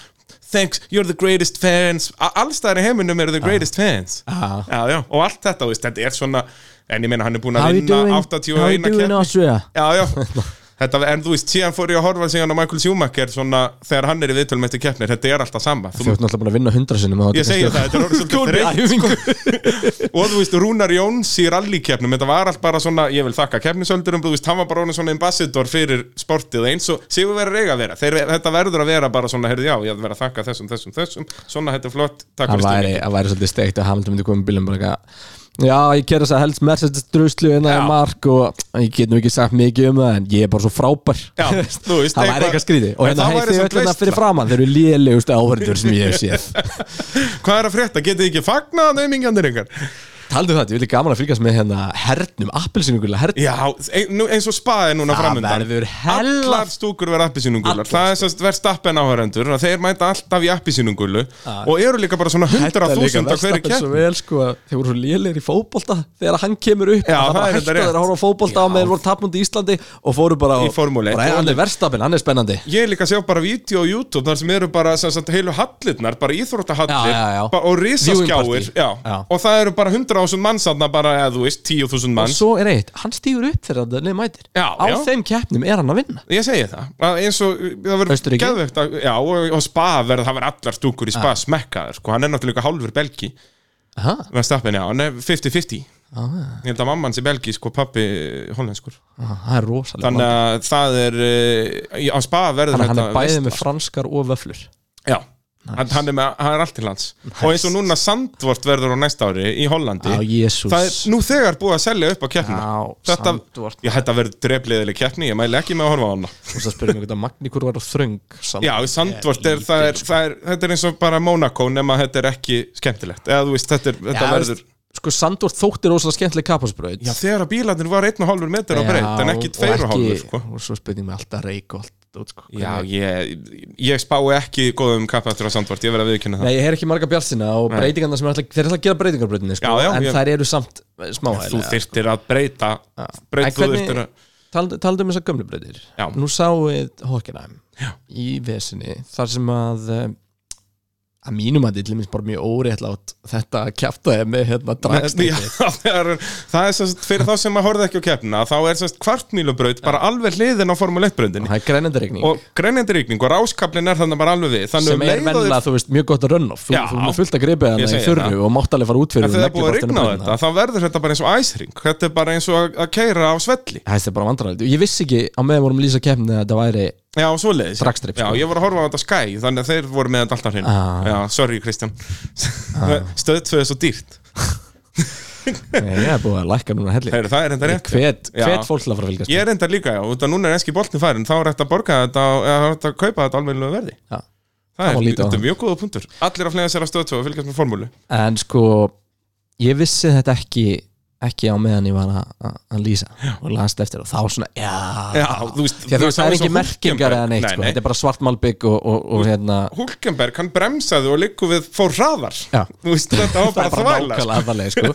[SPEAKER 1] thanks, you're the greatest fans A- Alls staðar í heiminum eru the greatest fans
[SPEAKER 2] Ah.
[SPEAKER 1] Já, já, og allt þetta, þú veist, þetta er svona, en ég meina hann er búin
[SPEAKER 2] How
[SPEAKER 1] að
[SPEAKER 2] you
[SPEAKER 1] vinna
[SPEAKER 2] doing, how
[SPEAKER 1] 81
[SPEAKER 2] you doing
[SPEAKER 1] keppni.
[SPEAKER 2] Austria?
[SPEAKER 1] Já, já Þetta, en þú veist, síðan fór ég að horfa síðan á Michael Schumacher svona, þegar hann er í viðtölum eftir keppnir, þetta er alltaf sama
[SPEAKER 2] Þú
[SPEAKER 1] þú,
[SPEAKER 2] ert náttúrulega búin að vinna hundra sinnum
[SPEAKER 1] Ég segi það, þetta er orðið svolítið þreytt sko. og þú veist, Rúnar Jóns í rallykeppnum þetta var allt bara svona, ég vil þakka keppnisöldurum þú veist, hann var bara orðin svona ambassador fyrir sportið eins og sigur verður eiga að vera Þeir, þetta verður að vera bara svona, heyrðu já, ég vil vera að þakka þessum, þessum, þessum, svona þetta er flott takk
[SPEAKER 2] Það
[SPEAKER 1] fyrir
[SPEAKER 2] væri,
[SPEAKER 1] stöðning
[SPEAKER 2] það væri svolítið steikt að Hamilton myndi koma í bílum bara eitthvað Já, ég kæra þess að helst Mercedes druslu innan í mark og ég get nú ekki sagt mikið um það en ég er bara svo frábær
[SPEAKER 1] Já, þú veist,
[SPEAKER 2] Það væri
[SPEAKER 1] eitthvað-
[SPEAKER 2] eitthvað skrítið
[SPEAKER 1] En
[SPEAKER 2] og hérna
[SPEAKER 1] það væri
[SPEAKER 2] heiði
[SPEAKER 1] samt sko.
[SPEAKER 2] öll þetta
[SPEAKER 1] veistla.
[SPEAKER 2] fyrir framann þeir eru lélegustu áhörður sem ég hef séð
[SPEAKER 1] Hvað er að frétta, getið þið ekki fagnað naumingjandir yngar?
[SPEAKER 2] Taldu um það, ég vilja gaman að fylgjast með hérna hernum, appelsinugulega hernum
[SPEAKER 1] Já, ein, nú, eins og spaði núna
[SPEAKER 2] Það
[SPEAKER 1] framöndan
[SPEAKER 2] verður hella-
[SPEAKER 1] Allar stúkur verða appisínungular
[SPEAKER 2] Allar
[SPEAKER 1] Það er sérst verðstappen áhörendur Þeir mæta alltaf í appisínungulu Og eru líka bara svona 100.000 á hverju
[SPEAKER 2] Verstappen
[SPEAKER 1] kepp
[SPEAKER 2] svo vel sko að þeir voru svo lélegir í fótbolta þegar hann kemur
[SPEAKER 1] Já,
[SPEAKER 2] upp það
[SPEAKER 1] það
[SPEAKER 2] bara
[SPEAKER 1] er
[SPEAKER 2] hætta
[SPEAKER 1] þetta rétt.
[SPEAKER 2] þeir að horfa á fótbolta á meðan voru tapmundi í Íslandi og fóru bara á-
[SPEAKER 1] Í Formúlu eitt.
[SPEAKER 2] bara, "Hey, hann er verstafinn, hann er spennandi
[SPEAKER 1] Ég er líka að sjá bara vídeo á YouTube þar sem eru bara sem sagt, heilu hallirnar, bara íþróttahallir
[SPEAKER 2] Já, já, já.
[SPEAKER 1] ba- og
[SPEAKER 2] Viewing
[SPEAKER 1] risaskjáir
[SPEAKER 2] party.
[SPEAKER 1] já.
[SPEAKER 2] Já.
[SPEAKER 1] og það eru bara 100.000 manns þarna bara, eða þú veist, 10.000
[SPEAKER 2] og
[SPEAKER 1] manns
[SPEAKER 2] svo er eitt, hann stígur upp þegar hann liði mætir
[SPEAKER 1] Já,
[SPEAKER 2] á
[SPEAKER 1] já.
[SPEAKER 2] þeim keppnum er hann að vinna
[SPEAKER 1] Ég segi það, að eins og það verður
[SPEAKER 2] Austurríki? Ah.
[SPEAKER 1] geðvegt að, já, og, og spa verður, það verður allar stúkur í spa smekkaður, sko, hann er náttúrulega hálfur belgi
[SPEAKER 2] Aha.
[SPEAKER 1] Verstappen, já, hann er 50-50 Ég held að mamman sé belgi, sko, pappi hollenskur
[SPEAKER 2] Ah, það er rosalega
[SPEAKER 1] Þannig að það er, eh, í- á spa verður
[SPEAKER 2] Þannig að hann er
[SPEAKER 1] þetta
[SPEAKER 2] bæðið
[SPEAKER 1] veistla.
[SPEAKER 2] með franskar og vöflur
[SPEAKER 1] Já, hann, hann, er með, hann er allt til lands Og eins og núna Sandvort verður á næsta ári í Hollandi
[SPEAKER 2] á Jésús
[SPEAKER 1] Það er nú þegar búið að selja upp á keppnina
[SPEAKER 2] Já,
[SPEAKER 1] þetta,
[SPEAKER 2] Sandvort.
[SPEAKER 1] Já, þetta verður drefliðileg keppni, ég mæli ekki með að horfa á hana
[SPEAKER 2] og það spyrir mig hvort að Magni hvort var á þröng samt.
[SPEAKER 1] Já, Sandvort, er, það er, það er, þetta er eins og bara Monaco nema þetta er ekki skemmtilegt Eða þú veist, þetta, er, þetta
[SPEAKER 2] Já,
[SPEAKER 1] verður
[SPEAKER 2] veist, sko Sandvort þótti rosalega skemmtileg kapasbröð
[SPEAKER 1] Já, þegar að bílarnir var 1,5 metr á breytt en ekki 2,5 sko.
[SPEAKER 2] og svo spyrir mig alltaf reik og allt út, sko.
[SPEAKER 1] Já, ég, ég spái ekki góðum kapastur á Sandvort, ég verð að viðkynna það
[SPEAKER 2] Nei, ég heyr ekki marga bjartina og breytingarna sem er alltaf, þeir er alltaf að gera breytingarbröðinni sko,
[SPEAKER 1] Já, já,
[SPEAKER 2] en
[SPEAKER 1] ég-
[SPEAKER 2] þær eru samt smáhæli
[SPEAKER 1] Þú þyrtir að breyta, breyta
[SPEAKER 2] En
[SPEAKER 1] þú
[SPEAKER 2] hvernig-
[SPEAKER 1] þyrtir að
[SPEAKER 2] Talandi talandi um þessar gömlu breytir
[SPEAKER 1] Já.
[SPEAKER 2] Nú sáum við Hockenheim í vesinni þar sem að eh, að mínum að dillimins bara mjög óréttlátt þetta að kjafta þeim með hérna
[SPEAKER 1] Já,
[SPEAKER 2] dragstætti
[SPEAKER 1] það er, það er sérst, fyrir þá sem maður horfði ekki á keppna þá er sérst kvartmílubraut bara alveg hliðin á Formule 1 brautinni
[SPEAKER 2] það er grænendaregning
[SPEAKER 1] og greinjandi ríkning og ráskablin er þannig bara alveg við þannig
[SPEAKER 2] sem
[SPEAKER 1] um
[SPEAKER 2] er
[SPEAKER 1] leið og
[SPEAKER 2] vennilega, þú veist, mjög gott að runoff þú,
[SPEAKER 1] Já.
[SPEAKER 2] þú með fullt að gripa
[SPEAKER 1] Ég
[SPEAKER 2] hana í
[SPEAKER 1] segi
[SPEAKER 2] þurru
[SPEAKER 1] það.
[SPEAKER 2] og mátt alveg fara út fyrir
[SPEAKER 1] þegar það er búið að
[SPEAKER 2] leggja boltinn á
[SPEAKER 1] rigna á þetta
[SPEAKER 2] brennuna.
[SPEAKER 1] þá verður þetta bara eins og æsring þetta er bara eins og að- að keira á svelli
[SPEAKER 2] Það er bara vandrarlegt Ég vissi ekki á meðan vorum að lýsa kemni að það væri
[SPEAKER 1] Já, svo leiðis
[SPEAKER 2] Dragstrip,
[SPEAKER 1] Já,
[SPEAKER 2] sko.
[SPEAKER 1] ég voru að horfa á þetta Sky þannig að þeir voru með þetta alltaf hreinu
[SPEAKER 2] Ah.
[SPEAKER 1] Já, sorry Kristján Stöð 2 er svo dýrt
[SPEAKER 2] Nei, Ég er búið að lækka núna helli
[SPEAKER 1] Heru, Það er enda rétt
[SPEAKER 2] Hvet,
[SPEAKER 1] Já.
[SPEAKER 2] hvet fólk til að fara að fylgjast
[SPEAKER 1] Ég er enda líka, já, út að núna er enski boltin farin þá er þetta að borga þetta á- eða það er þetta að kaupa þetta alveg verði
[SPEAKER 2] Já.
[SPEAKER 1] Það
[SPEAKER 2] Það má
[SPEAKER 1] er,
[SPEAKER 2] líta á
[SPEAKER 1] þetta er
[SPEAKER 2] það.
[SPEAKER 1] mjög góða punktur Allir að flega sér að stöða tvö og fylgjast með formúlu
[SPEAKER 2] En sko, ég vissi þetta ekki ekki á meðan ég var að- að að lýsa og last eftir og þá svona, já,
[SPEAKER 1] Já, þú veist,
[SPEAKER 2] Því að þú veist, það er
[SPEAKER 1] eins og
[SPEAKER 2] ekki merkingar
[SPEAKER 1] Hulkenberg.
[SPEAKER 2] eða neitt,
[SPEAKER 1] Nei,
[SPEAKER 2] sko,
[SPEAKER 1] nei.
[SPEAKER 2] þetta er bara svartmálbygg og, og, og hérna
[SPEAKER 1] Hulkenberg, hann bremsaði og líku við fór hraðar
[SPEAKER 2] Já.
[SPEAKER 1] Þú veist, þetta var
[SPEAKER 2] það er
[SPEAKER 1] bara
[SPEAKER 2] bara
[SPEAKER 1] þvæla sko.
[SPEAKER 2] nákvæmlega aðalega, sko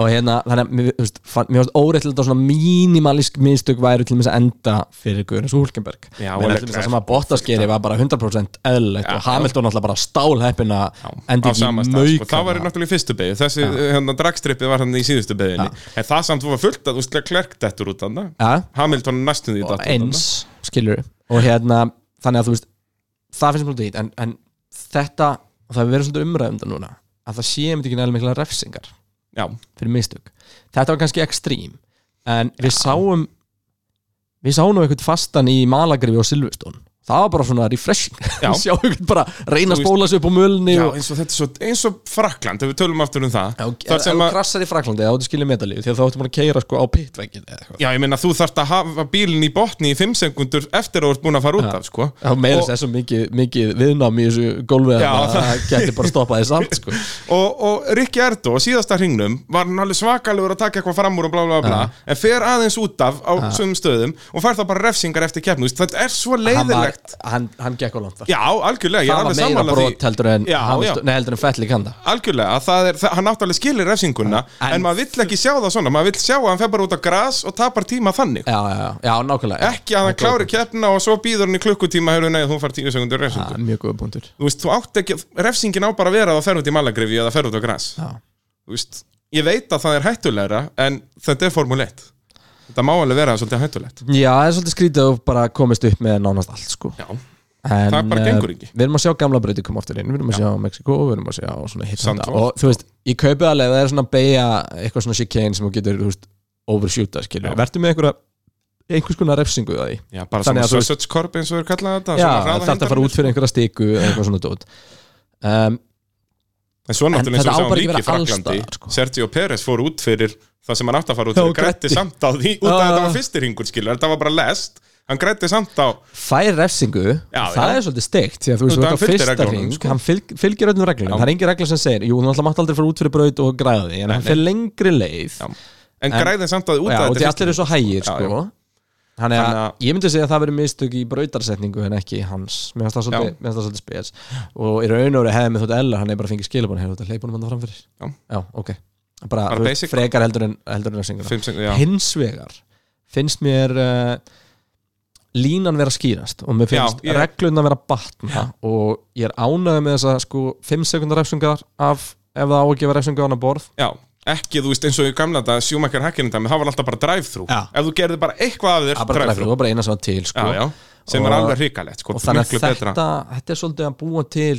[SPEAKER 2] og hérna, þannig að, mér- þú veist, fann- mér varst óreittlega svona mínimalísk mistök væri til þess að enda fyrir Guðnars Hulkenberg
[SPEAKER 1] Já, og
[SPEAKER 2] menn
[SPEAKER 1] Leclerc.
[SPEAKER 2] allir þess að sama bóttaskeri var bara 100% eðlilegt
[SPEAKER 1] Já,
[SPEAKER 2] og Hamilton alltaf bara stálheppin að
[SPEAKER 1] Á
[SPEAKER 2] enda ekki
[SPEAKER 1] sama stað, sko.
[SPEAKER 2] mauka
[SPEAKER 1] Það var í náttúrulega í fyrstu beigju Þessi hérna, dragstrippið var hann í síðustu beigjunni En það samt var fullt að þú veist, klerk dettur út hann
[SPEAKER 2] Já.
[SPEAKER 1] Hamilton næstum því
[SPEAKER 2] og
[SPEAKER 1] dettur
[SPEAKER 2] eins, skilur og hérna, þannig að þú veist það finnst mér svolítið hýtt, en, en þetta og það hefur verið svolítið umræðum núna að það sé einmitt ekki nægilega mikla refsingar
[SPEAKER 1] Já,
[SPEAKER 2] fyrir mistök, þetta var kannski ekstrím en við sáum við sáum nú eitthvað fastan í Malagrifi og Silvestón, það var bara svona refreshing,
[SPEAKER 1] Já.
[SPEAKER 2] sjá eitthvað bara reyna
[SPEAKER 1] Þú
[SPEAKER 2] að
[SPEAKER 1] veist-
[SPEAKER 2] spóla sig upp á mölni
[SPEAKER 1] já
[SPEAKER 2] og
[SPEAKER 1] eins og þetta er svo eins og Frakland, ef við tölum aftur um það
[SPEAKER 2] Já, og-
[SPEAKER 1] Þar
[SPEAKER 2] ef
[SPEAKER 1] sem
[SPEAKER 2] þú
[SPEAKER 1] að-
[SPEAKER 2] krassar í Fraklandi þá áttu skilja medalíu því að þá áttu maður að keira sko á pitveggin eða eitthvað
[SPEAKER 1] Já, ég meina þú þarft að hafa bílinn í botni í 5 sekundur eftir að þú ert búin að fara út af, sko
[SPEAKER 2] Það meira
[SPEAKER 1] Og-
[SPEAKER 2] þess að mikið, mikið viðnám í þessu gólfið
[SPEAKER 1] Já,
[SPEAKER 2] að
[SPEAKER 1] það-
[SPEAKER 2] það geti bara stoppað þess samt sko.
[SPEAKER 1] og, og Rikki Erdo á síðasta hringnum var hann alveg svakalegur að taka eitthvað fram úr og bla bla bla en fer aðeins út af á sömum stöðum og fær þá bara refsingar eftir keppnu Þú veist, þetta er svo
[SPEAKER 2] hann, var,
[SPEAKER 1] leiðilegt
[SPEAKER 2] hann, hann gekk á langt þar
[SPEAKER 1] já, algjörlega, ég er
[SPEAKER 2] Það var
[SPEAKER 1] alveg
[SPEAKER 2] meira
[SPEAKER 1] sammála
[SPEAKER 2] brot
[SPEAKER 1] því
[SPEAKER 2] heldur en
[SPEAKER 1] Já, já.
[SPEAKER 2] Hamilton- nei, heldur en Fettli kanda
[SPEAKER 1] algjörlega, að það er, það, hann náttúrulega skilir refsinguna en,
[SPEAKER 2] En-
[SPEAKER 1] maður vill ekki sjá það svona maður vill sjá að hann fer bara út af gras og tapar tíma þannig
[SPEAKER 2] Já, já, já, já nákvæmlega já.
[SPEAKER 1] ekki að hann klári keppna og svo býður hann í klukkutíma hefur nei, þú fær tíu sekundur
[SPEAKER 2] Já,
[SPEAKER 1] refsingu
[SPEAKER 2] Mjög góða punktur
[SPEAKER 1] þú veist, þú átt ekki, refsingin á bara að vera að það fer út í malagrifi eða fer út á gras
[SPEAKER 2] Já.
[SPEAKER 1] Þú veist, ég veit að það er hættulegra en þetta er formulett Þetta má alveg vera svolítið hættulegt
[SPEAKER 2] Já, það er svolítið skrítið að þú bara komist upp með nánast allt sko.
[SPEAKER 1] Já,
[SPEAKER 2] en,
[SPEAKER 1] það bara
[SPEAKER 2] eh,
[SPEAKER 1] gengur ekki
[SPEAKER 2] Við erum að sjá gamla breyti koma aftur inn Við erum að sjá Mexiko, við erum að sjá svona hitt
[SPEAKER 1] Sandford.
[SPEAKER 2] þetta. Og þú veist, ég kaupi alveg að Það er svona beigja eitthvað svona chicane sem þú getur, þú veist, overshoota skilur
[SPEAKER 1] Já.
[SPEAKER 2] Vertu með einhverja, einhvers konar refsingu það í
[SPEAKER 1] Já, bara svona
[SPEAKER 2] Þannig að þú-
[SPEAKER 1] sausage corp eins og við kallað þetta
[SPEAKER 2] Já,
[SPEAKER 1] svona
[SPEAKER 2] það þarf að
[SPEAKER 1] hraðahindranir.
[SPEAKER 2] fara út fyrir einhverja stiku eða eitthvað svona dót um,
[SPEAKER 1] En svo
[SPEAKER 2] En
[SPEAKER 1] náttúrulega eins
[SPEAKER 2] þetta á
[SPEAKER 1] og
[SPEAKER 2] bara
[SPEAKER 1] við
[SPEAKER 2] ekki
[SPEAKER 1] sáum líki í
[SPEAKER 2] vera alls
[SPEAKER 1] Fraklandi
[SPEAKER 2] staðar, sko.
[SPEAKER 1] Sergio Pérez fór út fyrir það sem hann átti að fara út
[SPEAKER 2] Já,
[SPEAKER 1] fyrir
[SPEAKER 2] og
[SPEAKER 1] grætti
[SPEAKER 2] græddi.
[SPEAKER 1] samt á því út af
[SPEAKER 2] Já,
[SPEAKER 1] þetta
[SPEAKER 2] já.
[SPEAKER 1] var fyrsti ringur skilur þetta var bara lest hann grætti samt á
[SPEAKER 2] Fær refsingu,
[SPEAKER 1] Já,
[SPEAKER 2] það
[SPEAKER 1] já.
[SPEAKER 2] er svolítið steikt Því að þú
[SPEAKER 1] Þú
[SPEAKER 2] veist,
[SPEAKER 1] veist, hann
[SPEAKER 2] þú veist,
[SPEAKER 1] fylgdi
[SPEAKER 2] fyrsta
[SPEAKER 1] reglunum,
[SPEAKER 2] hring
[SPEAKER 1] sko.
[SPEAKER 2] Hann fylg, fylgir öllum reglunum, það er engin regla sem segir Jú, þú náttúrulega mátt aldrei fara út fyrir braut og græða því En hann fer lengri leið
[SPEAKER 1] Já. en græði samt á því út
[SPEAKER 2] já,
[SPEAKER 1] af
[SPEAKER 2] og því
[SPEAKER 1] þetta
[SPEAKER 2] allir eru svo hægir
[SPEAKER 1] Já,
[SPEAKER 2] sko. þannig að
[SPEAKER 1] Þannig að-
[SPEAKER 2] ég myndi segja að það verið mistök í brautarsetningu en ekki í hans, mér finnst það svolítið,
[SPEAKER 1] Já.
[SPEAKER 2] mér finnst það svolítið spes og í raun og veru hefði með þótt Eller, hann er bara fengið skilabun hefur þetta hleypunum hann framfyrir
[SPEAKER 1] Já.
[SPEAKER 2] já, ok, bara,
[SPEAKER 1] Bara
[SPEAKER 2] þú veist,
[SPEAKER 1] basic.
[SPEAKER 2] frekar heldur en, heldur en refsinguna.
[SPEAKER 1] Fimm sekúndur, já.
[SPEAKER 2] hins vegar finnst mér uh, línan vera skýrast og mér
[SPEAKER 1] Já,
[SPEAKER 2] finnst
[SPEAKER 1] ég-
[SPEAKER 2] ég... regluna vera batna og ég er ánægð með þess að sko 5 sekundar refsingar af ef það á að gefa refsingu á hana borð
[SPEAKER 1] Já, ekki þú veist eins og í gamla þetta sjúmakar hakkinu dæmi, það var alltaf bara drive-thru
[SPEAKER 2] Já.
[SPEAKER 1] ef þú gerði bara eitthvað af þér
[SPEAKER 2] að bara dræfru
[SPEAKER 1] drive-thru
[SPEAKER 2] og bara eina sem var til sko.
[SPEAKER 1] Já, já, sem er
[SPEAKER 2] Og-
[SPEAKER 1] alveg hrikalegt sko,
[SPEAKER 2] og þannig
[SPEAKER 1] miklu
[SPEAKER 2] að
[SPEAKER 1] betra
[SPEAKER 2] þetta, þetta er svolítið að búa til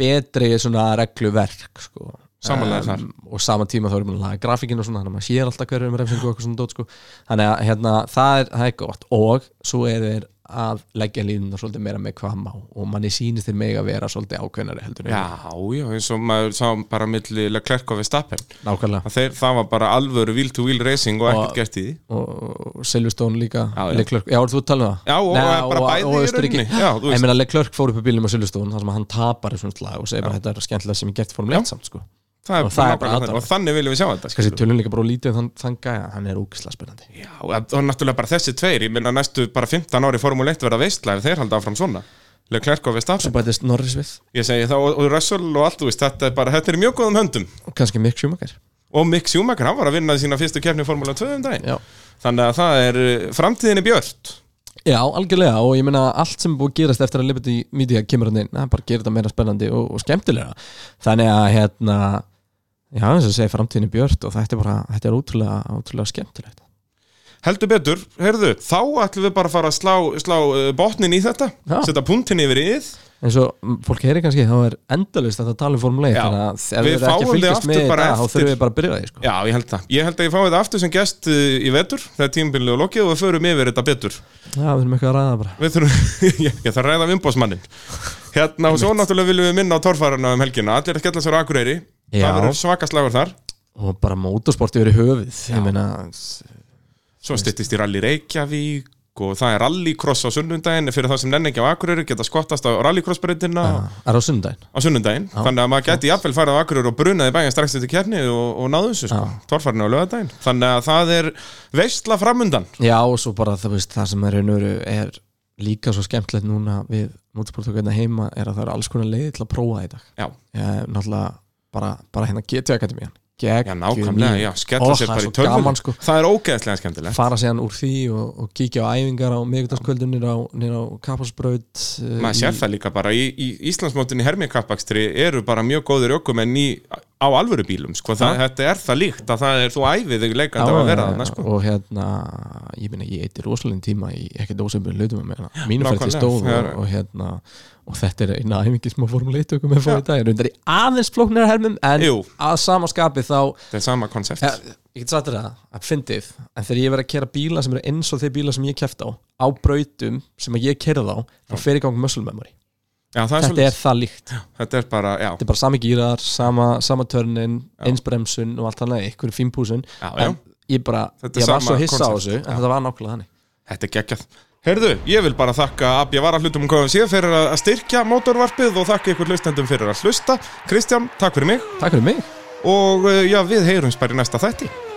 [SPEAKER 2] betri svona regluverk sko.
[SPEAKER 1] Samanlega þar.
[SPEAKER 2] og sama tíma þá erum við að laga grafíkin og svona þannig að maður sér alltaf hverju um refsingu og eitthvað svona dót sko. þannig að hérna, það, er, það er gott og svo er þeir að leggja líðuna svolítið meira með hvað má og manni sýnist þeir mega vera svolítið ákveðnari heldur en-
[SPEAKER 1] Já, já, eins og maður sá bara milli Leclerc og Verstappen
[SPEAKER 2] nákvæmlega
[SPEAKER 1] Að þeir, það var bara alvöru wheel-to-wheel racing og ekkert gert í því
[SPEAKER 2] og Silveston líka
[SPEAKER 1] Já, já.
[SPEAKER 2] Leclerc, já, þú talaðu það
[SPEAKER 1] Já, og bara bæði í
[SPEAKER 2] Austurríki.
[SPEAKER 1] rauninni. Já, þú veist.
[SPEAKER 2] Ég meina, Leclerc fór upp í bílum á Silveston þar sem hann tapar í svona slag og segir bara þetta er skemmtilega sem ég gert fórum létt samt sko.
[SPEAKER 1] það
[SPEAKER 2] Og það er bara
[SPEAKER 1] nákvæmlega
[SPEAKER 2] aðdáun.
[SPEAKER 1] þannig. og þannig viljum við sjá þetta
[SPEAKER 2] kannski
[SPEAKER 1] skilur.
[SPEAKER 2] tölum líka bara og lítið um þann, þann gæja, hann er úkislega spennandi
[SPEAKER 1] Já, og og náttúrulega bara þessi tveir ég minna næstu bara 15 ári Formule 1 verða veistla ef þeir halda áfram svona Leclerc og
[SPEAKER 2] svo
[SPEAKER 1] Verstappen
[SPEAKER 2] bætist Norris við,
[SPEAKER 1] ég segi það og, og Russell og allt þú veist þetta er bara þetta er í mjög góðum höndum
[SPEAKER 2] og kannski Mick Schumacher
[SPEAKER 1] og Mick Schumacher hann var að vinna sína fyrstu keppni í Formule 2 um daginn
[SPEAKER 2] já,
[SPEAKER 1] þannig að það er eh, framtíðin í björt
[SPEAKER 2] já algjörlega og ég meina allt sem er búið að gerast eftir að Liberty Media kemur hann inn, það bara gerir þetta meira spennandi og, og skemmtilega, þannig að hérna, já eins og segja framtíðin er björt og þetta er bara, þetta er ótrúlega ótrúlega skemmtilegt
[SPEAKER 1] heldur betur, heyrðu, þá ætlum við bara að fara að slá, slá eh, botnin í þetta
[SPEAKER 2] Já.
[SPEAKER 1] setja puntin yfir íð
[SPEAKER 2] eins og mm, fólk heyri kannski, þá er endalust að það tala um formuleið,
[SPEAKER 1] Já.
[SPEAKER 2] þannig að ef
[SPEAKER 1] Við
[SPEAKER 2] við erum ekki
[SPEAKER 1] fáum
[SPEAKER 2] að
[SPEAKER 1] þig
[SPEAKER 2] fylgjast
[SPEAKER 1] aftur
[SPEAKER 2] með í
[SPEAKER 1] bara
[SPEAKER 2] dag,
[SPEAKER 1] eftir.
[SPEAKER 2] þá þurfum við bara að byrja því sko.
[SPEAKER 1] já, ég held það, ég held að ég fái þetta aftur sem gest eh, í vetur þegar tímabilið er lokið og við förum yfir þetta betur
[SPEAKER 2] já, við þurfum eitthvað að ræða bara
[SPEAKER 1] Við þurfum, ég, ég þarf að ræða umbósmannin Hérna og svo náttúrulega viljum við minna á torfærarna um helgina Allir að skella sér á Akureyri
[SPEAKER 2] Já.
[SPEAKER 1] Það verður svakaslagur þar
[SPEAKER 2] og bara mótorsport yfir í höfuð ég meina,
[SPEAKER 1] Svo styttist í rally Reykjavík Og það er rallycross á sunnundaginn Fyrir það sem nenni ekki á Akureyri Geta skottast á rallycrossbreytina
[SPEAKER 2] er á sundaginn
[SPEAKER 1] á sunnundaginn Þannig að maður geti jafnvel farið á Akureyri Og brunaði bæjan strax eftir kjarni og, og náðu þessu sko. Torfærarna á lögadaginn Þannig að það er veistla framundan
[SPEAKER 2] Já og svo bara það, veist, það sem er, raun og veru er líka svo skemmtilegt núna við mótorsportökuðna heima er að það eru alls konar leiði til að prófa það í dag
[SPEAKER 1] Já,
[SPEAKER 2] ég, Náttúrulega bara, bara hérna GT Akademían
[SPEAKER 1] já nákvæmlega, já, skella sér bara í
[SPEAKER 2] gaman,
[SPEAKER 1] tölvun
[SPEAKER 2] sko.
[SPEAKER 1] Það er ógeðslega skemmtilegt
[SPEAKER 2] Fara síðan úr því og, og kíkja á æfingar á miðvikudagskvöldum nýra á, nýra á kapasbraut
[SPEAKER 1] maður sér það líka bara í, í Íslandsmótinni hermikappakstri eru bara mjög góður ökumenn í, á alvöru bílum sko. það, þetta er það líkt að það er þú æfið þig leikandi á að vera þarna sko.
[SPEAKER 2] Og hérna, ég meina ég eitir rosalinn tíma í ekkert ósefnbjörn hlutum að meina mínumferði
[SPEAKER 1] Nákvæmlega,
[SPEAKER 2] stóð og,
[SPEAKER 1] þegar-
[SPEAKER 2] og hérna og þetta er eina æfingi sem að fórum leitökum með fórum í dag, rundar í aðeins flóknir hermum en
[SPEAKER 1] Jú.
[SPEAKER 2] að sama skapi þá
[SPEAKER 1] þetta er sama konsept
[SPEAKER 2] ja, ég get sagt þér það, að fyndið en þegar ég verið að kera bíla sem eru eins og þeir bíla sem ég kæft á, á brautum sem að ég kerði á, þá fer í gang muscle memory
[SPEAKER 1] já, það er
[SPEAKER 2] þetta
[SPEAKER 1] svolítið,
[SPEAKER 2] er það líkt,
[SPEAKER 1] þetta er bara já,
[SPEAKER 2] þetta er bara sami gýrar sama, sama törnin, einsbremsun og allt annað, einhverjum fínpúsun
[SPEAKER 1] já, já,
[SPEAKER 2] en ég bara,
[SPEAKER 1] Þetta er
[SPEAKER 2] ég var
[SPEAKER 1] sama
[SPEAKER 2] svo hissa á
[SPEAKER 1] concept,
[SPEAKER 2] þessu en
[SPEAKER 1] já.
[SPEAKER 2] þetta var nákvæmlega þannig
[SPEAKER 1] þetta er geggjað Herðu, ég vil bara þakka Abja Varahlutum um og KFC fyrir að að styrkja mótorvarpið og þakka ykkur hlustendum fyrir að hlusta Kristján, takk fyrir mig
[SPEAKER 2] Takk fyrir mig
[SPEAKER 1] og eh, já, við heyrums bara í næsta þætti